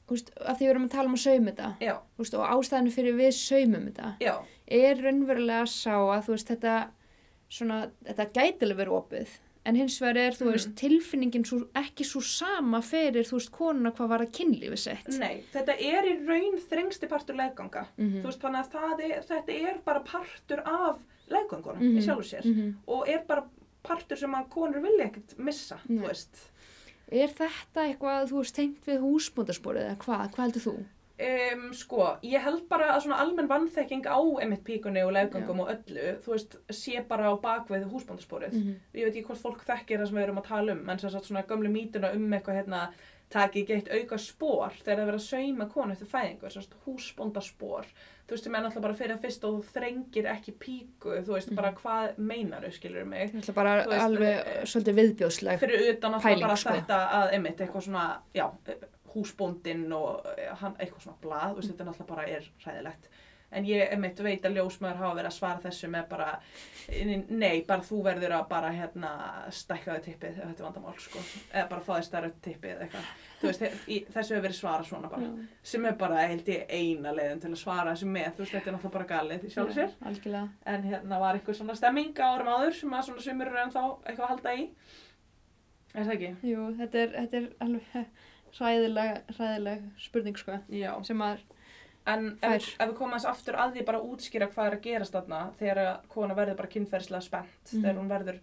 Speaker 2: þú veist, að því við erum að tala um að sauma þetta
Speaker 1: já,
Speaker 2: þú veist, og ástæðinu fyrir við saumum þetta
Speaker 1: já,
Speaker 2: er raunverulega sá að þú veist þetta svona, þetta gætilega verið opið en hins vegar er, þú
Speaker 1: Mhm.
Speaker 2: veist, tilfinningin svo, ekki svo sama fyrir, þú veist, konuna hvað var að kynlífi sett
Speaker 1: nei þetta er í raun þrengsti partur legganga
Speaker 2: Mhm.
Speaker 1: Mm. þú veist þannig að það er, þetta er bara partur af leggangunum
Speaker 2: Mhm.
Speaker 1: í sjálfu sér
Speaker 2: Mhm.
Speaker 1: og er bara partur sem að konur vilja ekkert missa
Speaker 2: Nei.
Speaker 1: þú veist
Speaker 2: Er þetta eitthvað, þú veist, tengt við húsbúndarsporið eða hvað, hvað heldur þú?
Speaker 1: Um, sko, ég held bara að svona almenn vannþekking á emitt píkunni og leggangum og öllu, þú veist, sé bara á bakvið húsbóndasporið.
Speaker 2: Mm -hmm.
Speaker 1: Ég veit ekki hvort fólk þekkir það sem við erum að tala um, en sem sagt svona gömlu mítuna um eitthvað hérna, taki geitt auka spór þegar það er verið að sauma konu eftir fæðingu, sem sagt húsbóndaspor. Þú veist, sem er náttúrulega bara fyrir að fyrst og þú þrengir ekki píku, þú veist, bara hvað meinaru, skilur mig.
Speaker 2: Þetta er bara
Speaker 1: Þú veist,
Speaker 2: alveg
Speaker 1: eh,
Speaker 2: svolítið viðbjóðsleg.
Speaker 1: Fyrir utan að
Speaker 2: Pæling,
Speaker 1: bara
Speaker 2: sko.
Speaker 1: þetta að emitt eitthvað svona, já, húsbóndinn og eh, hann, eitthvað svona blað, þú veist, þetta náttúrulega bara er ræðilegt. En ég emitt veit að ljósmaður hafa verið að svara þessu með bara, nei, bara þú verður að bara hérna stækkaðu tippið ef þetta er vandamál, sko. Eða bara fá þér stærra tippið eða eitthvað. Þú veist, í- þessu hefur verið svara svona bara.
Speaker 2: Já.
Speaker 1: Sem er bara, held ég, eina leiðin til að svara þessu með. Þú veist, þetta er náttúrulega bara galið í sjálf sér.
Speaker 2: Já, Algjörlega.
Speaker 1: En hérna var eitthvað svona stemming á árum áður sem að svona sumur eru ennþá eitthvað að halda í. Er það ekki?
Speaker 2: Jú, þetta er, þetta er alveg hræðileg, hræðileg spurning sko
Speaker 1: Já.
Speaker 2: sem að,
Speaker 1: En ef,
Speaker 2: Fær.
Speaker 1: ef við komum aðeins aftur að því bara að útskýra hvað er að gerast þarna þegar að kona verður bara kynferðislega spennt,
Speaker 2: Mhm.
Speaker 1: þegar hún verður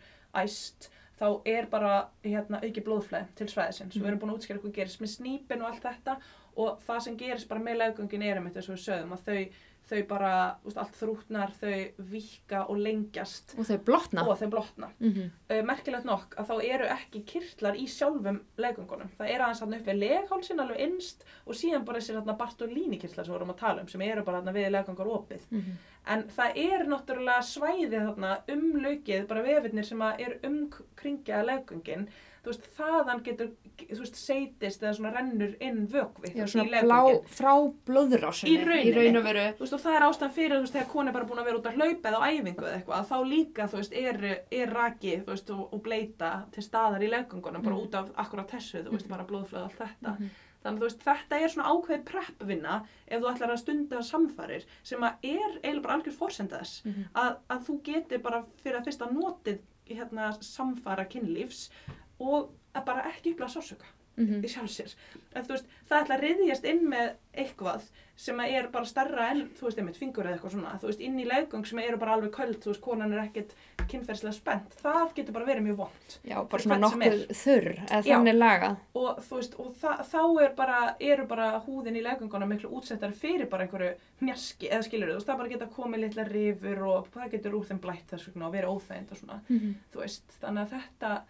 Speaker 1: æst, þá er bara hérna, auki blóðflæð til svæðisins.
Speaker 2: Mhm.
Speaker 1: Við erum búin að útskýra hvað gerist með snípin og allt þetta og það sem gerist bara með leggöngin er um þetta við sögum að þau, þau bara, úst, allt þrútnar, þau vika og lengjast
Speaker 2: og þau blotna.
Speaker 1: og þau blotna.
Speaker 2: Mm
Speaker 1: Uh, merkilegt nokk að þá eru ekki kirtlar í sjálfum legungunum. Það er aðeins hann upp við leghálsin alveg innst og síðan bara þessir hann Bartolini-kirtlar sem við vorum að tala um sem eru bara hann við legungar opið.
Speaker 2: -hmm.
Speaker 1: En það er náttúrulega svæðið þarna umlaukið, bara vefinnir sem að um er umkringja legungin. Þú veist, þaðan getur, þú veist, seitist eða svona rennur inn vökvi þú
Speaker 2: Já,
Speaker 1: veist, í
Speaker 2: svona blá,
Speaker 1: leggöngin.
Speaker 2: frá blóðurásinni
Speaker 1: Í rauninni.
Speaker 2: í raun og veru.
Speaker 1: Þú veist, og það er ástæðan fyrir, þú veist, þegar kona er bara búin að vera út að hlaupa eða á æfingu eða eitthvað, að þá líka, þú veist, er, er raki, þú veist, og, og bleita til staðar í leggungunum, bara
Speaker 2: Mhm.
Speaker 1: út af akkurat þessu, þú veist, bara blóðflöð og allt þetta.
Speaker 2: Mhm.
Speaker 1: Þannig, að, þú veist, þetta er svona ákveð preppvinna ef þú ætlar að stunda samfarir, sem að er eiginlega bara algjör fórsenda þess,
Speaker 2: Mhm.
Speaker 1: að, að þú getur bara fyrir að fyrst að notið, hérna, samfara kynlífs og að bara ekki upplega sársöka
Speaker 2: Mhm.
Speaker 1: í sjálf sér en þú veist, það ætla að riðjast inn með eitthvað sem að er bara starra en þú veist, einmitt fingur eða eitthvað svona þú veist, inn í leggöng sem eru bara alveg köld þú veist, konan er ekkit kynferðslega spennt það getur bara verið mjög vond
Speaker 2: Já, bara
Speaker 1: Fyrir
Speaker 2: svona
Speaker 1: hvern sem
Speaker 2: nokkuð þurr, eða
Speaker 1: Já.
Speaker 2: þannig lagað.
Speaker 1: og þú veist, og þa þá er bara eru bara húðin í leggöngunum miklu útsettari fyrir bara einhverju mjaski eða skilur þú veist, það bara geta komið litla rifur og það getur úr þeim blætt þess vegna og verið óþægind og svona,
Speaker 2: Mm -hmm.
Speaker 1: þú veist, þannig að þetta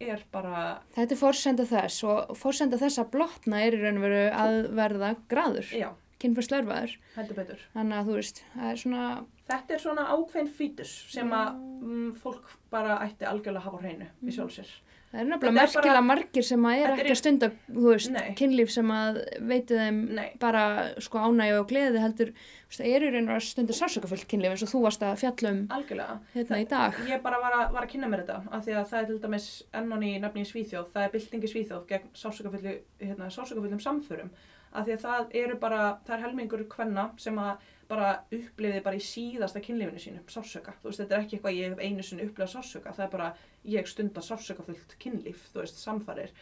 Speaker 1: er bara,
Speaker 2: Þetta er forsenda þess og forsenda þess að blotna er í raun og veru að verða gráður,
Speaker 1: já,
Speaker 2: kynfærslerfaður.
Speaker 1: heldur betur
Speaker 2: Þannig að þú veist, það er svona
Speaker 1: Þetta er svona ákveðin fítus sem að
Speaker 2: Já.
Speaker 1: mm, fólk bara ætti algjörlega að hafa á hreinu mm. í sjálfsér.
Speaker 2: Það er
Speaker 1: Þetta er
Speaker 2: nefnilega
Speaker 1: bara-
Speaker 2: merkilega margir sem að er
Speaker 1: Þetta er
Speaker 2: ekki að stunda, þú veist,
Speaker 1: Nei.
Speaker 2: kynlíf sem að veitu þeim
Speaker 1: Nei.
Speaker 2: bara sko ánægju og gleði heldur, þú veist, það eru reynur að stunda sásökafullt kynlíf eins og þú varst að fjalla um
Speaker 1: Algjörlega.
Speaker 2: hérna í dag.
Speaker 1: Ég bara var að, var að kynna mér þetta af því að það er til dæmis ennon í nafni í Svíþjóð, það er byltingi Svíþjóð gegn sásökafullu, hérna, sásökafullum samförum af því að það eru bara, það er helmingur hvenna sem að bara uppliði bara í síðasta kynlífinu sínu, sásöka þú veist, þetta er ekki eitthvað ég hef einu sinni upplifað sásöka það er bara, ég stunda sásökafullt kynlíf, þú veist, samfarir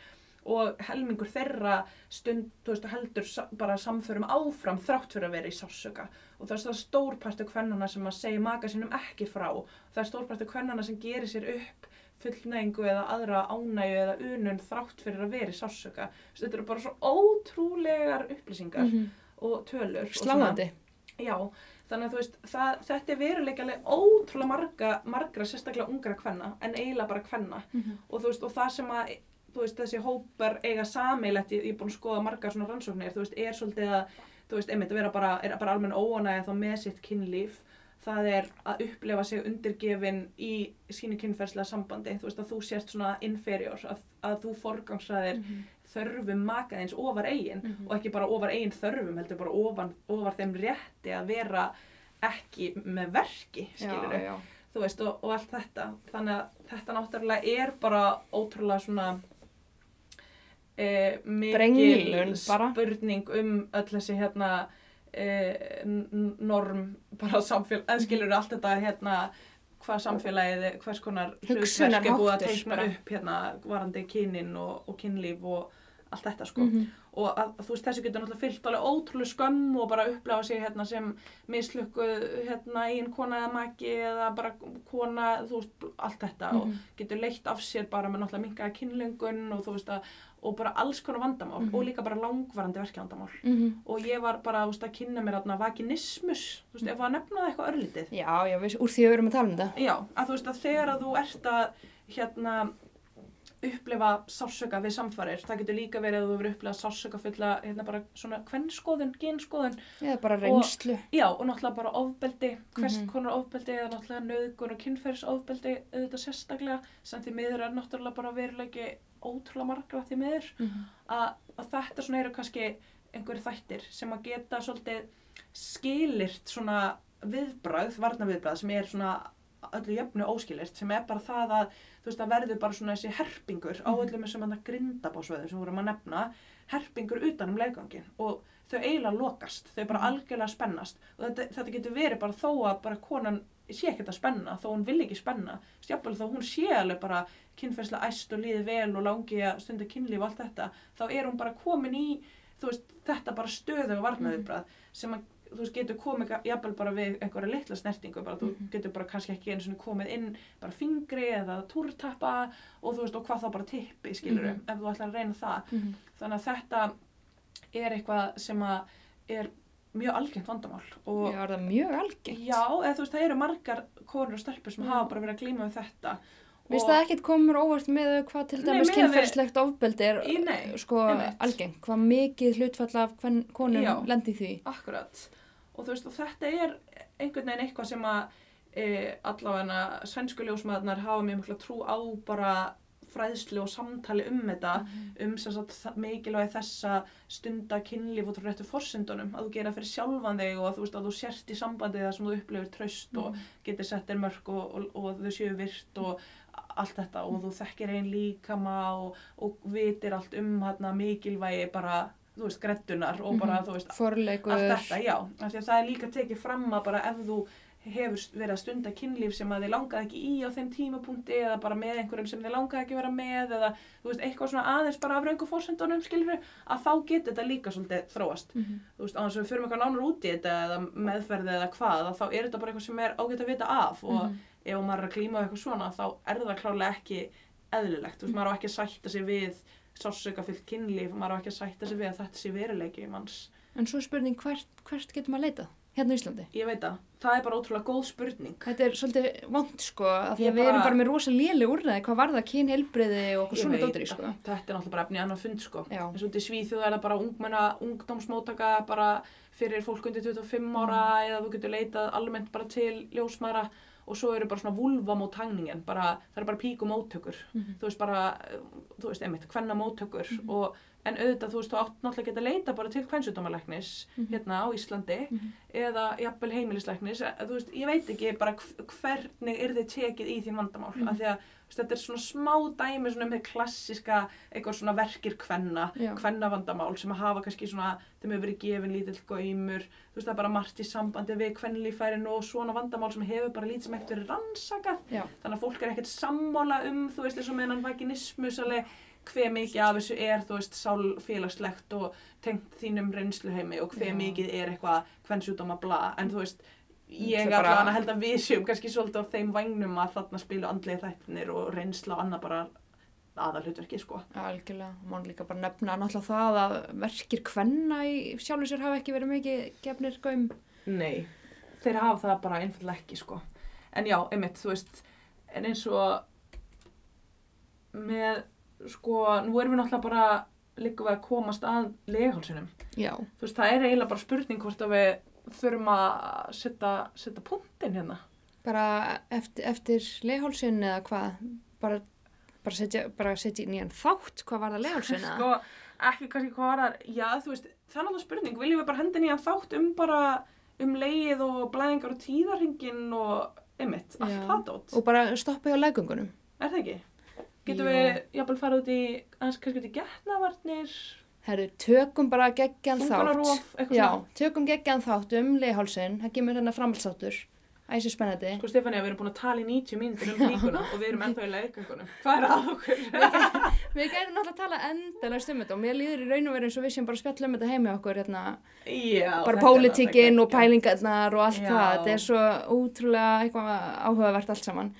Speaker 1: og helmingur þeirra stund, þú veist, heldur sa- bara samförum áfram þrátt fyrir að vera í sásöka og það er svona stórpartu kvennana sem að segja maka sínum ekki frá það er stórpartu kvennana sem gerir sér upp fullnægingu eða aðra ánægju eða unun þrátt fyrir að vera í sásöka Svo þetta eru bara svo ótrúlegar upplýsingar
Speaker 2: Mhm.
Speaker 1: og tölur og svona-
Speaker 2: Sláandi.
Speaker 1: Já, þannig að þú veist, það, þetta er veruleikalega ótrúlega marga, margra, sérstaklega ungra kvenna, en eiginlega bara kvenna.
Speaker 2: Mhm.
Speaker 1: Og þú veist, og það sem að, þú veist, þessi hópar eiga sameilætt, ég, ég er búin að skoða margar svona rannsóknir, þú veist, er svolítið að, þú veist, einmitt að vera bara, er bara almenn óanægja þá með sitt kynlíf, það er að upplifa sig undirgefin í sínu kynferðslega sambandi, þú veist, að þú sért svona inferior, að, að þú forgangsraðir
Speaker 2: Mm-hmm.
Speaker 1: þörfum makaðins ofar eigin
Speaker 2: Mhm.
Speaker 1: og ekki bara ofar eigin þörfum heldur bara ofan, ofar þeim rétti að vera ekki með verki skilur
Speaker 2: Já, já.
Speaker 1: þú veist og, og allt þetta þannig að þetta náttúrulega er bara ótrúlega svona e, mikil
Speaker 2: Brenglun bara.
Speaker 1: spurning um öll þessi hérna e, norm bara samfélag,
Speaker 2: Mhm.
Speaker 1: eða skilur allt þetta hérna hvað samfélagið, hvers konar hlutverk er búið að
Speaker 2: Hugsunarháttur
Speaker 1: teikna
Speaker 2: bara.
Speaker 1: upp hérna varandi kynin og, og kynlíf og allt þetta sko
Speaker 2: Mhm.
Speaker 1: og að, þú veist þessu getur náttúrulega fyllt alveg ótrúlega skömm og bara upplega sig hérna sem mislukkuð hérna einn kona eða maki eða bara kona þú veist bl- allt þetta
Speaker 2: Mhm.
Speaker 1: og getur leitt af sér bara með náttúrulega minkaða kynlöngun og þú veist að og bara alls konar vandamál
Speaker 2: Mhm.
Speaker 1: og líka bara langvarandi verkjavandamál
Speaker 2: Mhm.
Speaker 1: og ég var bara þú veist, að kynna mér hérna vaginismus þú veist ef að nefna það eitthvað örlítið
Speaker 2: Já, já, við, úr því að við erum að tala um þetta.
Speaker 1: Já, að þú veist að þegar að þú ert að hérna upplifa sársöka við samfarir, það getur líka verið að þú hefur upplifað sársöka fulla hérna bara svona kvennskoðun, genskoðun
Speaker 2: Eða bara reynslu.
Speaker 1: já og náttúrulega bara ofbeldi, hvers
Speaker 2: Mhm.
Speaker 1: konar ofbeldi eða náttúrulega nöðgun og kynferðisofbeldi auðvitað sérstaklega sem því miður er náttúrulega bara veruleiki ótrúlega margra því miður
Speaker 2: Mhm.
Speaker 1: að, að þetta svona eru kannski einhverjir þættir sem að geta svolítið skilirt svona viðbröð, varnaviðbröð sem er svona öllu jöfnu óskilirt sem er bara það að þú veist að verður bara svona þessi herpingur á
Speaker 2: Mhm.
Speaker 1: öllum þessum hann grindabásvöðum sem vorum að nefna herpingur utan um leggangin og þau eiginlega lokast, þau bara
Speaker 2: Mhm.
Speaker 1: algjörlega spennast og þetta, þetta getur verið bara þó að bara konan sé ekkert að spenna þó hún vil ekki spenna, stjáfnvel þó hún sé alveg bara kynferðslega æst og líði vel og langi að stunda kynlíf og allt þetta þá er hún bara komin í þú veist, þetta bara stöðu
Speaker 2: Mhm.
Speaker 1: og varnaðubrað sem að þú veist, getur komið ga- jafnvel bara við einhverja litla snertingu bara,
Speaker 2: Mhm.
Speaker 1: þú getur bara kannski ekki einu svona komið inn bara fingri eða túrtappa og þú veist, og hvað þá bara tippi skilur
Speaker 2: Mhm.
Speaker 1: ef þú ætlar að reyna það
Speaker 2: Mhm.
Speaker 1: þannig að þetta er eitthvað sem að er mjög algengt vandamál og
Speaker 2: Já, er það mjög algengt.
Speaker 1: Já, eða þú veist, það eru margar konur og stelpur sem
Speaker 2: Já.
Speaker 1: hafa bara verið að glíma við þetta
Speaker 2: Vist það ekkert komur óvart með hvað til
Speaker 1: Nei,
Speaker 2: dæmis
Speaker 1: miðað við-
Speaker 2: kynferðslegt ofbeldi er
Speaker 1: Í- nei,
Speaker 2: sko
Speaker 1: einmitt.
Speaker 2: algeng, hvað mikið hlutfall af hvern konum
Speaker 1: Já.
Speaker 2: lendi í því.
Speaker 1: Akkurat. Og þú veist, og þetta er einhvern veginn eitthvað sem að e, allavega sænsku ljósmaðurnar hafa mjög mikla trú á bara fræðslu og samtali um þetta um sem sagt þa- mikilvægi þess að stunda kynlíf út frá réttu forsendunum að þú gera fyrir sjálfan þig og að þú veist að þú sért í sambandi það sem þú upplifir traust
Speaker 2: Mhm.
Speaker 1: og
Speaker 2: Mm-hmm.
Speaker 1: getur sett þér mörg og, og, og þau séu virt og allt þetta og þú þekkir einn líkama og, og vitir allt um hana, mikilvægi bara, þú veist, grettunar og bara, þú veist,
Speaker 2: Forleikur.
Speaker 1: allt þetta, já, af því að það er líka tekið fram að bara ef þú hefur verið að stunda kynlíf sem að þið langaði ekki í á þeim tímapunkti eða bara með einhverjum sem þið langaði ekki að vera með eða þú veist, eitthvað svona aðeins bara af raungu fórsendunum skilur að þá getur þetta líka svolítið þróast
Speaker 2: Mhm.
Speaker 1: þú veist, á þess að við förum eitthvað nánar út í þetta eða meðferði eða hvað, að þá er þetta bara eitthvað sem er ágætt að vita af og
Speaker 2: Mhm.
Speaker 1: ef maður er að klíma við eitthvað svona þá er það klárlega ekki eðlilegt, þú veist, maður á ekki að sætta sig við sásökafyllt kynlíf, maður á ekki að sætta sig við að þetta sé veruleiki manns
Speaker 2: En svo er spurning hvert, hvert getur maður leitað? hérna á Íslandi?
Speaker 1: Ég veit það. Það er bara ótrúlega góð spurning.
Speaker 2: Þetta er svolítið vond sko, af því
Speaker 1: Ég
Speaker 2: að við erum
Speaker 1: bara-
Speaker 2: bara með rosa léli úrraði, hvað var það, kynheilbriði og okkur
Speaker 1: Ég
Speaker 2: svona
Speaker 1: veit
Speaker 2: dóttir í
Speaker 1: það.
Speaker 2: sko.
Speaker 1: Þetta er náttúrulega bara efni í annan fund sko.
Speaker 2: Já.
Speaker 1: En svo til Svíþjóð er það bara ungmenna, ungdómsmótaka bara fyrir fólk undir
Speaker 2: Mm.
Speaker 1: 25 ára eða þú getur leitað almennt bara til ljósmæðra og svo eru bara svona vulvamót hangningin, bara, það eru bara píkumóttökur.
Speaker 2: Mhm.
Speaker 1: Þú veist bara, eh, þú veist, einmitt, hvenna móttökur og en auðvitað, þú veist, þú átt náttúrulega að geta leita bara til hvensjúdómalæknis hérna á Íslandi
Speaker 2: Mhm.
Speaker 1: eða jafnvel heimilislæknis, Eh, þú veist, ég veit ekki bara hv- hvernig er þið tekið í því vandamál, af því að þú veist, þetta er svona smá dæmi svona um þeir klassiska eitthvað svona verkir kvenna,
Speaker 2: Já.
Speaker 1: kvennavandamál sem að hafa kannski svona, þeim hefur verið gefin lítill gaumur, þú veist það er bara margt í sambandi við kvennlífærin og svona vandamál sem hefur bara lítið sem ekkert verið rannsakað,
Speaker 2: Já.
Speaker 1: þannig að fólk er ekkert sammála um, þú veist, eins og meðan vaginismus alveg hver mikið af þessu er, þú veist, sálfélagslegt og tengt þínum reynsluheimi og hver
Speaker 2: Já.
Speaker 1: mikið er eitthvað kvennsjúdóma bla, en þú veist, ég
Speaker 2: Það er bara-
Speaker 1: allavega held að við séum kannski svolítið á þeim vagnum að þarna spilu andlega þættinir og reynsla og annað bara aðal hlutverki sko.
Speaker 2: Algjörlega, og má líka bara nefna náttúrulega það að verkir kvenna í sjálfur sér hafa ekki verið mikið gefnir gaum.
Speaker 1: Nei. Þeir hafa það bara einfallega ekki sko. En já, einmitt, þú veist, en eins og með sko, nú erum við náttúrulega bara líka við að komast að leghalsunum.
Speaker 2: Já,
Speaker 1: Þú veist, það er eiginlega bara spurning hvort að við þurfum að setja, setja punktinn hérna.
Speaker 2: bara eftir, eftir leihálsin eða hvað, bara, bara setja, bara setja í nýjan þátt hvað var það leihálsin eða?
Speaker 1: sko, ekki kannski hvað var það já, þú veist, það er alltaf spurning viljum við bara hendin í hann þátt um bara um leið og blæðingar og tíðarhingin og emitt, allt
Speaker 2: Já.
Speaker 1: það dót
Speaker 2: Og bara stoppa hjá leggungunum.
Speaker 1: er það ekki? getum
Speaker 2: Jú.
Speaker 1: við jafnvel farið út í aðeins kannski út í getnavarnir
Speaker 2: Herru, tökum bara geggjan þátt.
Speaker 1: þungunarof, eitthvað
Speaker 2: Já,
Speaker 1: svona
Speaker 2: tökum geggjan þátt um leihálsin, það kemur hérna framhaldsáttur. Æsir spennandi.
Speaker 1: sko Stefania, við erum búin að tala í 90 mínútur um líkuna og við erum ennþá í leiköngunum hvað er að okkur?
Speaker 2: Við gerum náttúrulega að tala endalega um þetta og mér líður í raun og veru eins og við sem bara spjallum um þetta heimi okkur hérna.
Speaker 1: já,
Speaker 2: bara
Speaker 1: þetta er
Speaker 2: pólitíkinn
Speaker 1: náttúrulega
Speaker 2: og pælingarnar og allt
Speaker 1: Já.
Speaker 2: það. Þetta er svo ótrúlega eitthvað áhugavert allt saman.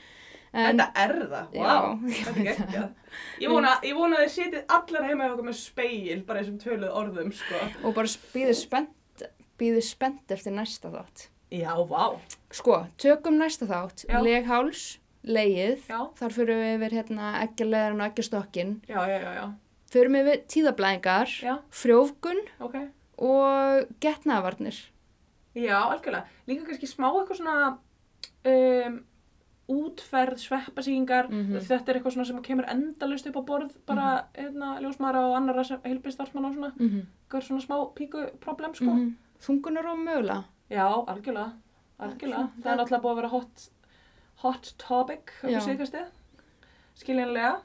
Speaker 2: En,
Speaker 1: Þetta er það,
Speaker 2: Já.
Speaker 1: wow, þetta er geggjað. Ég vona, ég vona að þið setið allar heima hjá okkur með speil, bara þessum töluð orðum, sko.
Speaker 2: og bara býðið spennt, býðið spennt eftir næsta þátt.
Speaker 1: Já, vá.
Speaker 2: Sko, tökum næsta þátt,
Speaker 1: Já.
Speaker 2: legháls, leið,
Speaker 1: Já.
Speaker 2: þar fyrir við yfir hérna ekkjaleðan og eggjastokkin,
Speaker 1: Já, já, já, já,
Speaker 2: fyrir við yfir tíðablæðingar,
Speaker 1: Já.
Speaker 2: frjófgun
Speaker 1: ok.
Speaker 2: og getnaðvarnir.
Speaker 1: Já, algjörlega. Líka kannski smá eitthvað svona um, útferð, sveppasíkingar,
Speaker 2: Mhm.
Speaker 1: þetta er eitthvað svona sem kemur endalaust upp á borð, bara, hérna, ljósmaðra og annara heilbistarfsmann og svona,
Speaker 2: Mm -hmm.
Speaker 1: eitthvað svona smá píku problem, sko.
Speaker 2: Mhm. Þungunar og mögulega.
Speaker 1: Já, algjörlega, algjörlega.
Speaker 2: Svona-
Speaker 1: Það er náttúrulega búið að vera hot, hot topic upp
Speaker 2: Já.
Speaker 1: á síðkastið, skiljanlega.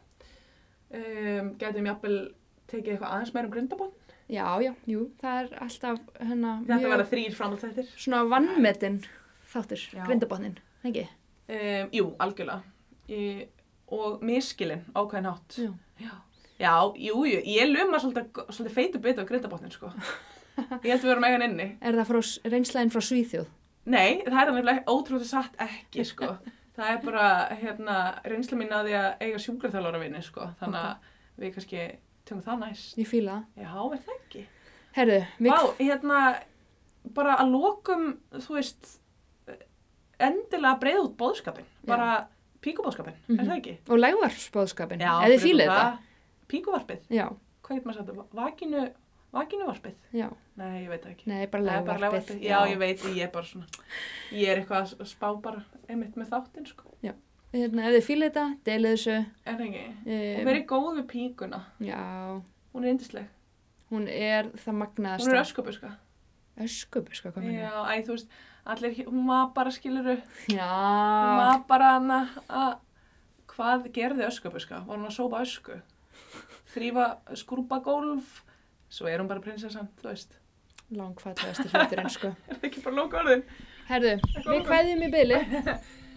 Speaker 1: Um, getum jafnvel tekið eitthvað aðeins meir um grindabótt.
Speaker 2: Já, já, jú, það er alltaf hérna
Speaker 1: Þetta verða þrýr framhaldsættir.
Speaker 2: svona vannmetinn þáttur,
Speaker 1: Já.
Speaker 2: grindabotnin, ekki?
Speaker 1: Um, jú, algjörlega. Ég, og miskilinn ákveðin hátt.
Speaker 2: Jú.
Speaker 1: Já. Já, jú, jú, ég luma svolítið, svolítið feitu bit á grindabotnin, sko. Ég held við verum eigan inni.
Speaker 2: Er það frá, reynslæðin frá Svíþjóð?
Speaker 1: Nei, það er þannig ótrúlega satt ekki, sko. Það er bara, hérna, reynsla mín að því að eiga sjúkraþjálfara vinni, sko. Þannig að við kannski tökum það næst.
Speaker 2: Ég fíla það.
Speaker 1: Já, er það ekki?
Speaker 2: Herðu, við...
Speaker 1: Vá, hérna, bara að lokum, þú veist, endilega breið út bóðskapin. Bara píkubóðskapin,
Speaker 2: Mhm.
Speaker 1: er það ekki?
Speaker 2: Og lægvarpsbóðskapin,
Speaker 1: Já,
Speaker 2: eða þið
Speaker 1: fyrir
Speaker 2: fílið
Speaker 1: utan það,
Speaker 2: þetta?
Speaker 1: Píkuvarpið,
Speaker 2: Já,
Speaker 1: hvað getur maður sagt það? Vakinu, vakinuvarpið?
Speaker 2: já,
Speaker 1: Nei, ég veit það ekki.
Speaker 2: nei, bara
Speaker 1: Það er bara
Speaker 2: lægvarpið.
Speaker 1: legvarpið. Já, ég veit, ég er bara svona, ég er eitthvað að spá bara einmitt með þáttinn, sko.
Speaker 2: Hérna, ef þið fílið þetta, deilið þessu.
Speaker 1: En ekki, og
Speaker 2: Um,
Speaker 1: verið góð við píkuna,
Speaker 2: já,
Speaker 1: hún er yndisleg.
Speaker 2: hún er það
Speaker 1: Hún er
Speaker 2: magnaðasta.
Speaker 1: öskubuska.
Speaker 2: Öskubu, sko, hvað minn
Speaker 1: Já, æ, þú veist, allir, hún var bara, skiluru, hún
Speaker 2: Já,
Speaker 1: var bara hana að, hvað gerði öskubuska? Var hún að sópa ösku? Þrýfa, skrúpa gólf? Svo er hún bara prinsessan, þú veist.
Speaker 2: langfallegasti hluturinn, sko.
Speaker 1: Er það ekki bara lóka orðin?
Speaker 2: Herðu, við kvæðum í byli.